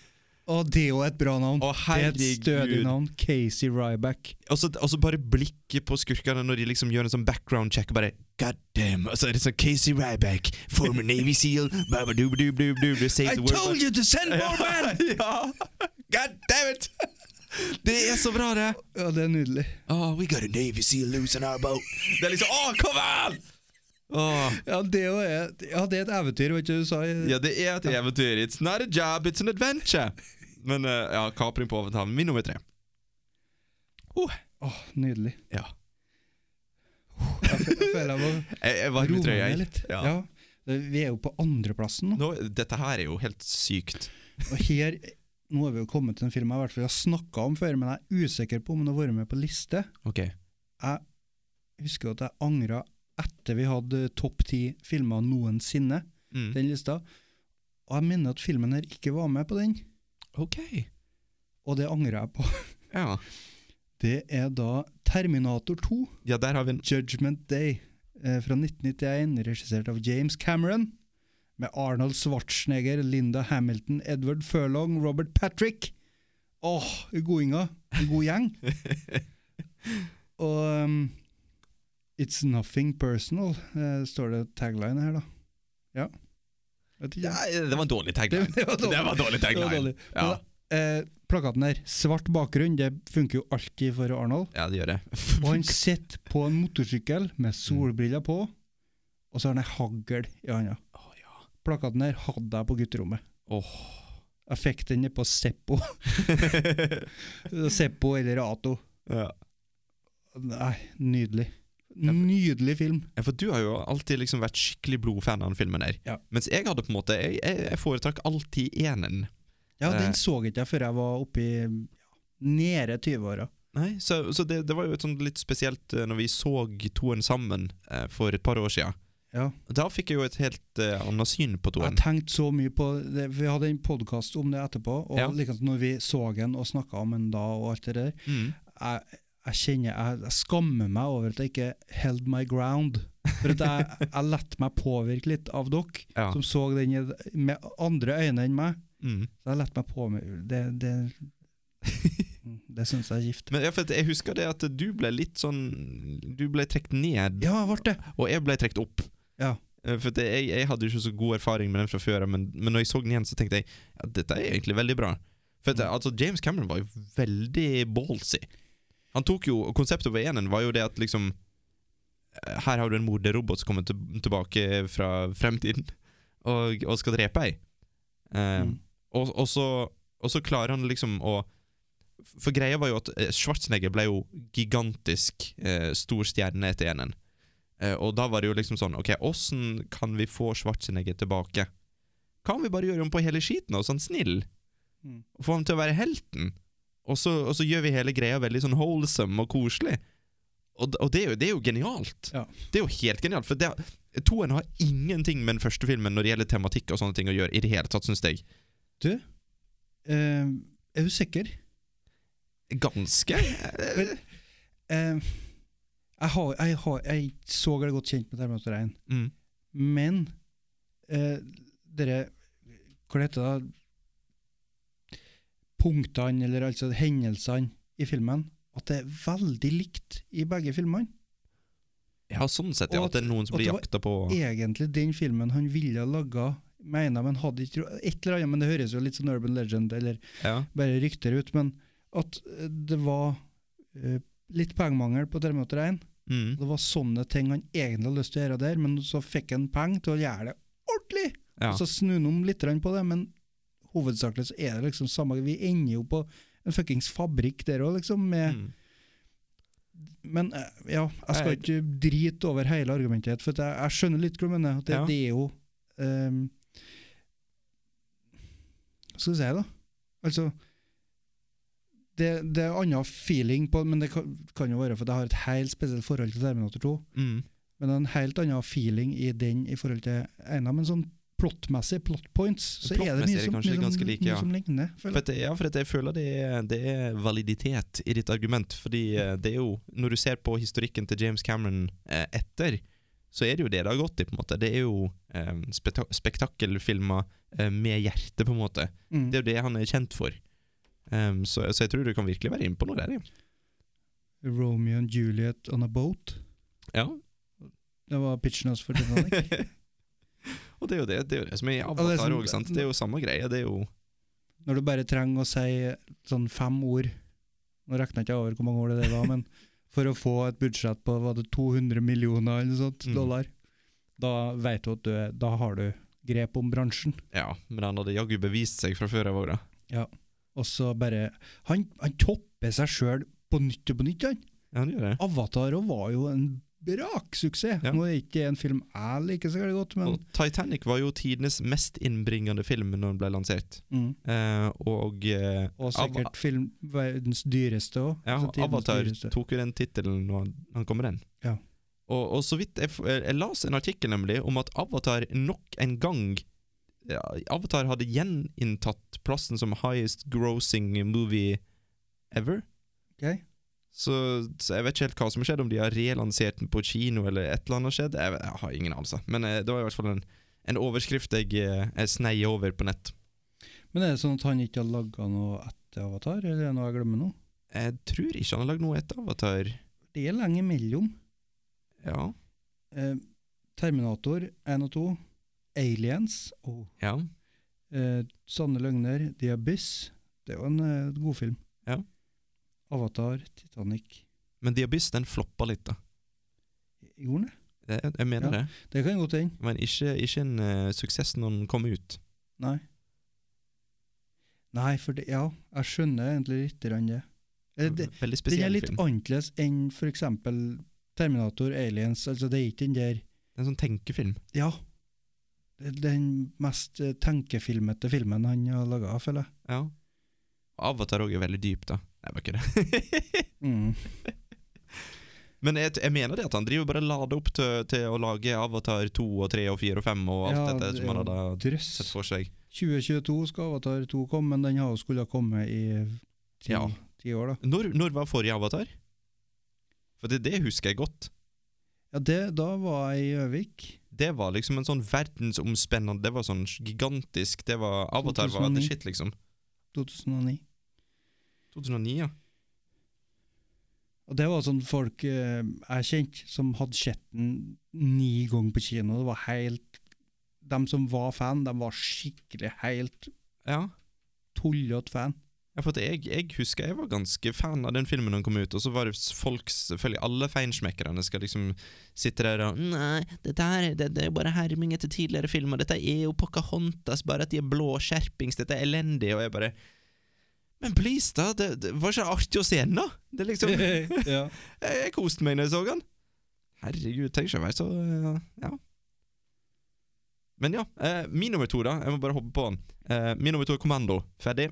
J: Og det er jo et bra navn.
K: Å,
J: det er et stødig
K: herregud.
J: navn. Casey Ryback.
K: Og så, og så bare blikket på skurkene når de liksom gjør en sånn background check og bare God damn! Og så er det sånn Casey Ryback, former Navy Seal, babadubadubadubadu, save the world.
J: you to send
K: ja! God damn it! Det er så bra, det!
J: Ja, det er nydelig.
K: Oh, we got a Navy Seal loose in our boat. Det er liksom Å, come on! Åh,
J: Ja, det er, jo et- ja, det er et eventyr, vet du du sa.
K: ja, det er et eventyr. It's not a job, it's an adventure. Men eh, ja, kapring på overtalen. Min nummer tre.
J: Oh. Åh, nydelig.
K: Ja.
J: Jeg fø- jeg føler jeg må
K: Jeg, jeg var i
J: roe
K: trøya,
J: meg
K: jeg.
J: litt.
K: Ja.
J: Ja. Det- Vi er jo på andreplassen nå.
K: Nå, dette her er jo helt sykt.
J: Og her, nå er vi jo kommet til en film jeg i hvert fall har snakka om før, men jeg er usikker på om den har vært med på liste.
K: Ok.
J: Jeg husker at jeg angra etter vi hadde topp ti filmer noensinne,
K: Mm.
J: den lista. Og jeg minner at filmen her ikke var med på den,
K: Ok.
J: og det angrer jeg på.
K: Ja.
J: Det er da Terminator 2.
K: ja, der har vi en
J: Judgment Day eh, fra 1991, regissert av James Cameron, med Arnold Schwarzenegger, Linda Hamilton, Edward Furlong, Robert Patrick. Åh, godinger. En god gjeng. Og um, It's nothing personal, eh, står det tagline her, da. Ja. Vet ikke.
K: ja, Det var en dårlig tagline.
J: Det- det var dårlig.
K: Det var en dårlig
J: Det var
K: tagline.
J: dårlig.
K: Ja.
J: Men, eh, plakaten der, svart bakgrunn, det funker jo alltid for Arnold.
K: ja, det gjør det.
J: Og han sitter på en motorsykkel med solbriller på, og så har han ei hagl i handa.
K: Å, ja.
J: Plakaten der hadde jeg på gutterommet. Jeg fikk den ned på Seppo. Seppo eller Ato.
K: ja.
J: Nei, nydelig. Nydelig film.
K: Ja, for du har jo alltid liksom vært skikkelig blodfan av den filmen der.
J: Ja.
K: Mens jeg hadde på en måte Jeg, jeg, jeg foretrakk alltid enen.
J: Ja,
K: Eh.
J: den så ikke jeg før jeg var oppi ja, nede 20-åra.
K: Nei, Så, så det, det var jo et sånt litt spesielt eh, når vi så toen sammen eh, for et par år sia.
J: Ja.
K: Da fikk jeg jo et helt eh, annet syn på
J: Jeg
K: toen.
J: tenkte så mye på det. Vi hadde en podkast om det etterpå, og
K: Ja.
J: likeens når vi så den og snakka om den da og alt det der.
K: Mm.
J: jeg, jeg kjenner jeg, jeg skammer meg over at jeg ikke held my ground. For at jeg, jeg lette meg påvirke litt av dere
K: Ja.
J: som så den i- med andre øyne enn meg.
K: Mm.
J: Så jeg lette meg påvirke Det, det, det syns jeg er gift.
K: Men ja, for at jeg husker det at du ble litt sånn Du ble trukket ned,
J: Ja, jeg ble det!
K: og jeg ble trukket opp.
J: Ja.
K: Eh, For at jeg, jeg hadde jo ikke så god erfaring med den fra før, men, men når jeg så den igjen, så tenkte jeg at dette er egentlig veldig bra. For
J: Mm.
K: at, altså, James Cameron var jo veldig ballsy. Han tok jo, og Konseptet på enen var jo det at liksom eh, Her har du en morderobot som kommer til, tilbake fra fremtiden og, og skal drepe ei. Eh,
J: Mm.
K: og, og, så, og så klarer han liksom å For greia var jo at eh, Schwarzenegger ble jo gigantisk eh, stor stjerne etter enen. Eh, og da var det jo liksom sånn Ok, åssen kan vi få Schwarzenegger tilbake? Kan vi bare gjøre om på hele skiten og sånn snill?
J: Mm.
K: Og Få ham til å være helten? Og så, og så gjør vi hele greia veldig sånn wholesome og koselig. Og, d- og det, er jo, det er jo genialt.
J: Ja.
K: Det er jo helt genialt. For det, toen har ingenting med den første filmen når det gjelder tematikk og sånne ting å gjøre i det hele tatt, syns jeg.
J: Eh, er du sikker?
K: Ganske
J: Men, eh, jeg, har, jeg, har, jeg er Mm. ikke så godt kjent med Terminator 1,
K: mm.
J: men uh, eh, dere Hva det heter det? Punktene, eller altså hendelsene i filmen. At det er veldig likt i begge filmene.
K: Ja, sånn sett, ja.
J: Og
K: At det er noen som
J: at
K: blir
J: det var
K: jakta på
J: Egentlig den filmen han ville laga, mener han hadde ikke ro- Et eller annet, men det høres jo litt sånn urban legend eller
K: ja.
J: bare rykter ut. Men at eh, det var eh, litt pengemangel på Terminator 1.
K: Mm.
J: Det var sånne ting han egentlig hadde lyst til å gjøre der, men så fikk han penger til å gjøre det ordentlig.
K: Ja.
J: Og så snur han om litt grann på det, men hovedsakelig så er det liksom samme Vi ender jo på en fuckings fabrikk der òg, liksom. Med,
K: Mm.
J: Men eh, ja, jeg skal
K: Jeg-
J: ikke drite over hele argumentet, for at jeg, jeg skjønner litt hva du mener. At det,
K: Ja.
J: det er jo ehm, Hva skal vi si, da? Altså det, det er annen feeling på men det kan, kan jo være for at jeg har et helt spesielt forhold til Terminator 2.
K: Mm.
J: Men det er en helt annen feeling i den i forhold til Einar. Men sånn plottmessig, plot points, så er det
K: Plottmessig er
J: mye
K: det
J: som,
K: kanskje
J: mye
K: ganske
J: som,
K: like,
J: mye
K: ja.
J: som ligner.
K: For
J: føler jeg.
K: at, ja, for at jeg føler det er, det er validitet i ditt argument. Fordi eh, det er jo, når du ser på historikken til James Cameron eh, etter, så er det jo det det har gått i, på en måte. Det er jo eh, speta- spektakkelfilmer eh, med hjerte, på en måte.
J: Mm.
K: Det er jo det han er kjent for. Em, så, så jeg tror du kan virkelig være inne på noe der, ja.
J: Romeo and Juliet on a boat.
K: ja.
J: Det var pitchen hans for Titanic.
K: Og det er jo det, det, er jo det som er i
J: det er
K: Avatar
J: sånn-
K: òg, sant. Det er jo samme greie. Det er jo
J: Når du bare trenger å si sånn fem ord Nå regner jeg ikke over hvor mange år det var, men for å få et budsjett på var det 200 millioner eller noe sånt,
K: Mm.
J: dollar, da vet du at du er, da har du grep om bransjen.
K: Ja, men han hadde jaggu bevist seg fra før av òg, da.
J: Og så bare Han, han topper seg sjøl på nytt og på nytt, han.
K: Ja, han gjør det.
J: Avatar også var jo en braksuksess.
K: Ja.
J: Nå er ikke det en film jeg liker så veldig godt, men
K: Og Titanic var jo tidenes mest innbringende film når den ble lansert.
J: mm.
K: Eh, og eh,
J: Og
K: Ava-
J: sikkert film verdens dyreste òg.
K: ja, Avatar tok jo den tittelen når han, han kom med den.
J: Ja.
K: Og, og så vidt jeg, f- jeg las en artikkel nemlig om at Avatar nok en gang ja, Avatar hadde gjeninntatt plassen som highest grossing movie ever.
J: Ok.
K: Så, så jeg vet ikke helt hva som har skjedd, om de har relansert den på kino eller et eller annet har skjedd. Jeg, vet- jeg har ingen anelse. Men eh, det var i hvert fall en, en overskrift jeg, eh, jeg snei over på nett.
J: Men er det sånn at han ikke har laga noe etter Avatar, eller er det noe jeg glemmer nå?
K: Jeg tror ikke han har lagd noe etter Avatar.
J: Det er lenge imellom.
K: Ja.
J: Eh, Terminator 1 og 2, Aliens, oh.
K: Ja.
J: eh, Sanne løgner, The Abyss. Det er jo en eh, god film.
K: Ja.
J: Avatar, Titanic.
K: Men The Abyss den floppa litt, da.
J: Gjorde den det?
K: Det, jeg mener
J: Ja.
K: det.
J: Det kan godt hende.
K: Men ikke, ikke en eh, suksess når den kom ut.
J: Nei. Nei, for det, ja, jeg skjønner egentlig litt grann det. Eh, det
K: Veldig
J: den er
K: spesiell
J: litt
K: film.
J: annerledes enn for eksempel Terminator, Aliens, altså det er ikke den der
K: Det er En sånn tenkefilm.
J: Ja. Det er den mest eh, tenkefilmete filmen han har laga, føler jeg.
K: Ja. Avatar òg er veldig dyp, da. Nei, det var ikke det.
J: Mm.
K: Men jeg, jeg mener det at han driver bare lader opp til, til å lage Avatar 2 og 3 og 4 og 5 og alt
J: Ja,
K: dette
J: det
K: som han
J: er jo
K: hadde
J: drøss.
K: sett for seg.
J: 2022 skal Avatar 2 komme, men den har jo skulle ha kommet i ti,
K: Ja.
J: ti år, da.
K: Når, når var forrige Avatar? For det, det husker jeg godt.
J: Ja, det, da var jeg i Gjøvik.
K: Det var liksom en sånn verdensomspennende Det var sånn gigantisk Det var Avatar var the
J: 2009.
K: shit, liksom.
J: 2009.
K: 2009, ja.
J: Og det var sånn folk eh, jeg kjente, som hadde sett den ni ganger på kino. Det var helt De som var fan, de var skikkelig helt
K: Ja.
J: tullete fan.
K: Ja, for at jeg, jeg husker jeg var ganske fan av den filmen den kom ut, og så var det s- folk, selvfølgelig alle feinschmeckerne skal liksom sitte der og Nei, dette her det, det er bare herming etter tidligere filmer, dette er jo Pocahontas, bare at de er blåskjerpings, dette er elendig, og jeg bare Men please, da, det, det var ikke artig å se den, da? Det er liksom Jeg,
J: ja.
K: jeg koste meg når jeg så den. Herregud, tenk ikke å være så eh, Ja. Men ja, eh, min nummer to, da. Jeg må bare hoppe på den. Eh, min nummer to er Kommando. Ferdig.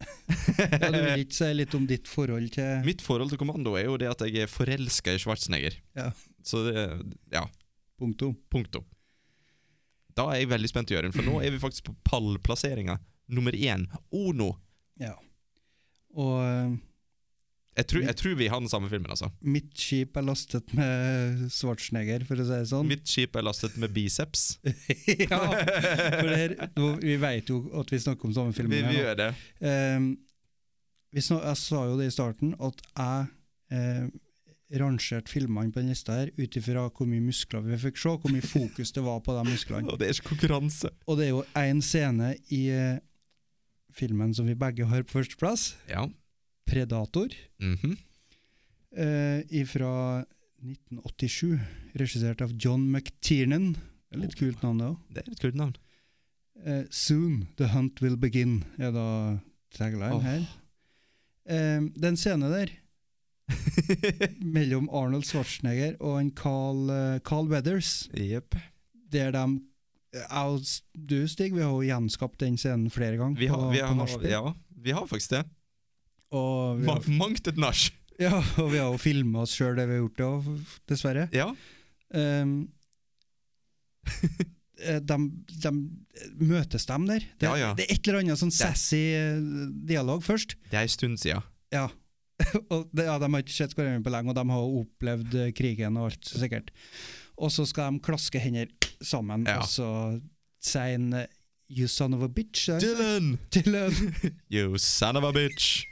J: ja, Du vil ikke si litt om ditt forhold til
K: Mitt forhold til kommando er jo det at jeg er forelska i Schwarzenegger.
J: Ja.
K: Så det Ja,
J: punktum?
K: punktum. Da er jeg veldig spent, Jørund, for nå er vi faktisk på pallplasseringa nummer én. Ono.
J: Ja. Og eh,
K: Jeg tror, jeg tror vi har den samme filmen, altså.
J: Mitt skip er lastet med Schwarzenegger, for å si det sånn.
K: Mitt skip er lastet med biceps.
J: ja, for det her, nå- vi vet jo at vi snakker om samme film.
K: Vi, vi
J: her, da.
K: gjør det.
J: Ehm, vi snak- jeg sa jo det i starten, at jeg eh, rangerte filmene på den lista her ut ifra hvor mye muskler vi fikk se, hvor mye fokus det var på de musklene.
K: Og det er ikke konkurranse.
J: Og det er jo én scene i eh, filmen som vi begge har på førsteplass,
K: Ja.
J: 'Predator',
K: Mhm.
J: eh, fra 1987, regissert av John McTiernan. Det er Litt kult navn, det òg.
K: Det er et kult navn.
J: Eh, Soon the hunt will begin, er da tagline
K: Åh.
J: her. Eh, det er en scene der mellom Arnold Schwarzenegger og en Carl, eh, Carl Weathers,
K: Jepp.
J: der de jeg og s- du, Stig, vi har jo gjenskapt den scenen flere ganger
K: Vi, har-
J: på,
K: vi,
J: på
K: har-
J: nachspiel.
K: ja, vi har faktisk det.
J: Og vi
K: Ma-
J: har-
K: Mangt et nach.
J: ja, og vi har jo filma oss sjøl, det vi har gjort det òg, dessverre.
K: Ja.
J: Ehm, eh, de, de møtes dem der. Det,
K: Ja, ja.
J: det er et eller annet sånn sassy eh, dialog først.
K: Det er en stund siden.
J: Ja. og det, ja, de har ikke sett hverandre på lenge, og de har jo opplevd eh, krigen og alt, så sikkert. Og så skal de klaske hender sammen,
K: Ja.
J: og så sier en eh, You son of a bitch. er det?
K: Dylan!
J: Dylan.
K: You son of a bitch!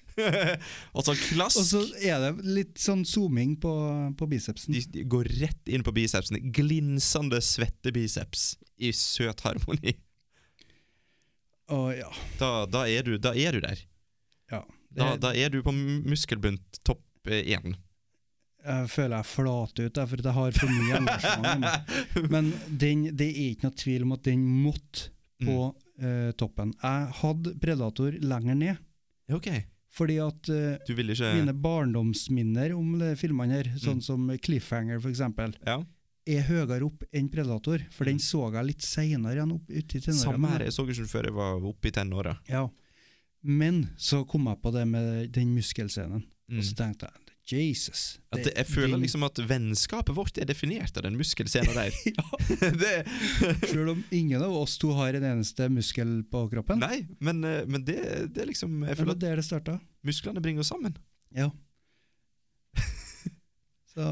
K: og så klask!
J: Og så er det litt sånn zooming på, på bicepsen.
K: de, de går rett inn på bicepsene. Glinsende, svette biceps i søt harmoni.
J: Og ja,
K: Da, da, er, du, da er du der.
J: ja.
K: Da,
J: Det-
K: da er du på mu- muskelbunt topp eh, én.
J: Jeg føler jeg flater ut, der, for at jeg har for mye engasjement. i meg. Men den, det er ikke noe tvil om at den måtte
K: Mm.
J: på eh, toppen. Jeg hadde Predator lenger ned,
K: Ok,
J: fordi at eh,
K: du vil ikke
J: mine barndomsminner om de filmene her,
K: Mm.
J: sånn som Cliffhanger f.eks.,
K: Ja,
J: er høyere opp enn Predator, for den så jeg litt seinere igjen opp uti
K: Mm. Samme her. altså.
J: tenåra.
K: Jeg så ikke den før jeg var oppe i tenåra.
J: Ja. Men så kom jeg på det med den muskelscenen,
K: Mm.
J: og så tenkte jeg Jesus.
K: At det, jeg føler liksom at vennskapet vårt er definert av den muskelscenen der. det,
J: Selv om ingen av oss to har en eneste muskel på kroppen.
K: nei, men, eh, men det, det er liksom Jeg
J: Men det
K: føler
J: var
K: at
J: der det starta.
K: musklene bringer oss sammen.
J: Ja. Så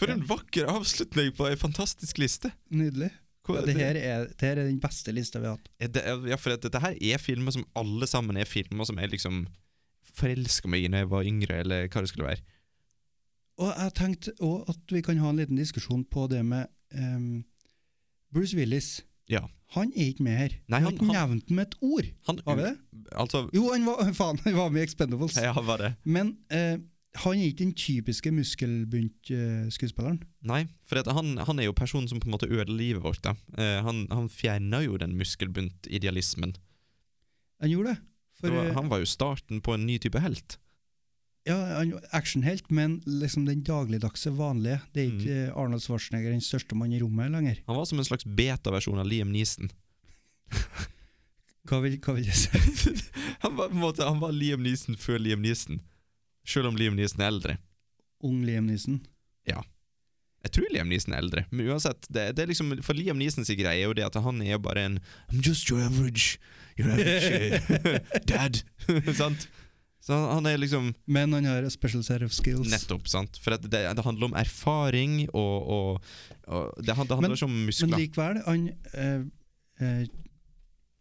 K: For
J: ja,
K: en vakker avslutning på ei fantastisk liste!
J: Nydelig.
K: Hvor-
J: Ja, det, her er, det her er den beste lista vi har hatt.
K: Er det, ja, for at dette her er filmer som alle sammen er filmer som jeg liksom forelska meg i når jeg var yngre, eller hva det skulle være.
J: Og jeg tenkte òg at vi kan ha en liten diskusjon på det med ehm, Bruce Willis.
K: Ja.
J: Han er ikke med her.
K: Nei,
J: han er ikke
K: han-
J: nevnt med et ord.
K: Han,
J: Har vi det?
K: Altså,
J: Jo, han var, faen, han var med i Expendables.
K: ja, var det.
J: Men eh, han er ikke den typiske eh, muskelbunt-skuespilleren.
K: Nei, for at han, han er jo personen som på en måte ødelegger livet vårt. da. Eh, han, han fjerna jo den muskelbunt-idealismen.
J: han gjorde det.
K: Det
J: For,
K: var-
J: eh,
K: Han var jo starten på en ny type helt.
J: Ja, han var actionhelt, men liksom den dagligdagse, vanlige. Det er ikke
K: Mm.
J: eh, Arnold Schwarzenegger den største mann i rommet lenger.
K: Han var som en slags beta-versjon av Liam Neeson.
J: Hva vil, hva vil jeg si?
K: han, var, på en måte, han var Liam Neeson før Liam Neeson, sjøl om Liam Neeson er eldre.
J: Ung Liam Neeson.
K: Jeg tror Liam Neeson er eldre, men uansett det, det er liksom, For Liam Neeson sin greie er jo det at han er bare en I'm just your average Your average eh, dad. sant? Så han, han er liksom
J: Men han har a special set of skills.
K: Nettopp, sant? For at det, det handler om erfaring, og, og, og det, han- det handler
J: Men-
K: ikke om
J: Men
K: muskler.
J: likevel, han eh, eh,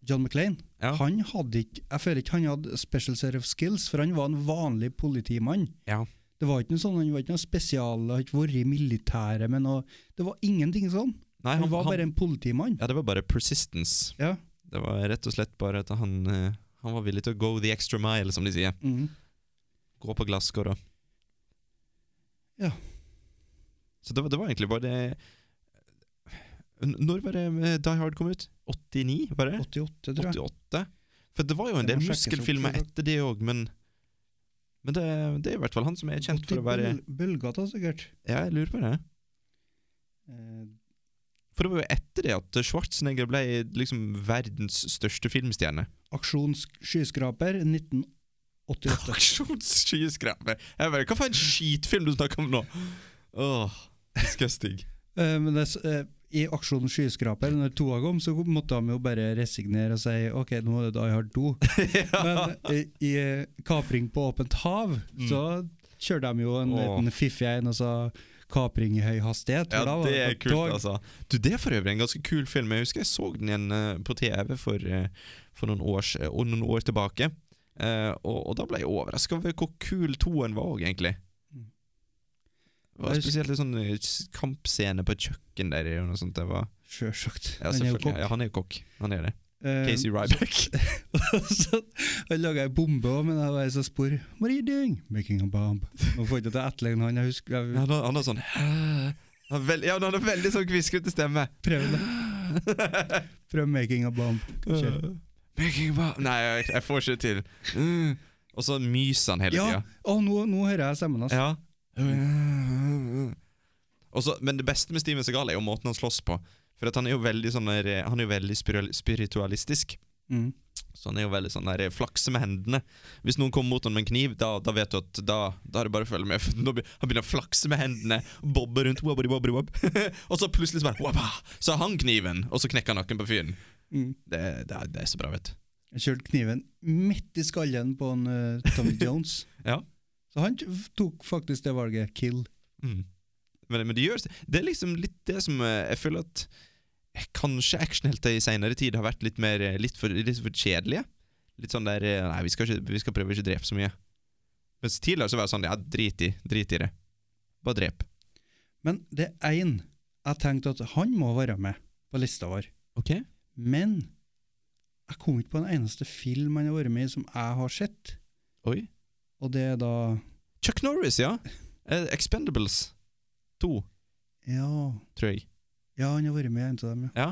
J: John McClain,
K: Ja.
J: han hadde ikke Jeg føler ikke han hadde a special set of skills, for han var en vanlig politimann.
K: Ja.
J: Det var ikke noe sånn, Han var ikke noe spesial, han har ikke vært i militæret med noe Det var ingenting sånn.
K: Nei,
J: Han
K: han-
J: var
K: han-
J: bare en politimann.
K: Ja, det var bare persistence.
J: Ja.
K: Det var rett og slett bare at han, eh, han var villig til å go the extra mile, som de sier.
J: Mhm.
K: Gå på glasskår og
J: Ja.
K: Så det var, det var egentlig bare det N- Når var det eh, Die Hard kom ut? 89, var det?
J: 88, tror jeg.
K: 88? For det var jo en
J: Det
K: del
J: må sjekkes opp,
K: muskelfilmer
J: tror jeg.
K: etter det òg, men Men det, det er i hvert fall han som er kjent for å være
J: Bøl- Bølgata, sikkert.
K: Ja, jeg lurer på det.
J: Eh,
K: For det var jo etter det at Schwarzenegger ble liksom verdens største filmstjerne.
J: Aksjon sk- skyskraper 1988.
K: Aksjonsskyskraper! Jeg bare, Hva for en skitfilm du snakker om nå?! Åh, Disgusting.
J: Eh, men det, s- eh, I Aksjon skyskraper, når toa kom, så måtte de jo bare resignere og si ok, nå er det Die Hard 2. Men eh, i eh, Kapring på åpent hav, så kjørte de jo en
K: Mm. Åh.
J: liten fiffig en, og så kapring i høy hastighet.
K: Ja,
J: for da var
K: det er
J: på
K: kult,
J: tog.
K: altså. Du, Det er for øvrig en ganske kul film. Jeg husker jeg så den igjen eh, på TV for, eh, for noen, års, eh, og noen år tilbake. Eh, og, og da ble jeg overraska over hvor kul toen var òg, egentlig.
J: Mm.
K: Det var
J: Jeg husker-
K: spesielt en sånn eh, s- kampscene på et kjøkken der. eller noe sånt det var.
J: Sjølsagt.
K: Ja,
J: han er jo
K: selvfølgelig.
J: kokk.
K: Ja, han er jo kokk. Han er det.
J: Eh,
K: Casey Ryback.
J: så- han laga ei bombe òg, men jeg var så spor. What are you doing? Making a bomb. Nå får jeg ikke til å etterligne han. Jeg husker jeg
K: Han har, han har sånn han har veld, Ja, han har veldig sånn kviskete stemme.
J: prøvde det. Prøv making a bomb. Kanskje.
K: Making a bomb. Nei, jeg, jeg får ikke det til. Mm. Og så myser han hele
J: Ja,
K: tida.
J: å, nå, nå hører jeg stemmen altså. hans.
K: Ja. Og så- men det beste med Steven Segal er jo måten han slåss på. For at han er jo veldig, sånn der, han er jo veldig spiral- spiritualistisk.
J: Mm.
K: Så han er jo veldig sånn der, flakse med hendene. Hvis noen kommer mot ham med en kniv, da, da vet du at da, da er det bare å følge med. For nå be, han begynner å flakse med hendene, bobbe rundt, wobbidi, wobbidi, wobb. og så plutselig så bare wabba, Så hang kniven, og så knekker han nakken på fyren.
J: Mm.
K: Det, det, er- det er så bra, vet du.
J: Jeg kjørte kniven midt i skallen på en, eh, Tommy Jones.
K: Ja.
J: Så han t- tok faktisk det valget. Kill.
K: Mm. Men, men det gjør Det er liksom litt det som eh, jeg føler at eh, Kanskje actionhelter i seinere tid har vært litt, mer, eh, litt, for, litt for kjedelige. Litt sånn der eh, Nei, vi skal, ikke, vi skal prøve å ikke drepe så mye. Mens tidligere så var det sånn Ja, drit i, drit i det. Bare drep.
J: Men det er én jeg tenkte at han må være med på lista vår.
K: Ok?
J: Men jeg kom ikke på en eneste film han har vært med i som jeg har sett.
K: Oi.
J: Og det er da
K: Chuck Norris, ja. Eh, Expendables 2,
J: Ja,
K: tror jeg.
J: ja han har vært med i en av dem,
K: Ja.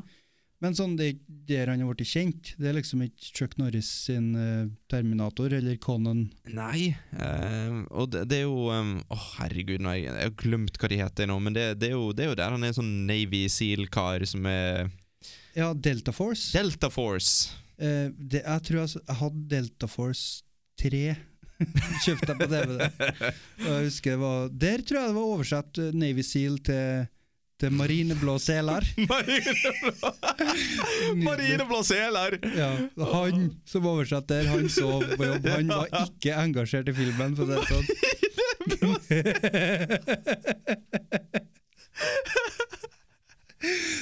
J: Men sånn, det er ikke der han har blitt kjent. Det er liksom ikke Chuck Norris sin eh, Terminator eller Conan.
K: Nei. eh, og det, det er jo eh, Å, herregud, nå har jeg, jeg har glemt hva de heter nå, men det, det, er, jo, det er jo der han er en sånn Navy Seal-kar som er
J: Ja, Delta Force.
K: Delta Force.
J: Eh, det, jeg tror jeg s- jeg hadde Delta Force 3. Kjøpte jeg på DVD. Og jeg husker det var, Der tror jeg det var oversatt eh, Navy Seal til, til marineblå seler.
K: Marineblå Marineblå seler!
J: Ja, han som oversatte der, han sov på jobb. Han var ikke engasjert i filmen. For å si det sånn.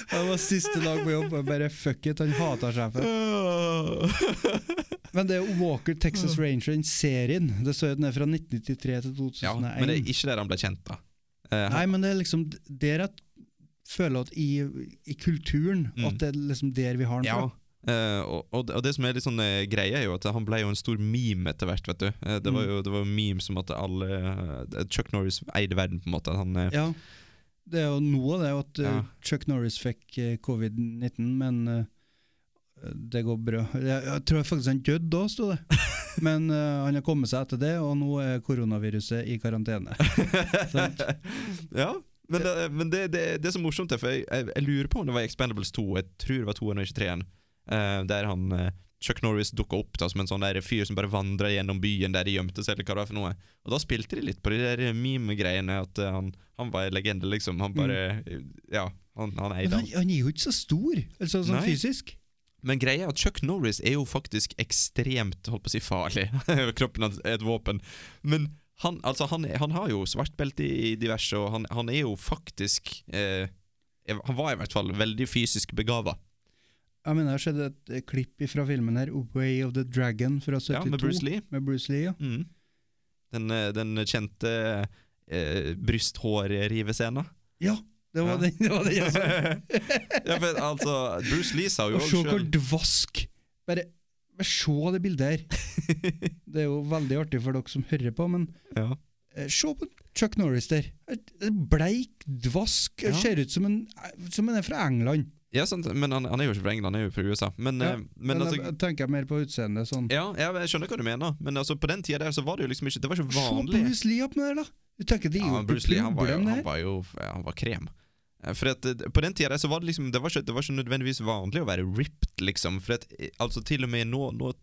J: Det var siste dag på jobb, og jeg bare fuck it, han hater sjefen. Men det er jo Walker Texas Ranger, den serien. Det står jo at den er fra 1993 til 2001.
K: Ja, men det er ikke der han ble kjent, da. Eh,
J: Nei, men det er liksom der at føler at i, i kulturen
K: Mm.
J: at det er liksom der vi har den
K: ja.
J: fra.
K: Eh, og, og det- og det som er litt sånn eh, greie, er jo at han ble jo en stor meme etter hvert, vet du. Eh, det
J: Mm.
K: var jo det var jo memes om at alle eh, Chuck Norris eide verden, på en måte. Han, eh,
J: Ja. Det er jo noe av det at eh,
K: Ja.
J: Chuck Norris fikk eh, covid-19, men eh, det går bra. Jeg, jeg tror faktisk han døde da, sto det. Men eh, han har kommet seg etter det, og nå er koronaviruset i karantene. Sant?
K: ja, men, det, men det, det, det er så morsomt, det, for jeg, jeg, jeg lurer på om det var i Expendables 2. Jeg tror det var 2 og ikke 3 eh, der han eh, Chuck Norris dukka opp da, som en sånn der fyr som bare vandra gjennom byen der de gjemte seg. eller hva det var for noe Og da spilte de litt på de der meme-greiene, at eh, han, han var en legende, liksom. Han bare Ja, han, han
J: Mm. Men
K: eide
J: han,
K: alt.
J: han er jo ikke så stor, altså sånn
K: Nei.
J: fysisk.
K: Men greia er at Chuck Norris er jo faktisk ekstremt holdt på å si farlig. Kroppen hans er et våpen. Men han, altså, han, han har jo svart belte i diverse, og han, han er jo faktisk eh, Han var i hvert fall veldig fysisk begava.
J: Jeg mener, jeg har sett et eh, klipp fra filmen her, 'Way of the Dragon' fra 72.
K: Ja, med Bruce Lee.
J: Med Bruce Lee, ja.
K: Mm. Den, eh, den kjente eh, brysthårrivescena.
J: Ja, det var
K: Ja.
J: den. Det var den jeg så.
K: Ja, for altså, Bruce Lee sa jo
J: Og
K: òg
J: se hvor
K: sjøl
J: dvask Bare, bare se det bildet her. Det er jo veldig artig for dere som hører på, men
K: ja.
J: eh, se på Chuck Norris der. Eh, Bleik, dvask,
K: Ja.
J: ser ut som en, som en er fra England.
K: ja, sant, men han, han er jo ikke fra England, han er jo fra USA. Men,
J: Ja,
K: eh, men,
J: Men
K: altså,
J: jeg tenker mer på utseendet sånn.
K: Ja, jeg, jeg skjønner hva du mener, men altså, på den tida der så var det jo liksom ikke Det var ikke
J: Se
K: vanlig.
J: Bruce Lee opp med det, da! Du tenker det er
K: ja,
J: jo
K: men
J: et
K: Bruce Lee, han var jo,
J: problem, det
K: han
J: her.
K: var jo han var krem. Eh, For at eh, På den tida der så var det liksom Det var ikke, det var ikke nødvendigvis vanlig å være ripped, liksom. For at eh, altså til og med nå, nå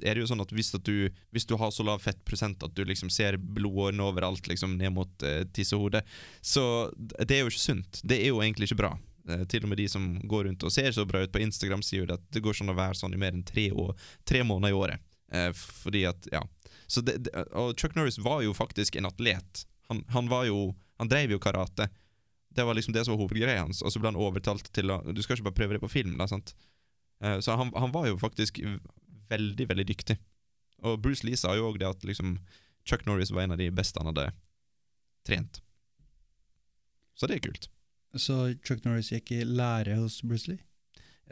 K: er det jo sånn at hvis, at du, hvis du har så lav fettprosent at du liksom ser blodårene overalt, liksom ned mot eh, tissehodet, så d- det er jo ikke sunt. Det er jo egentlig ikke bra. Eh, til og med de som går rundt og ser så bra ut på Instagram, sier jo det at det går sånn å være sånn i mer enn tre, år, tre måneder i året. Eh, fordi at, ja Så det, det, og Chuck Norris var jo faktisk en atlet. Han, han var jo Han drev jo karate. Det var liksom det som var hovedgreia hans, og så ble han overtalt til å Du skal ikke bare prøve det på film, da, sant? Eh, Så han, han var jo faktisk veldig, veldig dyktig. Og Bruce Lee sa jo òg det at liksom Chuck Norris var en av de beste han hadde trent. Så det er kult.
J: Så Chuck Norris gikk i lære hos Bruce Lee?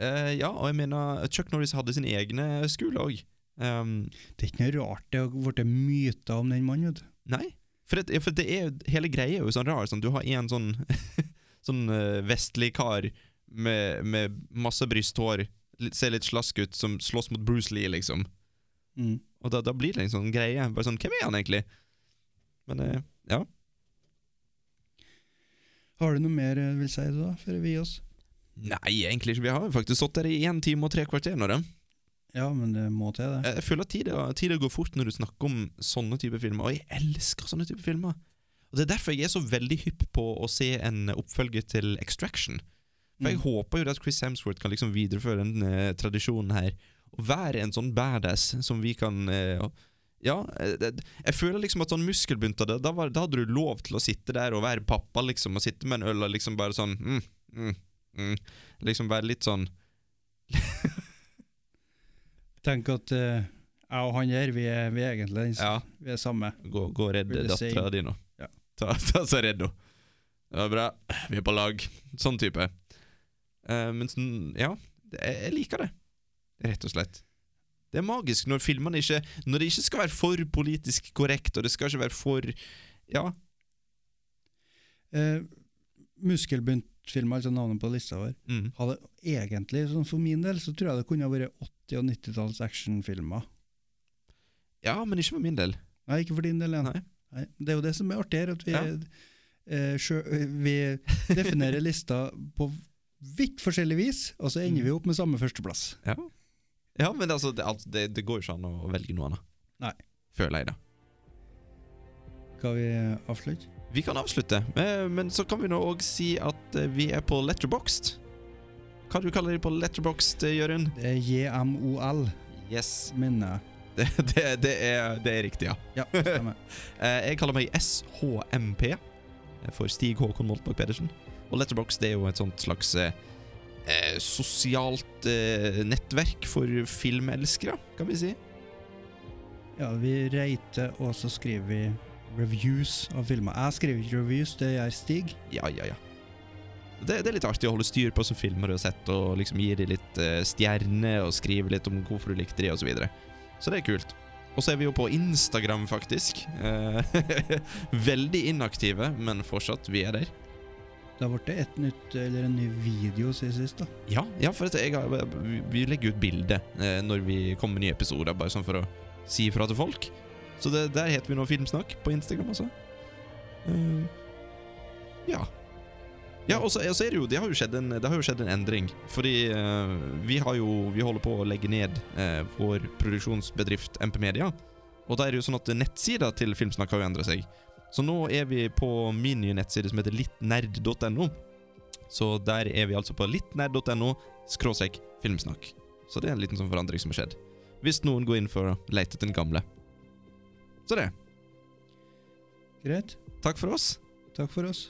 K: Eh, ja, og jeg mener Chuck Norris hadde sine egne skole Ehm, òg.
J: Det er ikke noe rart det har blitt myter om den mannen. vet du.
K: Nei. For, det, for det er, jo- hele greia er jo sånn rar. Sånn, du har en sånn, sånn eh, vestlig kar med, med masse brysthår, litt, ser litt slask ut, som slåss mot Bruce Lee, liksom.
J: Mm.
K: Og da, da blir det en sånn greie. Bare sånn, Hvem er han egentlig? Men eh, ja.
J: Har du noe mer eh, vil si da, før vi gir oss?
K: Nei, egentlig ikke. Vi har jo faktisk stått der i én time og tre kvarter nå. da.
J: Ja, men det må til, det.
K: Jeg jeg føler at tida, tida går fort når du snakker om sånne type filmer, og jeg elsker sånne type filmer. Og Det er derfor jeg er så veldig hypp på å se en oppfølger til Extraction. For Jeg
J: Mm.
K: håper jo at Chris Hemsworth kan liksom videreføre den eh, tradisjonen her, og være en sånn badass som vi kan eh, og- Ja, eh, det- jeg føler liksom at sånn muskelbunt av det, da, var, da hadde du lov til å sitte der og være pappa, liksom, og sitte med en øl og liksom bare sånn mm, mm, mm, Liksom være litt sånn
J: Tenk at eh, jeg og han her, vi er, vi er egentlig den s-
K: Ja.
J: vi er samme.
K: Gå, gå og redd
J: Vil du
K: dattera
J: si-
K: di nå.
J: Ja.
K: Ta, ta så redd henne. Det var bra. Vi er på lag. Sånn type. Eh, men sånn, ja, det, jeg liker det. Rett og slett. Det er magisk når filmene ikke Når det ikke skal være for politisk korrekt, og det skal ikke være for Ja,
J: Eh, Muskelbuntfilmer, altså navnet på lista vår,
K: mm,
J: hadde egentlig, sånn for min del, så tror jeg det kunne ha vært 80- og 90-talls actionfilmer.
K: ja men ikke for min del.
J: Nei, ikke for din del, Jan.
K: Nei.
J: Nei. Det er jo det som er artig her, at vi,
K: Ja.
J: eh, sjø, vi definerer lista på vidt forskjellig vis, og så ender vi opp med samme førsteplass.
K: Ja, ja men altså, det, altså det, det går jo ikke an å velge noe annet.
J: Nei.
K: Føler jeg, da.
J: Skal vi avslutte?
K: Vi kan avslutte, eh, men så kan vi nå òg si at eh, vi er på Letterboxd. Hva du kaller du det på Letterboxd, eh, Jørund?
J: Det er JMOL,
K: Yes.
J: mener jeg.
K: Det, det, det, er, det er riktig, ja.
J: Ja, stemmer.
K: Eh, Jeg kaller meg SHMP eh, for Stig Håkon Moltbakk Pedersen. Og Letterboxd er jo et sånt slags eh, eh, sosialt eh, nettverk for filmelskere, kan vi si.
J: Ja, vi reiter, og så skriver vi reviews av filmer. Jeg skriver ikke reviews, det gjør Stig.
K: Ja, ja, ja. Det, det er litt artig å holde styr på som filmer du har sett, og liksom gi dem litt eh, stjerner, og skrive litt om hvorfor du likte dem, og Så, videre. så det er kult. Og så er vi jo på Instagram, faktisk. Eh, Veldig inaktive, men fortsatt, vi er der.
J: Det har vært et nytt, eller en ny video siden sist da.
K: Ja, ja for at jeg, har- vi- vi legger ut bilde eh, når vi kommer med nye episoder, bare sånn for å si ifra til folk. Så det, der heter vi nå Filmsnakk på Instagram, altså. Eh, ja. Ja, og så og så er det jo Det har jo skjedd en, det har jo skjedd en endring. Fordi eh, vi har jo Vi holder på å legge ned eh, vår produksjonsbedrift MP Media. Og da er det jo sånn at nettsida til Filmsnakk har jo endra seg. Så nå er vi på min nye nettside som heter littnerd.no. Så der er vi altså på littnerd.no skråstrek filmsnakk. Så det er en liten sånn forandring som har skjedd. Hvis noen går inn for å lete etter den gamle. Så det.
J: Greit,
K: Takk for oss.
J: takk for oss.